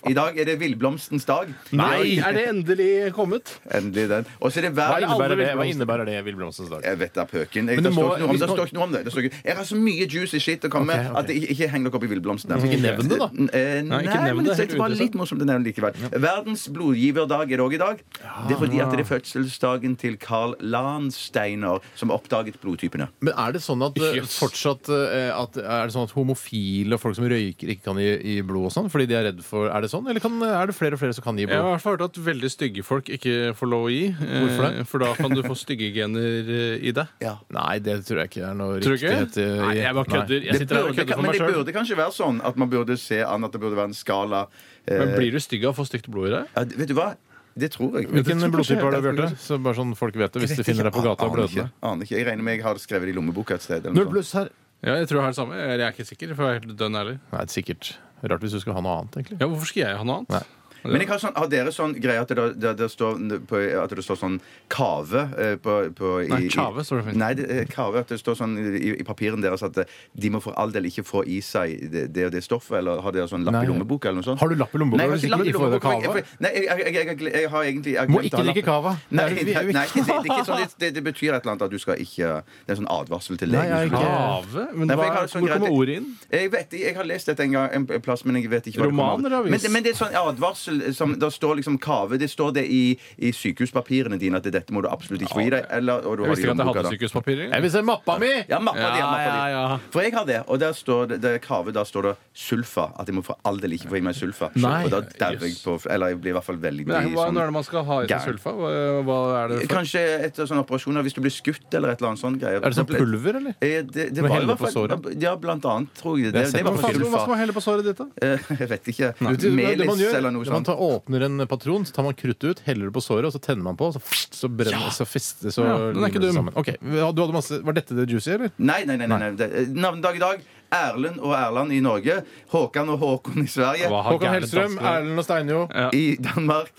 Speaker 3: I dag er det villblomstens dag.
Speaker 5: Nei! Er det endelig kommet?
Speaker 3: Endelig den. Og så er det hver
Speaker 1: Hva innebærer det, Hva
Speaker 5: Alle
Speaker 1: innebærer det Wilhelmsens dag?
Speaker 3: jeg vet da pøken. Jeg,
Speaker 1: Men
Speaker 3: det,
Speaker 1: du
Speaker 3: står
Speaker 1: må-
Speaker 3: ikke noe om,
Speaker 1: hvis
Speaker 3: det
Speaker 1: man-
Speaker 3: står ikke noe om det. det står ikke. Jeg har så mye juicy shit å komme med
Speaker 1: Ok, ok.
Speaker 3: at jeg ikke, ikke heng dere opp i villblomstene.
Speaker 1: Ikke nevn det, da.
Speaker 3: N- eh, Nei,
Speaker 5: ikke nevn
Speaker 3: men
Speaker 5: det,
Speaker 3: det
Speaker 5: helt
Speaker 3: er bare litt morsomt å nevne likevel. Verdens blodgiverdag er det òg i dag. Det er fordi at
Speaker 1: Ah.
Speaker 3: det er fødselsdagen til Carl Lahnsteiner, som oppdaget blodtypene.
Speaker 1: Men er det sånn at eh,
Speaker 5: Yes.
Speaker 1: fortsatt eh, at, Er det sånn at homofile og folk som røyker, ikke kan gi, gi blod og sånn? Fordi de er redd for Er det sånn, eller kan, er det flere og flere som kan gi
Speaker 5: Jeg har i
Speaker 1: blod?
Speaker 5: hvert fall hørt at veldig stygge folk ikke får lov å gi.
Speaker 1: Hvorfor det?
Speaker 5: eh, For da kan du få stygge gener eh, i deg.
Speaker 1: Nei, det tror jeg ikke er noe eh,
Speaker 5: Tror du
Speaker 1: riktighet
Speaker 5: ikke? Nei, jeg bare kødder. Jeg
Speaker 3: Det
Speaker 5: sitter her og
Speaker 3: burde,
Speaker 5: kødder for
Speaker 3: men
Speaker 5: meg
Speaker 3: det
Speaker 5: sjøl.
Speaker 3: burde kanskje være sånn at man burde se an at det burde være en skala eh,
Speaker 5: Men blir du stygg av å få stygt blod i deg?
Speaker 3: ja, Vet du hva? Det tror jeg.
Speaker 1: Hvilken
Speaker 5: tror jeg
Speaker 1: blodtype har du,
Speaker 5: kanskje-
Speaker 1: Bjarte? Så bare sånn folk vet det, hvis de finner deg på gata og
Speaker 3: Aner ikke.
Speaker 1: blødende.
Speaker 3: Aner ikke. Jeg regner med jeg har det skrevet i lommeboka et sted. eller noe
Speaker 1: Null
Speaker 3: sånt.
Speaker 1: pluss her.
Speaker 5: Ja, jeg tror jeg har det samme. Jeg er ikke sikker, for jeg er helt dønn ærlig.
Speaker 1: Nei, sikkert. Rart hvis du skulle ha noe annet, egentlig.
Speaker 5: Ja, hvorfor skal jeg ha noe annet?
Speaker 1: Nei.
Speaker 3: Men jeg har, sånn, har dere sånn greie at det, da- det, det, står, n- på, at det står sånn kave eh, på, på i,
Speaker 5: Nei, kjave står det fint.
Speaker 3: Nei, det, eh, kave. At det står sånn i, i papirene deres at eh, de må for all del ikke få i seg det, det og det stoffet. Eller har dere sånn lapp
Speaker 1: Nei.
Speaker 3: i lommeboka eller noe sånt?
Speaker 1: Har du lapp i lommeboka?
Speaker 3: Nei,
Speaker 1: Er
Speaker 3: jeg har
Speaker 1: du sikker på
Speaker 3: ikke lapp i
Speaker 1: ikke får
Speaker 3: lommeboka.
Speaker 1: kave?
Speaker 3: for jeg- for- Nei, jeg, jeg, jeg, jeg, jeg har egentlig jeg
Speaker 1: Må
Speaker 3: glemte
Speaker 1: ikke
Speaker 3: å ha lapp.
Speaker 1: drikke kave.
Speaker 3: Nei,
Speaker 1: Det er- vi
Speaker 3: nei,
Speaker 1: er jo
Speaker 3: nei
Speaker 1: ikke-
Speaker 3: det, det, er ikke sånn, det, det, det betyr et eller annet at du skal ikke Det er en sånn advarsel til
Speaker 1: Nei, jeg
Speaker 3: legen.
Speaker 1: er
Speaker 3: som skal-
Speaker 1: ikke-
Speaker 5: Kave?
Speaker 3: Nei,
Speaker 5: Men
Speaker 3: for
Speaker 5: hva,
Speaker 3: jeg har sånn
Speaker 5: hvor
Speaker 3: greit-
Speaker 5: kommer ordet inn?
Speaker 3: jeg vet, ikke, jeg har lest dette en gang en plass, men jeg vet ikke hva det
Speaker 5: Roman
Speaker 3: kommer av.
Speaker 5: eller avis?
Speaker 3: Men, det- men det er sånn advarsel som Da står liksom kave. Det står det i, i sykehuspapirene dine at dette må du absolutt ikke få i deg. Eller, og du
Speaker 5: Jeg
Speaker 3: har det i
Speaker 5: visste ikke at jeg
Speaker 3: lommeboka,
Speaker 5: hadde
Speaker 3: da.
Speaker 5: sykehuspapirer.
Speaker 1: Jeg vil se mappa mi!
Speaker 3: Ja, mappa di, ja, mappa di.
Speaker 5: Ja, ja, ja.
Speaker 3: For jeg har det, og der står det, det er kave, da står det sulfa. At jeg må for all del ikke få i meg sulfa.
Speaker 5: Nei.
Speaker 3: Og da dauer jeg på Eller jeg blir i hvert fall veldig
Speaker 5: Men hva
Speaker 3: sånn-
Speaker 5: når er det man skal ha i seg
Speaker 3: Gæren.
Speaker 5: sulfa? Hva, hva er det for?
Speaker 3: Kanskje etter sånne operasjoner, hvis du blir skutt eller et eller annet sånt greier.
Speaker 5: Er det sånn pulver, eller?
Speaker 3: Eh, Det, det
Speaker 5: Må
Speaker 3: var i
Speaker 5: helle
Speaker 3: hvert
Speaker 5: på
Speaker 3: fall Ja, blant annet, tror jeg.
Speaker 1: Jeg
Speaker 3: Det,
Speaker 1: har
Speaker 3: det
Speaker 1: sett
Speaker 3: var
Speaker 1: noen
Speaker 3: for
Speaker 1: fanger-
Speaker 5: Hva skal
Speaker 3: sulfa.
Speaker 5: man helle på såret ditt, da?
Speaker 3: Eh, Jeg vet ikke.
Speaker 1: Du, det, det, det man
Speaker 3: Melis
Speaker 1: gjør,
Speaker 3: eller noe
Speaker 1: det man
Speaker 3: sånt.
Speaker 1: tar, åpner en patron, så tar man kruttet ut, heller det på såret, og så tenner man på, og så, så brenner så fester så
Speaker 5: Ja, den er
Speaker 1: limer
Speaker 5: ikke
Speaker 1: det
Speaker 5: dum.
Speaker 1: sammen. Ok, du hadde masse, Var dette det juicy, eller?
Speaker 3: Nei, nei, nei. nei, nei. Det, eh, navnedag i dag. Erlend og Erland i Norge. Håkan og Håkon i Sverige.
Speaker 5: Hva har
Speaker 1: Håkan
Speaker 5: gærne
Speaker 1: Hellstrøm,
Speaker 5: dansker?
Speaker 1: Erlend og Steinjo.
Speaker 3: I Danmark.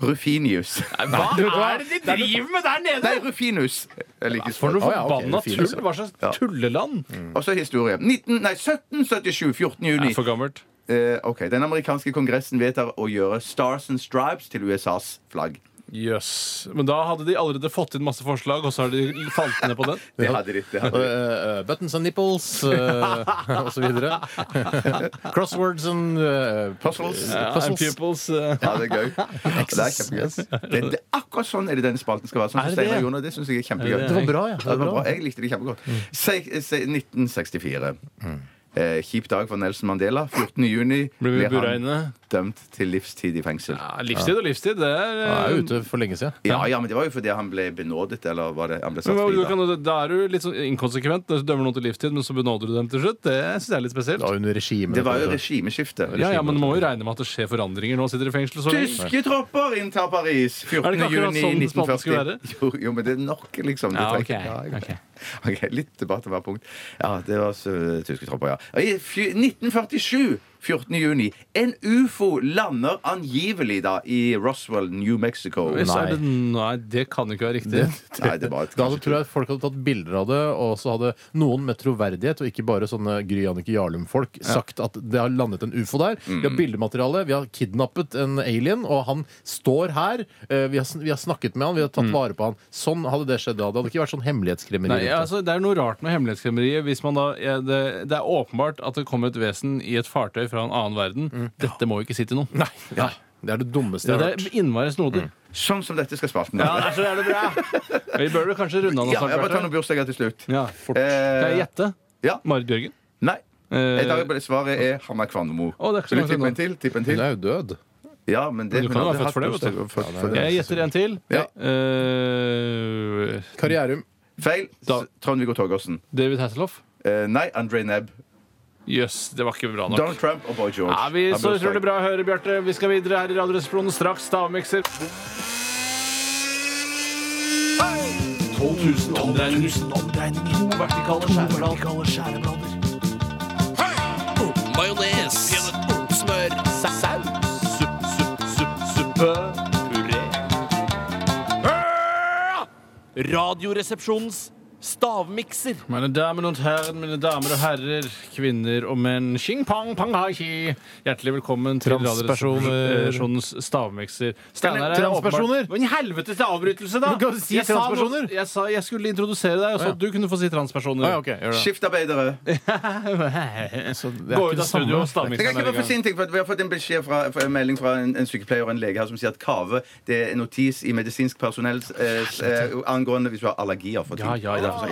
Speaker 3: Rufinius.
Speaker 5: Hva er det de driver med der nede?!
Speaker 3: Nei, Rufinus. Jeg liker
Speaker 5: For
Speaker 3: språk.
Speaker 5: noe
Speaker 1: Å, ja, ok,
Speaker 5: forbanna
Speaker 1: det er fint,
Speaker 5: tull!
Speaker 1: altså.
Speaker 5: Hva slags tulleland?
Speaker 3: Og så historie. 19, nei, 1777. 14.
Speaker 5: Det
Speaker 3: juni.
Speaker 5: er for gammelt.
Speaker 3: Eh, ok, Den amerikanske kongressen vedtar å gjøre Stars and Stripes til USAs flagg.
Speaker 5: Jøss. Men da hadde de allerede fått inn masse forslag, og så har de falt ned på den?
Speaker 3: Det hadde de. Det hadde de.
Speaker 1: Eh, eh, buttons and nipples
Speaker 5: eh,
Speaker 1: uh, og så videre. Crosswords and eh,
Speaker 3: Puzzles.
Speaker 1: eh,
Speaker 5: Ja, and pupils eh.
Speaker 3: Ja, det er gøy. Det er kjempegøy. Det, det, akkurat sånn er det denne spalten skal være. Sånn
Speaker 5: Er
Speaker 3: som
Speaker 5: det
Speaker 3: Steinar
Speaker 5: det?
Speaker 3: og Jonas, det syns jeg er kjempegøy.
Speaker 5: Er det Mm.
Speaker 1: Det var bra, ja.
Speaker 3: Ja, det var bra. Jeg likte det kjempegodt. Se, se, 1964. Eh, kjip dag for Nelson Mandela. 14. juni
Speaker 5: Blir vi
Speaker 3: blir
Speaker 5: bura
Speaker 3: han
Speaker 5: inne?
Speaker 3: dømt til livstid i fengsel.
Speaker 5: Ja, livstid og livstid, det er
Speaker 1: Ja,
Speaker 5: eh,
Speaker 1: Jeg er ute for lenge siden.
Speaker 3: Ja, ja, men det var jo fordi han ble benådet, eller var det han ble
Speaker 5: Men
Speaker 3: satt
Speaker 5: hva-
Speaker 3: fri
Speaker 5: du
Speaker 3: da.
Speaker 5: kan, da er du litt sånn inkonsekvent. Du dømmer noen til livstid, men så benåder du dem til slutt. Det syns jeg er litt spesielt.
Speaker 1: Det var under regimet.
Speaker 3: Det var jo regimeskifte.
Speaker 5: Ja, ja, men du må jo regne med at det skjer forandringer når man sitter i fengsel. så lenge.
Speaker 3: Tyske tropper inntar Paris 14.
Speaker 5: Er det ikke akkurat
Speaker 3: juni
Speaker 5: sånn
Speaker 3: 1940.
Speaker 5: spalten skulle være?
Speaker 3: Jo, jo, men det er nok, liksom. Du
Speaker 5: Ja,
Speaker 3: trenger-
Speaker 5: ok,
Speaker 3: jeg-
Speaker 5: ok.
Speaker 3: Ok, Litt tilbake til hvert punkt. Ja, det var så, eh, tyske tropper, ja. I fj- 1947, 14. juni, en ufo lander angivelig da i Roswell, New Mexico.
Speaker 5: Hvis
Speaker 1: Nei.
Speaker 5: er det- Nei, det kan jo ikke være riktig.
Speaker 3: Nei, det var et
Speaker 1: Da hadde, tror jeg folk hadde tatt bilder av det, og så hadde noen med troverdighet, og ikke bare sånne Gry Jannicke Jarlum-folk, sagt at det har landet en ufo der. Vi har bildemateriale, vi har kidnappet en alien, og han står her. eh, Vi har, sn- vi har snakket med han, vi har tatt vare på han. Sånn hadde det skjedd da. Det hadde ikke vært sånn hemmelighetskremmeri.
Speaker 5: Nei,
Speaker 1: rundt det.
Speaker 5: altså, det er noe rart med hemmelighetskremmeriet. Hvis man da, ja, det, det er åpenbart at det kommer et vesen i et fartøy fra en annen verden. Dette må jo ikke si til noen. Nei,
Speaker 1: Nei, det er det dummeste
Speaker 5: Det
Speaker 1: jeg har hørt.
Speaker 5: er innmari snodig.
Speaker 3: Sånn som dette skal spalten
Speaker 5: Ja,
Speaker 3: være.
Speaker 5: derfor er det bra. Vi bør vel kanskje runde av
Speaker 3: Ja,
Speaker 5: nå
Speaker 3: jeg bare
Speaker 5: snart.
Speaker 3: tar noen
Speaker 5: Bjarte?
Speaker 3: bursdager til slutt.
Speaker 5: Ja, fort.
Speaker 3: Eh,
Speaker 5: Kan jeg gjette?
Speaker 3: ja.
Speaker 5: Marit Bjørgen?
Speaker 3: Nei.
Speaker 5: Eh,
Speaker 3: Jeg tar bare svaret er Hanna Kvanmo.
Speaker 5: Å, det er ikke
Speaker 3: Vil
Speaker 5: så
Speaker 3: du
Speaker 5: langt
Speaker 3: tippe
Speaker 5: unna.
Speaker 3: en til? Tippe
Speaker 1: Hun
Speaker 3: en til?
Speaker 1: er jo død.
Speaker 3: Ja, men det,
Speaker 5: Du
Speaker 3: hun
Speaker 5: kan jo
Speaker 3: hadde
Speaker 5: være født for det,
Speaker 3: hatt
Speaker 5: vet du.
Speaker 3: bursdag- født for det.
Speaker 5: Jeg gjetter en til.
Speaker 3: Ja.
Speaker 5: Eh,
Speaker 1: Karrierum.
Speaker 3: Feil.
Speaker 5: Da-
Speaker 3: Trond-Viggo Torgersen.
Speaker 5: David Hasselhoff?
Speaker 3: Eh, nei, André Nebb.
Speaker 5: Jøss, det var ikke bra nok.
Speaker 3: Donald Trump og Boy George.
Speaker 5: Ja, vi
Speaker 3: Har
Speaker 5: så
Speaker 3: bursdag.
Speaker 5: utrolig bra å høre, Bjarte. Vi skal videre her i Radioresepsjonen. Straks stavmikser. 12 000 omdreininger. To vertikale skjæreblader. Majones. Smør. Saus. Supp, supp, supp, suppe. Puré.
Speaker 9: Radioresepsjonens stavmikser.
Speaker 5: Mine damer og herrer, mine damer og herrer, kvinner og menn. Xing pang, pang hai hi. Hjertelig velkommen til
Speaker 1: Transpersoner.
Speaker 5: Radioresepsjonens eh, stavmikser. Steinar er
Speaker 1: Transpersoner.
Speaker 5: åpenbart- Hva i helvete til avbrytelse, da?
Speaker 1: Men kan du si
Speaker 5: jeg, sa noe-
Speaker 1: transpersoner?
Speaker 5: jeg sa jeg skulle introdusere deg, og så
Speaker 1: Å, ja.
Speaker 5: at du kunne få si transpersoner.
Speaker 1: Ah, ja, ok, gjør det.
Speaker 3: Skiftarbeidere.
Speaker 1: Så det er ikke
Speaker 5: Gå ut av
Speaker 1: det samme.
Speaker 5: studio og
Speaker 3: Jeg kan
Speaker 5: stavmikser
Speaker 3: ikke
Speaker 5: med
Speaker 3: være for
Speaker 5: en gang.
Speaker 3: sint, for at Vi har fått en beskjed fra, fra- en melding fra en, en sykepleier og en lege her som sier at kave det er en notis i medisinsk personell eh, eh, angående hvis du har allergier. For ting.
Speaker 5: Ja, ja, ja.
Speaker 3: Det er derfor sånn,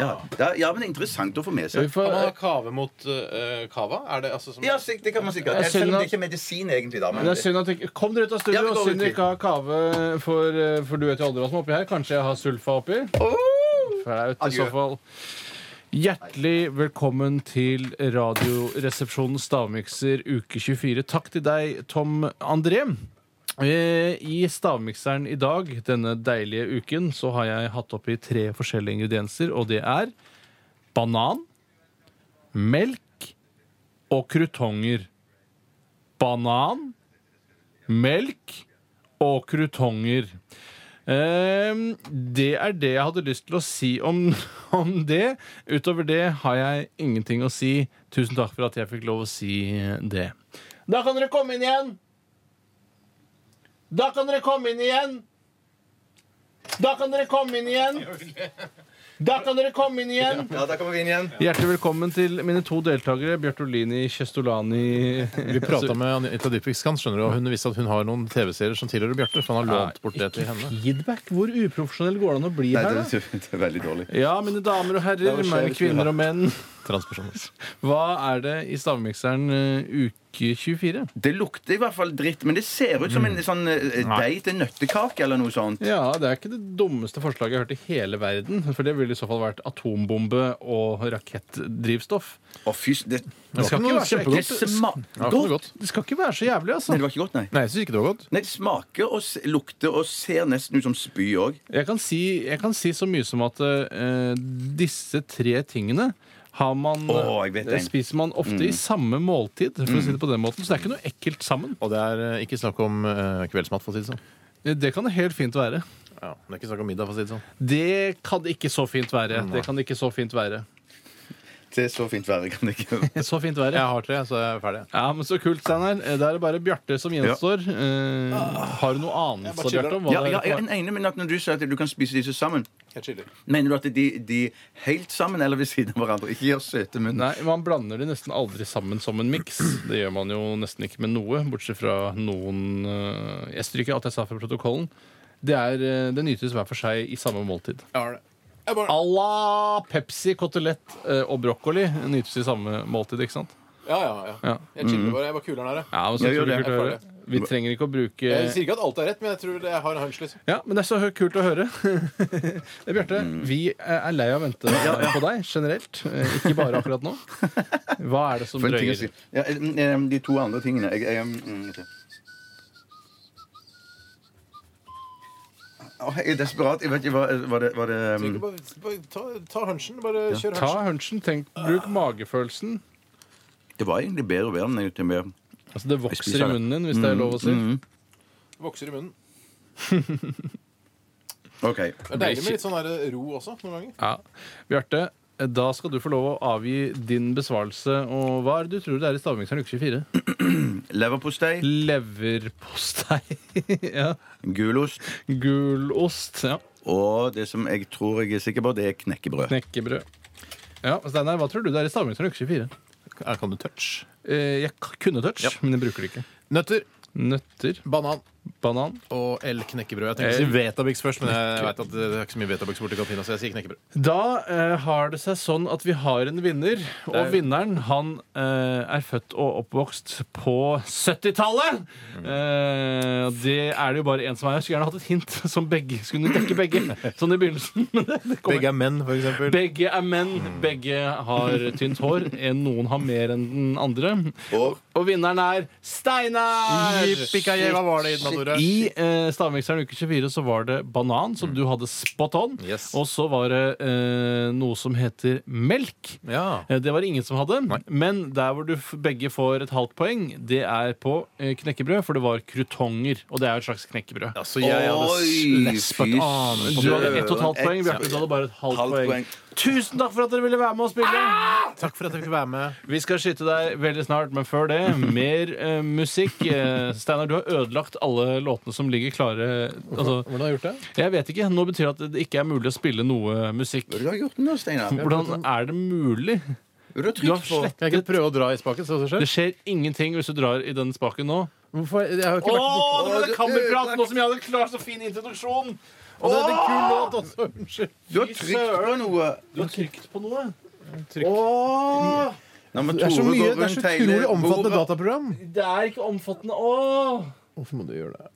Speaker 3: ja. ja, men det er interessant å få med
Speaker 5: Vi
Speaker 3: seg.
Speaker 5: får-
Speaker 1: Eh, kave mot kava? Er det altså som
Speaker 3: Ja, sik- det kan man sikkert.
Speaker 5: Jeg
Speaker 3: Jeg selv om det
Speaker 5: synes at-
Speaker 3: ikke er medisin, egentlig. da. Men
Speaker 5: Det er synd at ikke, Kom dere ut av studio.
Speaker 3: Ja, vi går ut
Speaker 5: synd dere
Speaker 3: hit.
Speaker 5: ikke har kave, for, eh, for du vet jo aldri hva som er oppi her. Kanskje jeg har sulfa oppi? Flaut i så
Speaker 3: Adjø.
Speaker 5: fall. Hjertelig velkommen til Radioresepsjonens stavmikser uke 24. Takk til deg, Tom André. Eh, I stavmikseren i dag, denne deilige uken, så har jeg hatt oppi tre forskjellige ingredienser, og det er banan, melk og krutonger. Banan, melk og krutonger. Ehm, det er det jeg hadde lyst til å si om, om det. Utover det har jeg ingenting å si. Tusen takk for at jeg fikk lov å si det. Da kan dere komme inn igjen! Da kan dere komme inn igjen! Da kan dere komme inn igjen! Da kan dere komme inn igjen!
Speaker 3: Ja, da kommer vi inn igjen.
Speaker 5: Hjertelig velkommen til mine to deltakere, Bjørtolini Kjestolani
Speaker 1: Vi prata
Speaker 5: Altså-
Speaker 1: med Anita Dybvik-Skan, skjønner du, og hun visste at hun har noen TV-serier som tilhører Bjarte, for han har lånt bort det til henne.
Speaker 5: Feedback? Hvor uprofesjonell går det an å bli
Speaker 3: Nei,
Speaker 5: her,
Speaker 3: det
Speaker 5: da?
Speaker 3: er, det er veldig dårlig.
Speaker 5: Ja, mine damer og herrer,
Speaker 3: var
Speaker 5: mine
Speaker 3: skjevt, ja.
Speaker 5: kvinner og menn.
Speaker 1: Transpersoner.
Speaker 5: Hva er det i stavmikseren eh, uke 24?
Speaker 3: Det lukter i hvert fall dritt, men det ser ut som
Speaker 5: Mm.
Speaker 3: en sånn eh, deig til nøttekake eller noe sånt.
Speaker 5: Ja, det er ikke det dummeste forslaget jeg har hørt i hele verden. For det ville i så fall vært atombombe og rakettdrivstoff.
Speaker 3: Å, fy s- Det, det
Speaker 5: skal ikke være så
Speaker 3: Det
Speaker 5: ekkelt.
Speaker 3: sma-
Speaker 1: Ja, det var
Speaker 3: Godt.
Speaker 1: godt.
Speaker 5: Det skal ikke være så jævlig, altså.
Speaker 3: Nei, det var ikke godt, nei.
Speaker 1: Nei, jeg syns ikke det var godt.
Speaker 3: Nei, Det smaker og s- lukter og ser nesten ut som spy òg.
Speaker 5: Jeg kan si, jeg kan si så mye som at eh, disse tre tingene har man,
Speaker 3: Åh, jeg vet
Speaker 5: eh,
Speaker 3: en. Mm.
Speaker 5: spiser man ofte i samme måltid, for å si det på den måten. Så det er ikke noe ekkelt sammen.
Speaker 1: Og det er eh, ikke snakk om eh, kveldsmat, for å si det sånn.
Speaker 5: Eh, Det kan det helt fint være.
Speaker 1: Ja, det er ikke snakk om middag, for å si det sånn.
Speaker 5: Det kan det ikke så fint være. Det kan det ikke så fint være.
Speaker 3: Det er så fint været kan det ikke være.
Speaker 5: Så fint være.
Speaker 1: Jeg har tre, så jeg er ferdig.
Speaker 5: Ja, men Så kult, Steinar. Eh, Da er det bare Bjarte som gjenstår. Eh, har du noe anelse, Bjarte? om hva
Speaker 3: Ja,
Speaker 5: det
Speaker 3: ja,
Speaker 5: er?
Speaker 3: jeg er enig, men at når du sier at du kan spise disse sammen Mener du at de, de helt sammen eller ved siden av hverandre? Ikke gjør søte munn.
Speaker 5: Nei, Man blander de nesten aldri sammen som en miks. Det gjør man jo nesten ikke med noe, bortsett fra noen eh, Jeg stryker alt jeg sa fra protokollen. Det, er, eh, det nytes hver for seg i samme måltid. À la Pepsi, kotelett eh, og brokkoli nytes i samme måltid, ikke sant?
Speaker 9: Ja, ja, ja.
Speaker 5: Ja.
Speaker 9: Jeg
Speaker 1: Mm.
Speaker 9: chiller bare. Jeg bare kuler den her, jeg.
Speaker 5: Ja, men så
Speaker 3: Jeg gjør
Speaker 5: tror jeg
Speaker 3: det.
Speaker 5: kult å høre. Vi trenger ikke å bruke
Speaker 1: Eh,
Speaker 9: Jeg sier ikke at alt er rett, men jeg tror det, jeg har en hunch, liksom.
Speaker 5: Ja, men det er så hø- kult å høre. Eh, Bjarte,
Speaker 3: Mm.
Speaker 5: vi er lei av å vente på deg generelt. Eh, Ikke bare akkurat nå. Hva er det som
Speaker 3: For en ting å si.
Speaker 5: drøyer?
Speaker 3: Ja, em, em, de to andre tingene jeg, jeg, em, mm, vet du. Å, jeg er desperat. Jeg vet ikke hva var det, var det mm.
Speaker 9: Så
Speaker 1: Mm.
Speaker 3: em,
Speaker 9: ikke Bare, bare ta, ta hunchen. Bare kjør
Speaker 5: Ta
Speaker 9: hunchen.
Speaker 5: hunchen, tenk, bruk magefølelsen.
Speaker 3: Det var egentlig bedre og bedre. Men jeg, tenkte mer.
Speaker 5: Altså Det vokser
Speaker 3: spiser
Speaker 5: i
Speaker 3: det. Mm,
Speaker 5: munnen din, hvis det er lov å si.
Speaker 9: Vokser i munnen.
Speaker 3: OK.
Speaker 9: Det er deilig med litt sånn der ro også, noen ganger.
Speaker 5: Ja. Bjarte, eh, da skal du få lov å avgi din besvarelse. Og hva er det du tror det er i Stavmikseren uke 24?
Speaker 3: Leverpostei,
Speaker 5: Leverpostei. ja.
Speaker 3: gulost
Speaker 5: Gulost. Ja.
Speaker 3: og det som jeg tror jeg er sikker på, det er knekkebrød.
Speaker 5: Knekkebrød. Ja, Steinar, hva tror du det er i Stavmikseren uke 24?
Speaker 1: Her kan du touch.
Speaker 5: Eh, Jeg k- kunne touch, men jeg bruker det ikke.
Speaker 1: Nøtter,
Speaker 5: Nøtter,
Speaker 1: banan
Speaker 5: banan,
Speaker 1: og L-knekkebrød. Jeg tenkte å si Vetabix først, men jeg vet at det er ikke så mye Vetabix borti kantina, så jeg sier knekkebrød.
Speaker 5: Da eh, har det seg sånn at vi har en vinner, og
Speaker 1: er-
Speaker 5: vinneren han eh, er født og oppvokst på 70-tallet! Eh, det er det jo bare én som er. Jeg skulle gjerne hatt et hint som begge skulle dekke begge. Sånn i begynnelsen. Men det, det kommer.
Speaker 1: Begge er menn, for eksempel.
Speaker 5: Begge er menn, begge har tynt hår. En, noen har mer enn den andre.
Speaker 3: Og
Speaker 5: Og vinneren er Steinar!
Speaker 1: Jippikaje, hva var det i den andre?
Speaker 5: I eh, Stavmikseren uke 24 så var det banan, som du hadde spot on.
Speaker 1: Yes.
Speaker 5: Og så var det eh, noe som heter melk.
Speaker 1: Ja.
Speaker 5: Eh, Det var det ingen som hadde. Men der hvor du f- begge får et halvt poeng, det er på eh, knekkebrød, for det var krutonger. Og det er jo et slags knekkebrød. ah,
Speaker 1: Så jeg hadde lespet annen
Speaker 5: Du hadde ett og et halvt poeng. Bjarte, du hadde bare et halvt,
Speaker 3: Halvt
Speaker 5: poeng.
Speaker 3: poeng.
Speaker 5: Tusen takk for at dere ville være med og spille!
Speaker 1: Takk for at jeg fikk være med.
Speaker 5: Vi skal skyte deg veldig snart, men før det, mer eh, musikk. Eh, Steinar, du har ødelagt alle låtene som ligger klare. Altså,
Speaker 1: Hvordan har jeg gjort det?
Speaker 5: jeg vet ikke. Nå betyr det at det ikke er mulig å spille noe musikk.
Speaker 3: Hva har du gjort nå, Steinar?
Speaker 5: Hvordan er det mulig?
Speaker 3: Du har
Speaker 5: Du har
Speaker 3: trykt på
Speaker 5: slett-
Speaker 1: Jeg kan prøve å dra i spaken, se hva som
Speaker 5: Det
Speaker 1: skjer.
Speaker 5: skjer ingenting hvis du drar i den spaken nå.
Speaker 1: Hvorfor? Jeg har
Speaker 5: Å,
Speaker 1: ikke vært borte.
Speaker 5: det var det kammerprat! Nå som jeg hadde klart så fin introduksjon!
Speaker 1: Og det er en kul låt også. Unnskyld.
Speaker 3: Du har trykt på noe.
Speaker 5: Du har trykt på noe.
Speaker 3: Nå må
Speaker 1: Det er så
Speaker 3: Tore gå
Speaker 1: mye, det er
Speaker 3: rundt
Speaker 1: så
Speaker 3: hele
Speaker 1: utrolig omfattende
Speaker 3: bordet.
Speaker 1: dataprogram.
Speaker 5: Det er ikke omfattende. Åh!
Speaker 1: Hvorfor må du gjøre det?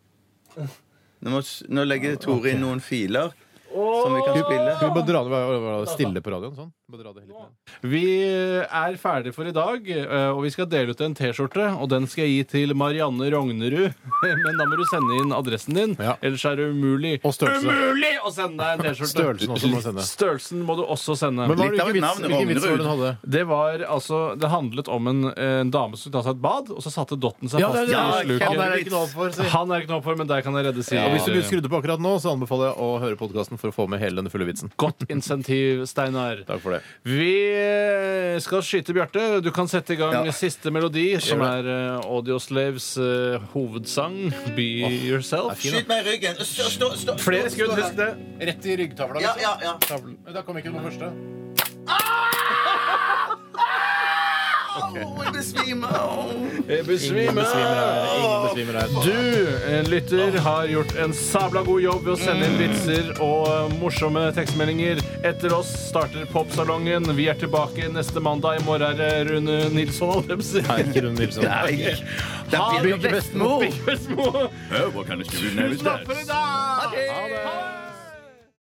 Speaker 3: Nå, må, s- nå legger Tore inn noen filer.
Speaker 7: som vi kan spille.
Speaker 1: Vi må dra det være- være stille på radioen. sånn. Vi må dra det litt ned.
Speaker 5: Vi er ferdige for i dag, eh, og vi skal dele ut en T-skjorte. Og den skal jeg gi til Marianne Rognerud. Men da må du sende inn adressen din,
Speaker 1: Ja.
Speaker 5: ellers er det umulig
Speaker 1: Og størrelse.
Speaker 5: Umulig å sende deg en T-skjorte!
Speaker 1: Størrelsen også må du sende.
Speaker 5: Størrelsen må du også sende.
Speaker 1: Men hva,
Speaker 3: Litt av et
Speaker 1: hvilken vits,
Speaker 3: navn,
Speaker 1: hvilken vits var det hun hadde?
Speaker 5: det var altså Det handlet om en, en dame som skulle ta seg et bad, og så satte dotten seg fast i
Speaker 3: ja,
Speaker 5: sluket.
Speaker 1: Han er det ikke noe for, si.
Speaker 5: Han er ikke noe for, men der kan jeg redde Siri.
Speaker 1: Og hvis du blir skrudd på akkurat nå, så anbefaler jeg å høre podkasten for å få med hele denne fulle vitsen.
Speaker 5: Godt insentiv, Steinar.
Speaker 1: Takk for det.
Speaker 5: Vi skal skyte Bjarte. Du kan sette i gang siste melodi, som er eh, Audioslaves eh, hovedsang, Be Yourself.
Speaker 7: Skyt meg i ryggen. Stå, stå, stå,
Speaker 5: Flere skudd, husk det.
Speaker 1: Rett i ryggtavla. liksom.
Speaker 7: Ja, ja, ja.
Speaker 1: Da kom ikke den på første.
Speaker 7: Jeg besvimer.
Speaker 5: Jeg
Speaker 1: Ingen
Speaker 5: Eh, besvimer.
Speaker 1: besvimer her. Ingen besvimer her.
Speaker 5: Du, eh, lytter, har gjort en sabla god jobb ved å sende inn
Speaker 1: Mm.
Speaker 5: vitser og eh, morsomme tekstmeldinger. Etter oss starter Popsalongen. Vi er tilbake neste mandag. I morgen er det Rune Nilsson, holdt jeg på å si.
Speaker 1: Nei, ikke Rune Nilsson.
Speaker 3: Nei. Det
Speaker 5: Ha
Speaker 3: er
Speaker 5: det
Speaker 3: Birger Vestmo.
Speaker 5: Små.
Speaker 3: Hør, hva kan det skrive ned hvis det er?
Speaker 5: Takk for i dag! Ha det!